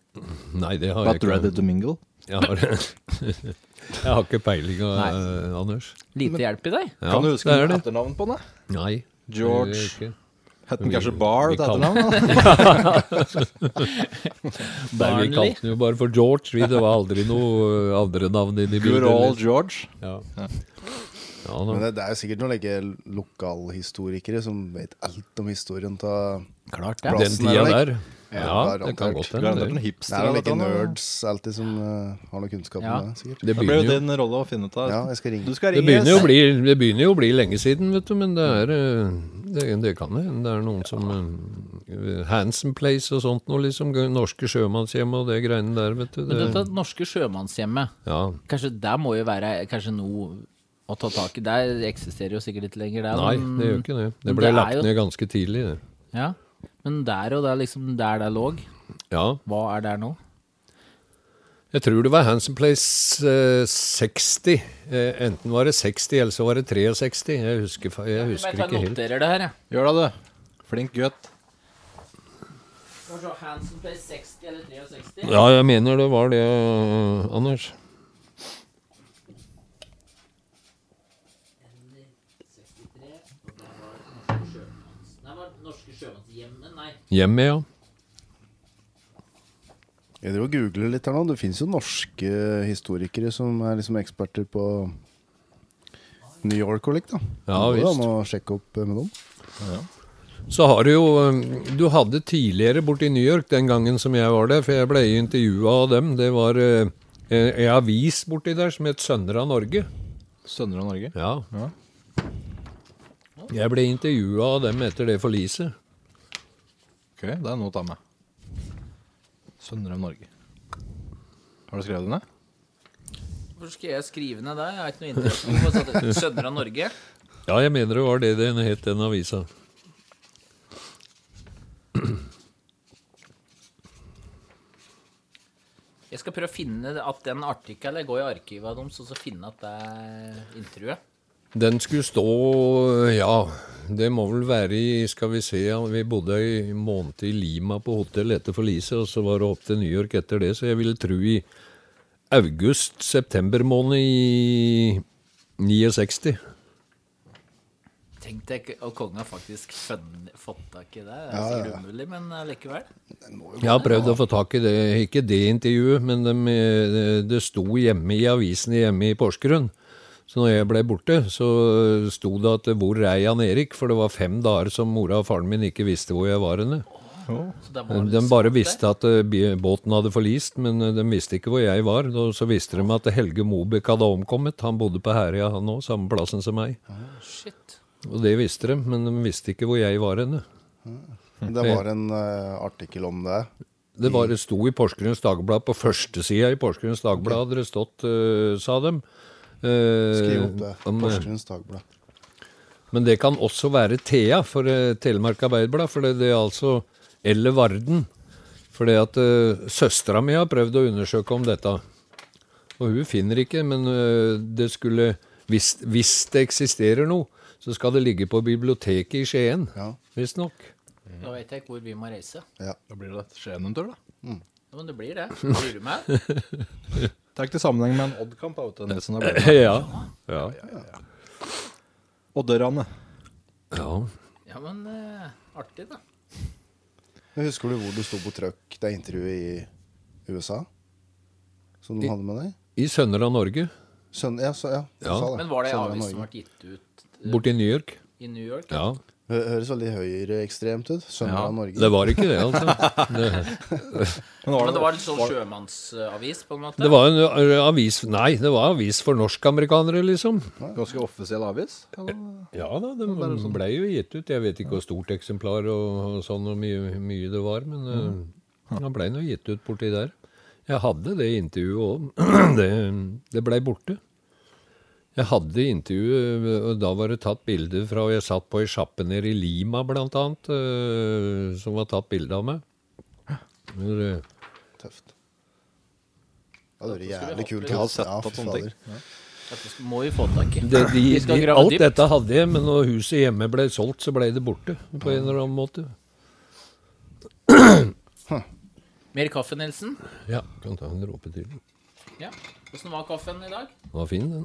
S1: Nei, det har jeg
S3: But
S1: ikke.
S3: rather to mingle.
S1: Jeg har, [laughs] jeg har ikke peiling, eh, Anders.
S4: Lite hjelp i deg?
S1: Ja,
S3: Kan du huske
S1: det er det.
S3: etternavnet på den? da?
S1: Nei.
S3: George.
S1: det gjør jeg ikke.
S3: Het den kanskje
S1: Vi-
S3: Bar
S1: vi
S3: til
S1: kaller-
S3: etternavn?
S1: [laughs] Nei, vi
S3: da?
S4: Barnley?
S1: kalte den jo bare for George. Vi, det var aldri noe eh, andre navn inni bildet.
S3: Good old
S1: eller-
S3: George.
S1: Ja. Ja, da.
S2: Men det, det er jo sikkert noen like, lokalhistorikere som vet alt om historien av
S4: Klart det.
S1: Den
S2: Bra. Plassen er
S1: tida
S2: det
S1: der.
S2: Ja,
S1: Ja, det
S2: garantert.
S1: kan godt
S3: Du er
S1: hende.
S3: en
S1: det.
S2: Det
S3: hipster.
S2: er vel
S3: eller
S2: like
S3: noe sånt, da.
S2: nerds alltid som eh, har noe kunnskap
S4: Ja.
S2: om det, sikkert.
S1: Det
S3: Det blir jo
S1: begynner jo,
S3: din rolle å finne ut av.
S2: Ja, jeg skal ringe.
S3: Du skal
S1: det
S3: ringe.
S1: begynner jo, å bli, det begynner jo å bli lenge siden, vet du, men det er eh, Det, det kan hende det er noen som eh, Hansen Place og sånt noe, liksom. Norske sjømannshjem og det greiene der, vet du.
S4: Men
S1: Det,
S4: dette norske sjømannshjemmet,
S1: ja.
S4: kanskje der må jo være kanskje noe å ta tak i? Der eksisterer jo sikkert litt lenger, der.
S1: Nei,
S4: men-
S1: det gjør ikke det.
S4: men
S1: Det ble
S4: er
S1: lagt
S4: jo-
S1: ned ganske tidlig, det.
S4: Ja, men der og der, liksom, der det lå,
S1: Ja.
S4: hva er der nå?
S1: Jeg tror det var Hansen Place eh, 60. Eh, enten var det 60, eller så var det 63. Jeg husker, fa- jeg husker
S4: jeg
S1: ikke helt.
S4: noterer det her, jeg.
S3: Gjør det, du. Flink gutt.
S4: Kanskje Hansen ble 60 eller 63?
S1: Ja, jeg mener det var det, eh, Anders.
S4: Nei, var det norske sjømannshjemmet? Nei.
S1: Hjemmet, ja.
S2: Jeg driver og googler litt her nå. Det finnes jo norske historikere som er liksom eksperter på New York og likt, da.
S1: Ja,
S2: Det går
S1: visst.
S2: an å sjekke opp eh, med dem.
S1: Så har du jo um, Du hadde tidligere borti New York den gangen som jeg var der, for jeg ble intervjua av dem. Det var uh, ei avis borti der som het Sønner av Norge.
S3: Sønner av Norge.
S1: Ja. Jeg ble intervjua av dem etter det forliset.
S3: Ok, det er noe å ta med. Sønner av Norge. Har du skrevet den ned?
S4: Hvorfor skal jeg skrive ned det? Jeg har ikke noe interesse. Sønner av Norge?
S1: Ja, jeg mener det var det den het, den avisa.
S4: Jeg skal prøve å finne at den artikkelen går i arkivet av dem, så så finne at det er intervjuet.
S1: Den skulle stå Ja, det må vel være i Skal vi se ja, Vi bodde en måned i Lima på hotell etter forliset, og så var det opp til New York etter det, så jeg ville tro i august-september måned i 69.
S4: Tenk deg ikke- og kongen har faktisk fønn- fått tak i det. Det er sikkert umulig, men eh, likevel.
S1: Jeg har prøvd å få tak i det, ikke det intervjuet, men dem, eh, det sto hjemme i avisen hjemme i Porsgrunn. Så når jeg ble borte, så sto det at 'Hvor er Jan Erik?' For det var fem dager som mora og faren min ikke visste hvor jeg var henne.
S4: Så det var litt
S1: De bare
S4: smart, det.
S1: visste at eh, bi- båten hadde forlist, men eh, de visste ikke hvor jeg var. Og så visste de at Helge Mobek hadde omkommet. Han bodde på Herøya, han òg, samme plassen som meg.
S4: Shit.
S1: Og det visste de, men de visste ikke hvor jeg var henne. Mm.
S2: Det var en eh, artikkel om det.
S1: Det bare sto i Porsgrunns Dagblad, på førstesida i Porsgrunns Dagblad hadde det stått, eh, sa dem. Eh,
S2: Skriv opp det.
S1: om, eh,
S2: Porsgrunns Dagblad.
S1: Men det kan også være Thea for eh, Telemark Arbeiderblad, for det, det er altså Eller Varden. Fordi at uh, søstera mi har prøvd å undersøke om dette. Og hun finner ikke, men eh, det skulle hvis, hvis det eksisterer noe, så skal det ligge på biblioteket i Skien.
S2: Ja.
S1: Visstnok.
S4: Da vet jeg ikke hvor vi må reise.
S3: Da blir det Skien en tur, da.
S4: Ja, Men det blir det. Lurer du meg?
S3: Tenk til sammenheng med en Odd-kamp. da, vet du, Nilsen. Da blir det
S1: [laughs] ja. ja.
S3: Odderane.
S1: ja.
S4: Ja, men eh, artig, da.
S2: Men Husker du hvor du sto på trøkk det intervjuet i USA? Som de hadde med deg?
S1: I Sønner av Norge,
S2: Sønn, ja, så, ja, du
S1: Ja.
S2: sa det.
S4: Men var det en
S2: Sønner av
S4: avis som
S2: Norge.
S4: ble gitt ut
S1: borti New York.
S4: i New York?
S1: Ja.
S2: Hø- Høres veldig høyreekstremt ut. Sønner av Norge.
S1: Det var ikke det, altså. Det,
S4: Men det var litt sånn sjømannsavis, på en måte?
S1: det var en ø, avis Nei, det var avis for norskamerikanere, liksom.
S3: Ganske offisiell avis.
S1: Ja da, det sånn. blei jo gitt ut. Jeg vet ikke hvor stort eksemplar og, og sånn og mye, mye det var, men ø, det blei nå gitt ut borti der. Jeg hadde det intervjuet òg. [clears throat] Det, det blei borte. Jeg hadde intervjuet, og da var det tatt bilder fra Jeg satt på ei sjappe nede i Lima, blant annet, ø, som var tatt bilde av meg. Hvor, eh, ø,
S2: Tøft. Ja, det hadde vært
S4: Dette skulle vi
S2: jævlig
S4: hatt
S2: kult.
S4: litt. Jeg
S3: hadde sett
S2: Ja,
S3: at
S2: fy
S3: sånne ting.
S2: fader.
S4: Dette skal- må vi få tak i.
S1: [laughs] Det, de,
S4: Vi skal
S1: de,
S4: grave
S1: alt
S4: dypt.
S1: dette hadde jeg, men når huset hjemme ble solgt, så ble det borte. På en eller annen måte.
S4: Mer kaffe, Nilsen?
S1: Ja, kan ta en dråpe til.
S4: Ja. Hvordan var kaffen i dag?
S1: Den var fin, den.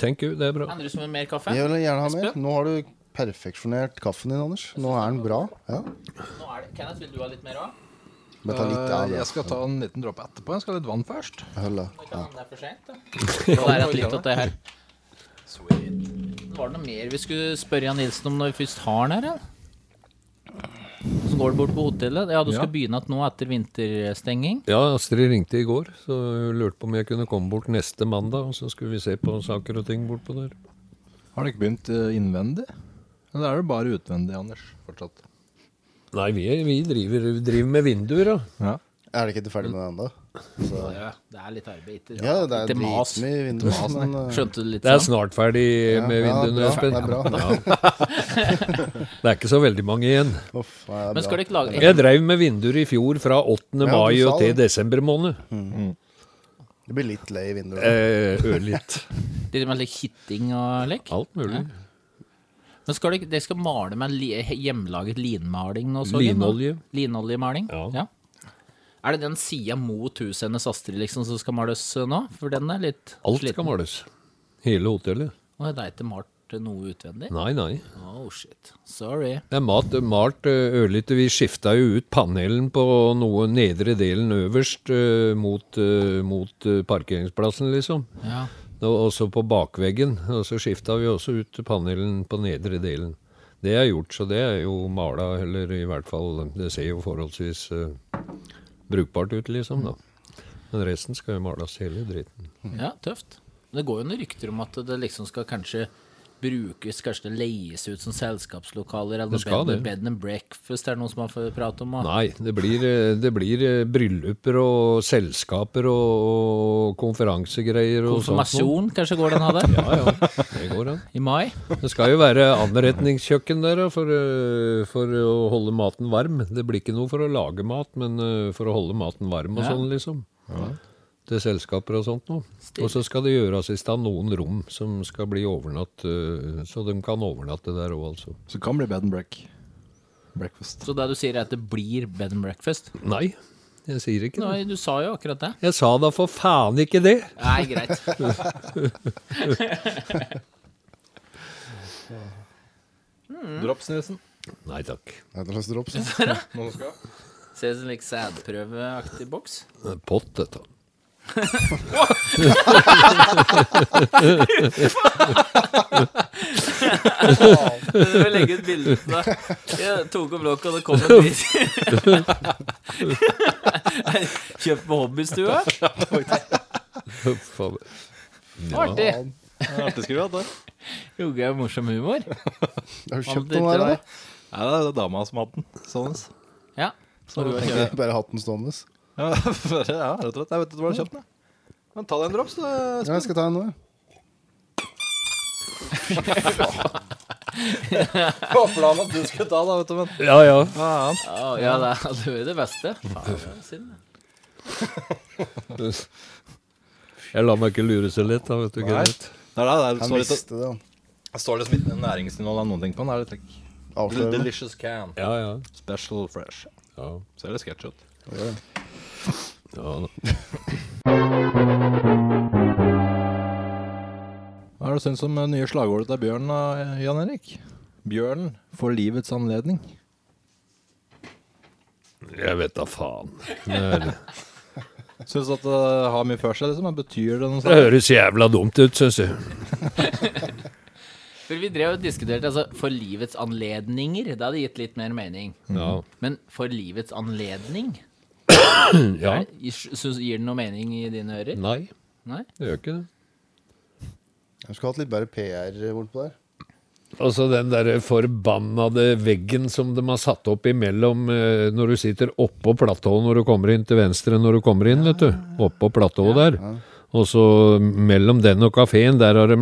S1: Thank you, det er bra.
S4: Andre som vil mer kaffe?
S2: Jeg vil gjerne ha mer.
S4: Espen?
S2: Nå har du perfeksjonert kaffen din, Anders. Nå er den bra. Ja.
S4: Nå er det. Kenneth, vil du ha litt mer òg?
S2: Men ta litt
S4: Eh,
S2: av det.
S3: Eh, Jeg skal ta en liten dråpe etterpå. Jeg skal ha litt vann først.
S2: Hold da. Ja.
S4: Det er for sent, [laughs] da. Nå er det litt av det her. Var det noe mer vi skulle spørre Jan Nilsen om når vi først har den her? ja? Så går du bort på hotellet. Ja, du skal begynne igjen nå etter vinterstenging.
S1: Ja, Astrid ringte i går, så hun lurte på om jeg kunne komme bort neste mandag. Og så skulle vi se på saker og ting bortpå der.
S3: Har du ikke begynt eh, innvendig? Eller er det bare utvendig, Anders? Fortsatt.
S1: Nei, vi, er- vi driver, vi driver med vinduer, da.
S2: Er det ikke du ferdig med det ennå?
S4: Ja, det er litt arbeid.
S2: Ja, det er
S4: Litt mas.
S2: dritmye vinduer, men uh,
S4: Skjønte du litt
S1: Det er
S4: sånn?
S1: snart ferdig
S2: ja,
S1: med vinduene,
S2: ja,
S1: Espen.
S2: Det er bra. Det er bra.
S1: Det er ikke så veldig mange igjen.
S2: [laughs] Uff, det
S1: sånn-
S2: er
S4: Men skal
S2: bra.
S4: du ikke lage
S1: Jeg dreiv med vinduer i fjor fra 8.
S2: Ja, du
S1: mai
S2: sa
S1: og til
S2: det.
S1: desember måned.
S2: Det blir litt lei i vinduet.
S1: Eh, Ørlitt.
S4: litt med litt kitting og lek?
S1: Alt mulig.
S4: Men skal dere, dere skal male med en li, hjemmelaget linmaling nå? så jeg, nå?
S1: Linolje.
S4: Linoljemaling? Ja.
S1: Ja.
S4: Er det den sida mot huset hennes Astrid liksom som skal males eh, nå? For den er litt
S1: Alt skal males. Hele hotellet.
S4: Å, det er ikke malt eh, noe utvendig?
S1: Nei, nei.
S4: Oh shit. Sorry.
S1: Det er mat, malt ø, ørlite. Vi skifta jo ut panelen på noe nedre delen øverst ø, mot, ø, mot ø, parkeringsplassen, liksom.
S4: Ja.
S1: Og også på bakveggen. Og så skifta vi også ut panelen på nedre delen. Det er gjort, så det er jo mala, eller i hvert fall Det ser jo forholdsvis ø, brukbart ut, liksom, da. Men resten skal jo males, hele dritten.
S4: ja, tøft. Det går jo noen rykter om at det liksom skal kanskje brukes, kanskje det leies ut som selskapslokaler eller
S1: Det skal
S4: noe bed,
S1: det.
S4: bed and breakfast er det noen som har fått prate om? og-
S1: Nei, det blir, eh, det blir eh, brylluper og selskaper og, og konferansegreier og sånt. noe.
S4: Konfirmasjon kanskje går den av der?
S1: [laughs] Ja, ja, det går an.
S4: I mai?
S1: Det skal jo være anretningskjøkken der da, for, eh, for å holde maten varm. Det blir ikke noe for å lage mat, men eh, for å holde maten varm og
S4: Ja.
S1: sånn, liksom. Til selskaper og sånt noe. Og så skal det gjøres i stand noen rom som skal bli overnatt, eh, så de kan overnatte der òg, altså.
S3: Så det kan bli bed and break. breakfast.
S4: Så det du sier er at det blir bed and breakfast?
S1: Nei, jeg sier ikke det.
S4: Nei, du sa jo akkurat det.
S1: Jeg sa da for faen ikke det!
S4: Nei, greit.
S3: Drops, [laughs] Nilsen.
S1: Nei takk.
S2: Det er en slags
S4: [laughs]
S2: drops.
S4: Ser ut som en like sædprøveaktig [laughs] boks.
S1: Det er Pott, dette.
S4: Du vil legge ut bilde av deg. Jeg tok opp lokket, og det kom en drit. [laughs] Kjøpt på hobbystua.
S1: [laughs] Huff a meg.
S4: Artig.
S3: Artig skulle du hatt det.
S4: Jogge er morsom humor.
S2: Har du kjøpt
S4: det
S2: noen her,
S4: tror
S2: da?
S4: jeg.
S3: Nei, det er det dama som hadde den. Sånn.
S4: Ja.
S3: Så du
S2: Ikke Bare hatten stående.
S3: Ja, [laughs] bare- ja, rett og slett. Jeg vet ikke hvor du har kjøpt den. jeg. Men ta deg en drops, du.
S2: Ja, jeg skal ta en nå. jeg.
S3: Håper da at du skulle ta den, vet du. Men
S1: Ja, ja.
S4: Å, ja, det er det, er det beste. Faen, det er synd.
S1: Jeg lar meg ikke lure så lett, da, vet du. Kenneth.
S3: det er
S2: Han
S3: det. det er- står litt-
S2: visste det. han.
S3: Det står liksom ikke næringsinnhold eller noen ting på den. Det er litt like,
S2: Avslørende.
S3: Delicious can.
S1: Ja, ja.
S3: Special fresh.
S1: ja.
S3: Ser litt sketsj ut.
S1: ja da.
S3: Hva er det du syns om det nye slagordet til Bjørn, da, Jan Erik? Bjørn for livets anledning.
S1: Jeg vet da faen. Det, er,
S3: Syns du at det har mye for seg, liksom? Men Betyr det noe
S1: det
S3: sånt?
S1: høres jævla dumt ut, syns jeg.
S4: For vi drev og diskuterte altså, for livets anledninger. Det hadde gitt litt mer mening.
S1: Ja.
S4: Men for livets anledning?
S1: [coughs] ja.
S4: Er- synes- Gir det noe mening i dine ører?
S1: Nei,
S4: Nei?
S1: det gjør ikke det.
S2: Jeg skulle hatt litt bedre PR bort på der.
S1: Altså den der forbannede veggen som de har satt opp imellom eh, når du sitter oppå platået når du kommer inn til venstre når du kommer inn, vet du. Oppå platået der. Og så mellom den og kafeen, der har de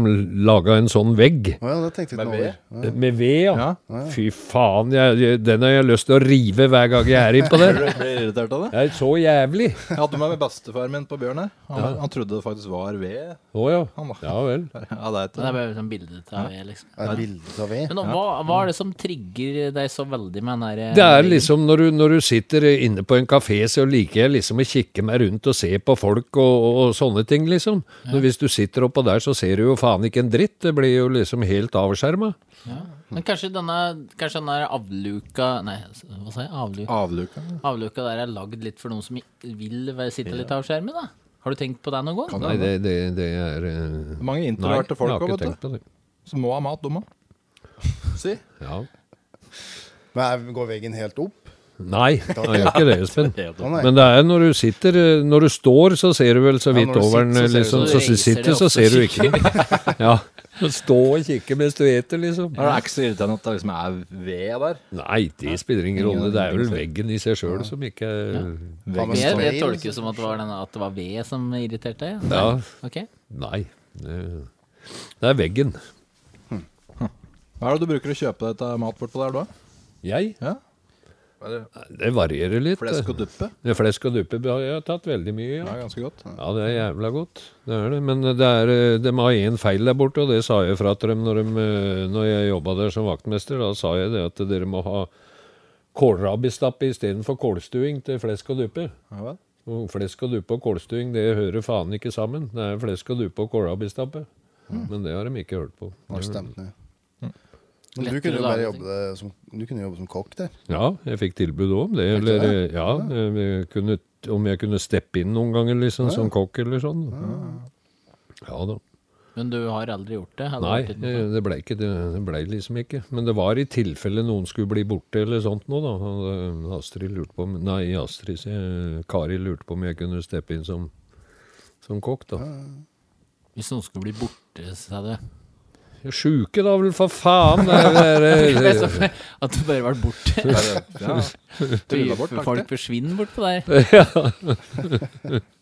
S1: laga en sånn vegg.
S2: Å ja, det tenkte jeg ikke noe over.
S1: Med ved, ja. Fy faen, jeg, jeg, den har jeg lyst til å rive hver gang [laughs] jeg er innpå
S3: [laughs]
S1: der.
S3: Blir irritert av det?
S1: Det er så jævlig.
S3: Jeg hadde meg med bestefaren min på bjørn her. Han, han trodde det faktisk var ved.
S1: Å ja.
S3: Han, da.
S1: Ja vel.
S3: Ja, det er et
S4: Det er bare sånn bildet av det, liksom.
S2: Er det bildet av ved?
S4: Men nå, hva, hva er det som trigger deg så veldig med den der eh,
S1: Det er liksom når du, når du sitter inne på en kafé, så liker jeg liksom å kikke meg rundt og se på folk og, og, og sånne ting, liksom. Men hvis du sitter oppå der, så ser du jo faen ikke en dritt. Det blir jo liksom helt avskjerma.
S4: Men kanskje denne, kanskje denne avluka Nei, hva sa jeg? Avluka.
S3: avluke.
S4: Avluka der er lagd litt for noen som vil være- sitte litt av skjermen, da. Har du tenkt på det noen gang?
S1: Nei, det, det, det er eh,
S3: Mange
S1: Nei,
S3: introverte
S1: jeg
S3: folk
S1: har
S3: òg,
S1: ikke
S3: vet
S1: tenkt
S3: du.
S1: på det.
S3: Som må ha mat, de òg. Si.
S1: Ja.
S2: Men er- går veggen helt opp?
S1: Nei, [laughs] jeg gjør ikke det, Espen.
S2: Å nei.
S1: Men det er når du sitter eh, Når du står, så ser du vel så vidt
S2: når du
S1: over den,
S2: sitter, så ser
S1: liksom. Så
S4: du- Så reiser
S1: sitter,
S4: det
S1: så
S4: opp,
S1: ser du
S4: så
S1: ikke. [laughs] Ja. Stå og kikke mens du eter, liksom.
S3: Det er ikke så irriterende at det liksom er ved der.
S1: Nei, det spiller ingen rolle. Det er vel veggen i seg sjøl som ikke
S2: Hva med
S4: Jeg,
S2: stående?
S4: jeg tolker som at det var, den, at det var ved som irriterte deg. ja.
S1: Ja,
S4: Ok.
S1: nei. Det, det er veggen.
S3: Hva er det du bruker å kjøpe deg til mat bortpå der, da?
S1: Jeg?
S3: Ja.
S1: Det varierer litt.
S3: Flesk og duppe?
S1: Det er flesk og duppe har jeg tatt veldig mye.
S3: Ja,
S1: Ja.
S3: ganske godt.
S1: ja, det er jævla godt. Det er det. Men det er, eh, de har én feil der borte, og det sa jeg fra til dem når, de, eh, når jeg jobba der som vaktmester. Da sa jeg det at dere må ha kålrabistappe istedenfor kålstuing til flesk og duppe.
S3: Ja, vel.
S1: Og Flesk og duppe og kålstuing, det hører faen ikke sammen. Det er flesk og duppe og kålrabistappe. Men det har de ikke hørt på.
S2: Har stemt ned. Men du
S4: Lettere
S2: kunne jo bare
S4: lagre ting.
S2: jobbe som, du kunne jobbe som kokk der.
S1: Ja, jeg fikk tilbud om det. Eller, eh, ja, jeg kunne, om jeg kunne steppe inn noen ganger, liksom, som kokk eller sånn. Ja da.
S4: Men du har aldri gjort det? Har du
S1: Nei,
S4: vært utenfor?
S1: eh, det blei ble liksom ikke. Men det var i tilfelle noen skulle bli borte eller sånt nå, da. Og, eh, Astrid lurte på om Nei, Astrid, sier jeg. Kari lurte på om jeg kunne steppe inn som, som kokk, da.
S4: Hvis noen skulle bli borte, sa du?
S1: Sjuke, da vel, for faen! [laughs] Det er, det er,
S4: At du bare var borte?
S3: Ja.
S4: [laughs]
S3: Trylla bort, takk
S4: Folk
S3: det.
S4: forsvinner bort på deg.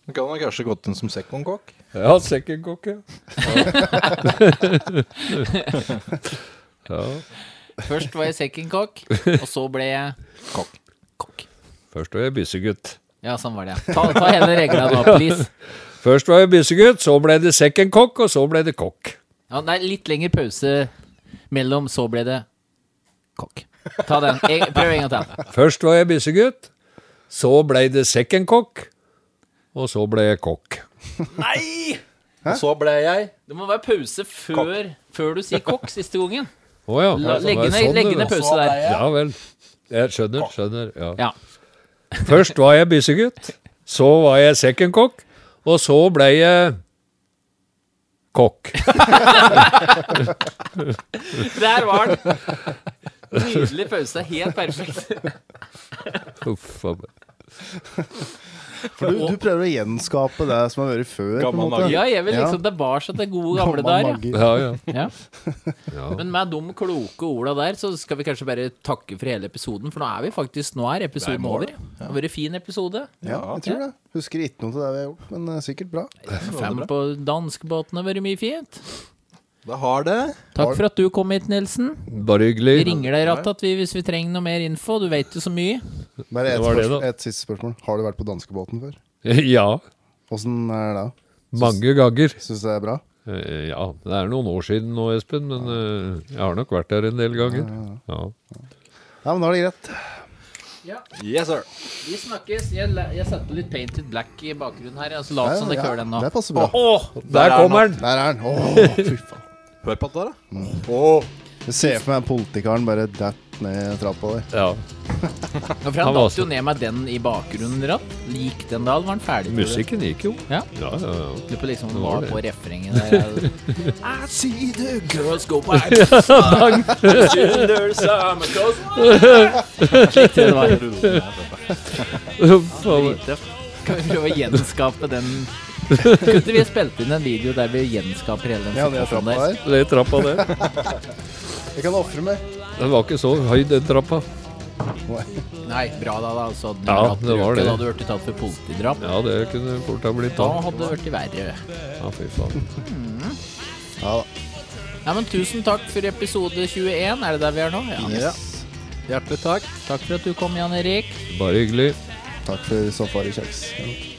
S3: Du kan man kanskje gått inn som second-kokk?
S1: ja, second kokk, ja. [laughs] ja.
S4: Først var jeg second cock, og så ble jeg kokk. Kokk.
S1: Først var jeg byssegutt.
S4: Ja, sånn var det. ja. Ta, ta hele regla nå, please.
S1: Først var jeg byssegutt, så ble det second kokk, og så ble det kokk.
S4: Ja, nei, litt lengre pause mellom, så ble det kokk. Ta den. Jeg, prøv en gang til.
S1: Først var jeg byssegutt, så ble det second kokk, og så ble jeg kokk.
S4: Nei!
S3: Og så ble jeg
S4: Det må være pause før, før du sier kokk siste gangen.
S1: Å ja. det
S4: La,
S1: var
S4: legge ned,
S1: sånn
S4: legge
S1: det
S4: ned
S1: var.
S4: pause der.
S1: Ja vel. Jeg skjønner, skjønner. Ja.
S4: Ja.
S1: Først var jeg byssegutt, så var jeg second kokk, og så ble jeg kokk. [laughs]
S4: Der var den. Nydelig pause. Helt perfekt.
S1: Uff a meg.
S2: For du, du prøver å gjenskape det som har vært før. på en
S3: Gammel
S2: måte.
S4: [laughs] Ja, jeg vil liksom tilbake til gode gamle
S2: Gammel
S4: dager.
S2: magi.
S1: Ja, ja.
S4: Ja.
S1: Ja.
S4: Men med de kloke orda der, så skal vi kanskje bare takke for hele episoden. For nå er vi faktisk Nå er episoden over. Det har vært en fin episode.
S2: Ja, jeg tror det. Husker ikke noe til det vi har gjort, men eh, sikkert bra.
S4: Fem på danskebåten har vært mye fint.
S3: Det har det.
S4: Takk for at du kom hit, Nilsen.
S1: Bare hyggelig.
S4: Vi ringer deg rattat vi, hvis vi trenger noe mer info. Du vet jo så mye.
S2: Bare et,
S1: Det var det,
S2: spørsmål,
S1: da.
S2: et siste spørsmål. Har du vært på danskebåten før?
S1: Ja.
S2: Åssen er det?
S1: Mange ganger.
S2: Syns du det er bra?
S1: Eh, Ja, det er noen år siden nå, Espen, men eh, jeg har nok vært der en del ganger. Ja.
S2: Ja, men da er det greit.
S3: Yes, sir.
S4: Vi snakkes. Jeg, la- jeg satte litt painted black i bakgrunnen her, ja, så la oss som det
S2: Ja,
S4: køler den nå.
S2: Det passer bra.
S1: Der kommer den!
S2: Der er den. Åh, fy faen.
S3: Hør på det der, da. Åh.
S2: Jeg ser for meg politikeren bare datt ned trappa der.
S1: Ja.
S4: Ja, for
S1: Han var
S4: han datt jo ned med den i bakgrunnen. Ratt. Lik den da, da var han ferdig. med det.
S1: Musikken gikk jo.
S4: Ja.
S1: Ja, ja, ja.
S4: Lurer på liksom
S1: Det
S4: det
S1: var
S4: var
S1: det.
S4: på refrenget der. I see the girls go by. Slik det var.
S1: Faen.
S4: Kan vi prøve å gjenskape den Kunne ikke vi spilt inn en video der vi gjenskaper hele den
S2: Ja, det er
S4: situasjonen
S2: trappa
S4: der?
S2: der.
S1: Det er trappa, det.
S2: Jeg kan ofre meg.
S1: Den var ikke så høy, den trappa.
S4: Nei, bra da, da. Så hadde
S1: Ja,
S4: du hatt
S1: det var
S4: røyken,
S1: det.
S4: Da hadde du blitt tatt for politidrap.
S1: Ja, det kunne fort ha blitt
S4: Da
S1: da.
S4: hadde det blitt verre.
S1: Ja, fy faen.
S4: Nei, men tusen takk for episode 21. Er det der vi er nå? Ja. Hjertelig takk. Takk for at du kom, Jan Erik.
S1: Bare hyggelig.
S2: Takk for safarikjeks.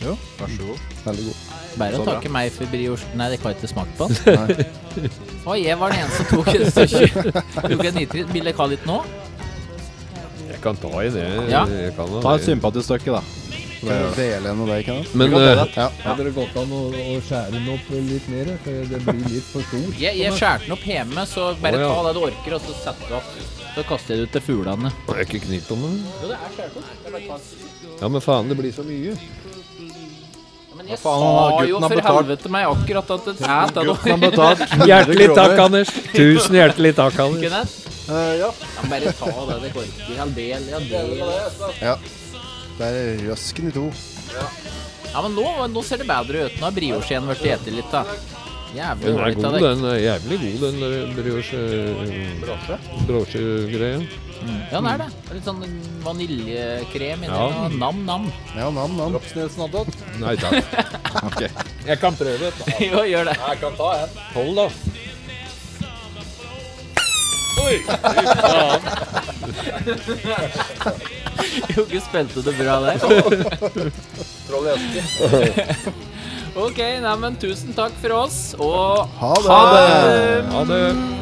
S2: Jo, vær så god. Veldig god.
S4: Bare
S2: Så
S4: å
S2: bra.
S4: takke meg for brioche. Nei, det kan jeg ikke smake
S3: [laughs]
S4: på. den. Og jeg var den eneste som tok et stykke. Tok en nitritt. Vil dere ha litt nå?
S1: Jeg kan ta i det.
S4: Ja.
S1: Jeg kan ha
S3: Ta et
S1: det.
S3: sympatisk stykke, da.
S2: Kan du dele en av deg, kan jeg?
S1: Men eh,
S2: Ja.
S15: Hadde det gått an å, å skjære den opp litt mer? For det blir litt for stor.
S4: Jeg, jeg skjærer den opp hjemme, så bare
S1: Å, ja.
S4: ta det du orker, og så setter du opp. Så kaster jeg det ut til fuglene.
S1: er ikke knipt om den? Ja, men faen, det blir så mye.
S4: Men jeg
S3: faen, han har-
S4: sa jo
S3: gutten har
S4: for
S3: betalt.
S4: helvete meg akkurat at det er det du
S3: Han betalt
S1: [laughs]
S3: 100
S1: Hjertelig
S3: kroner.
S1: takk, Anders. Tusen hjertelig takk, Anders.
S4: kunne. Ja. men Bare ta det du orker. Ja, del, ja, del.
S2: Det er røsken i to.
S4: Ja, men nå, nå ser det bedre ut. Nå har brioskjeen blitt spist litt, da. Jævlig
S1: Den er
S4: ålreit
S1: god,
S4: av deg.
S1: den. er Jævlig god, den der brioche... Brosjegreia.
S4: Ja, den er det. Det er Litt sånn vaniljekrem inni
S1: Ja.
S4: den. Nam, nam. [laughs]
S2: Ja, nam, nam.
S1: Nei [laughs] takk. Jeg kan prøve.
S4: jo, gjør det.
S1: Hold, da.
S4: Jogge spilte det bra der. [laughs] OK, neimen tusen takk for oss, og
S2: Ha det!
S1: Ha det.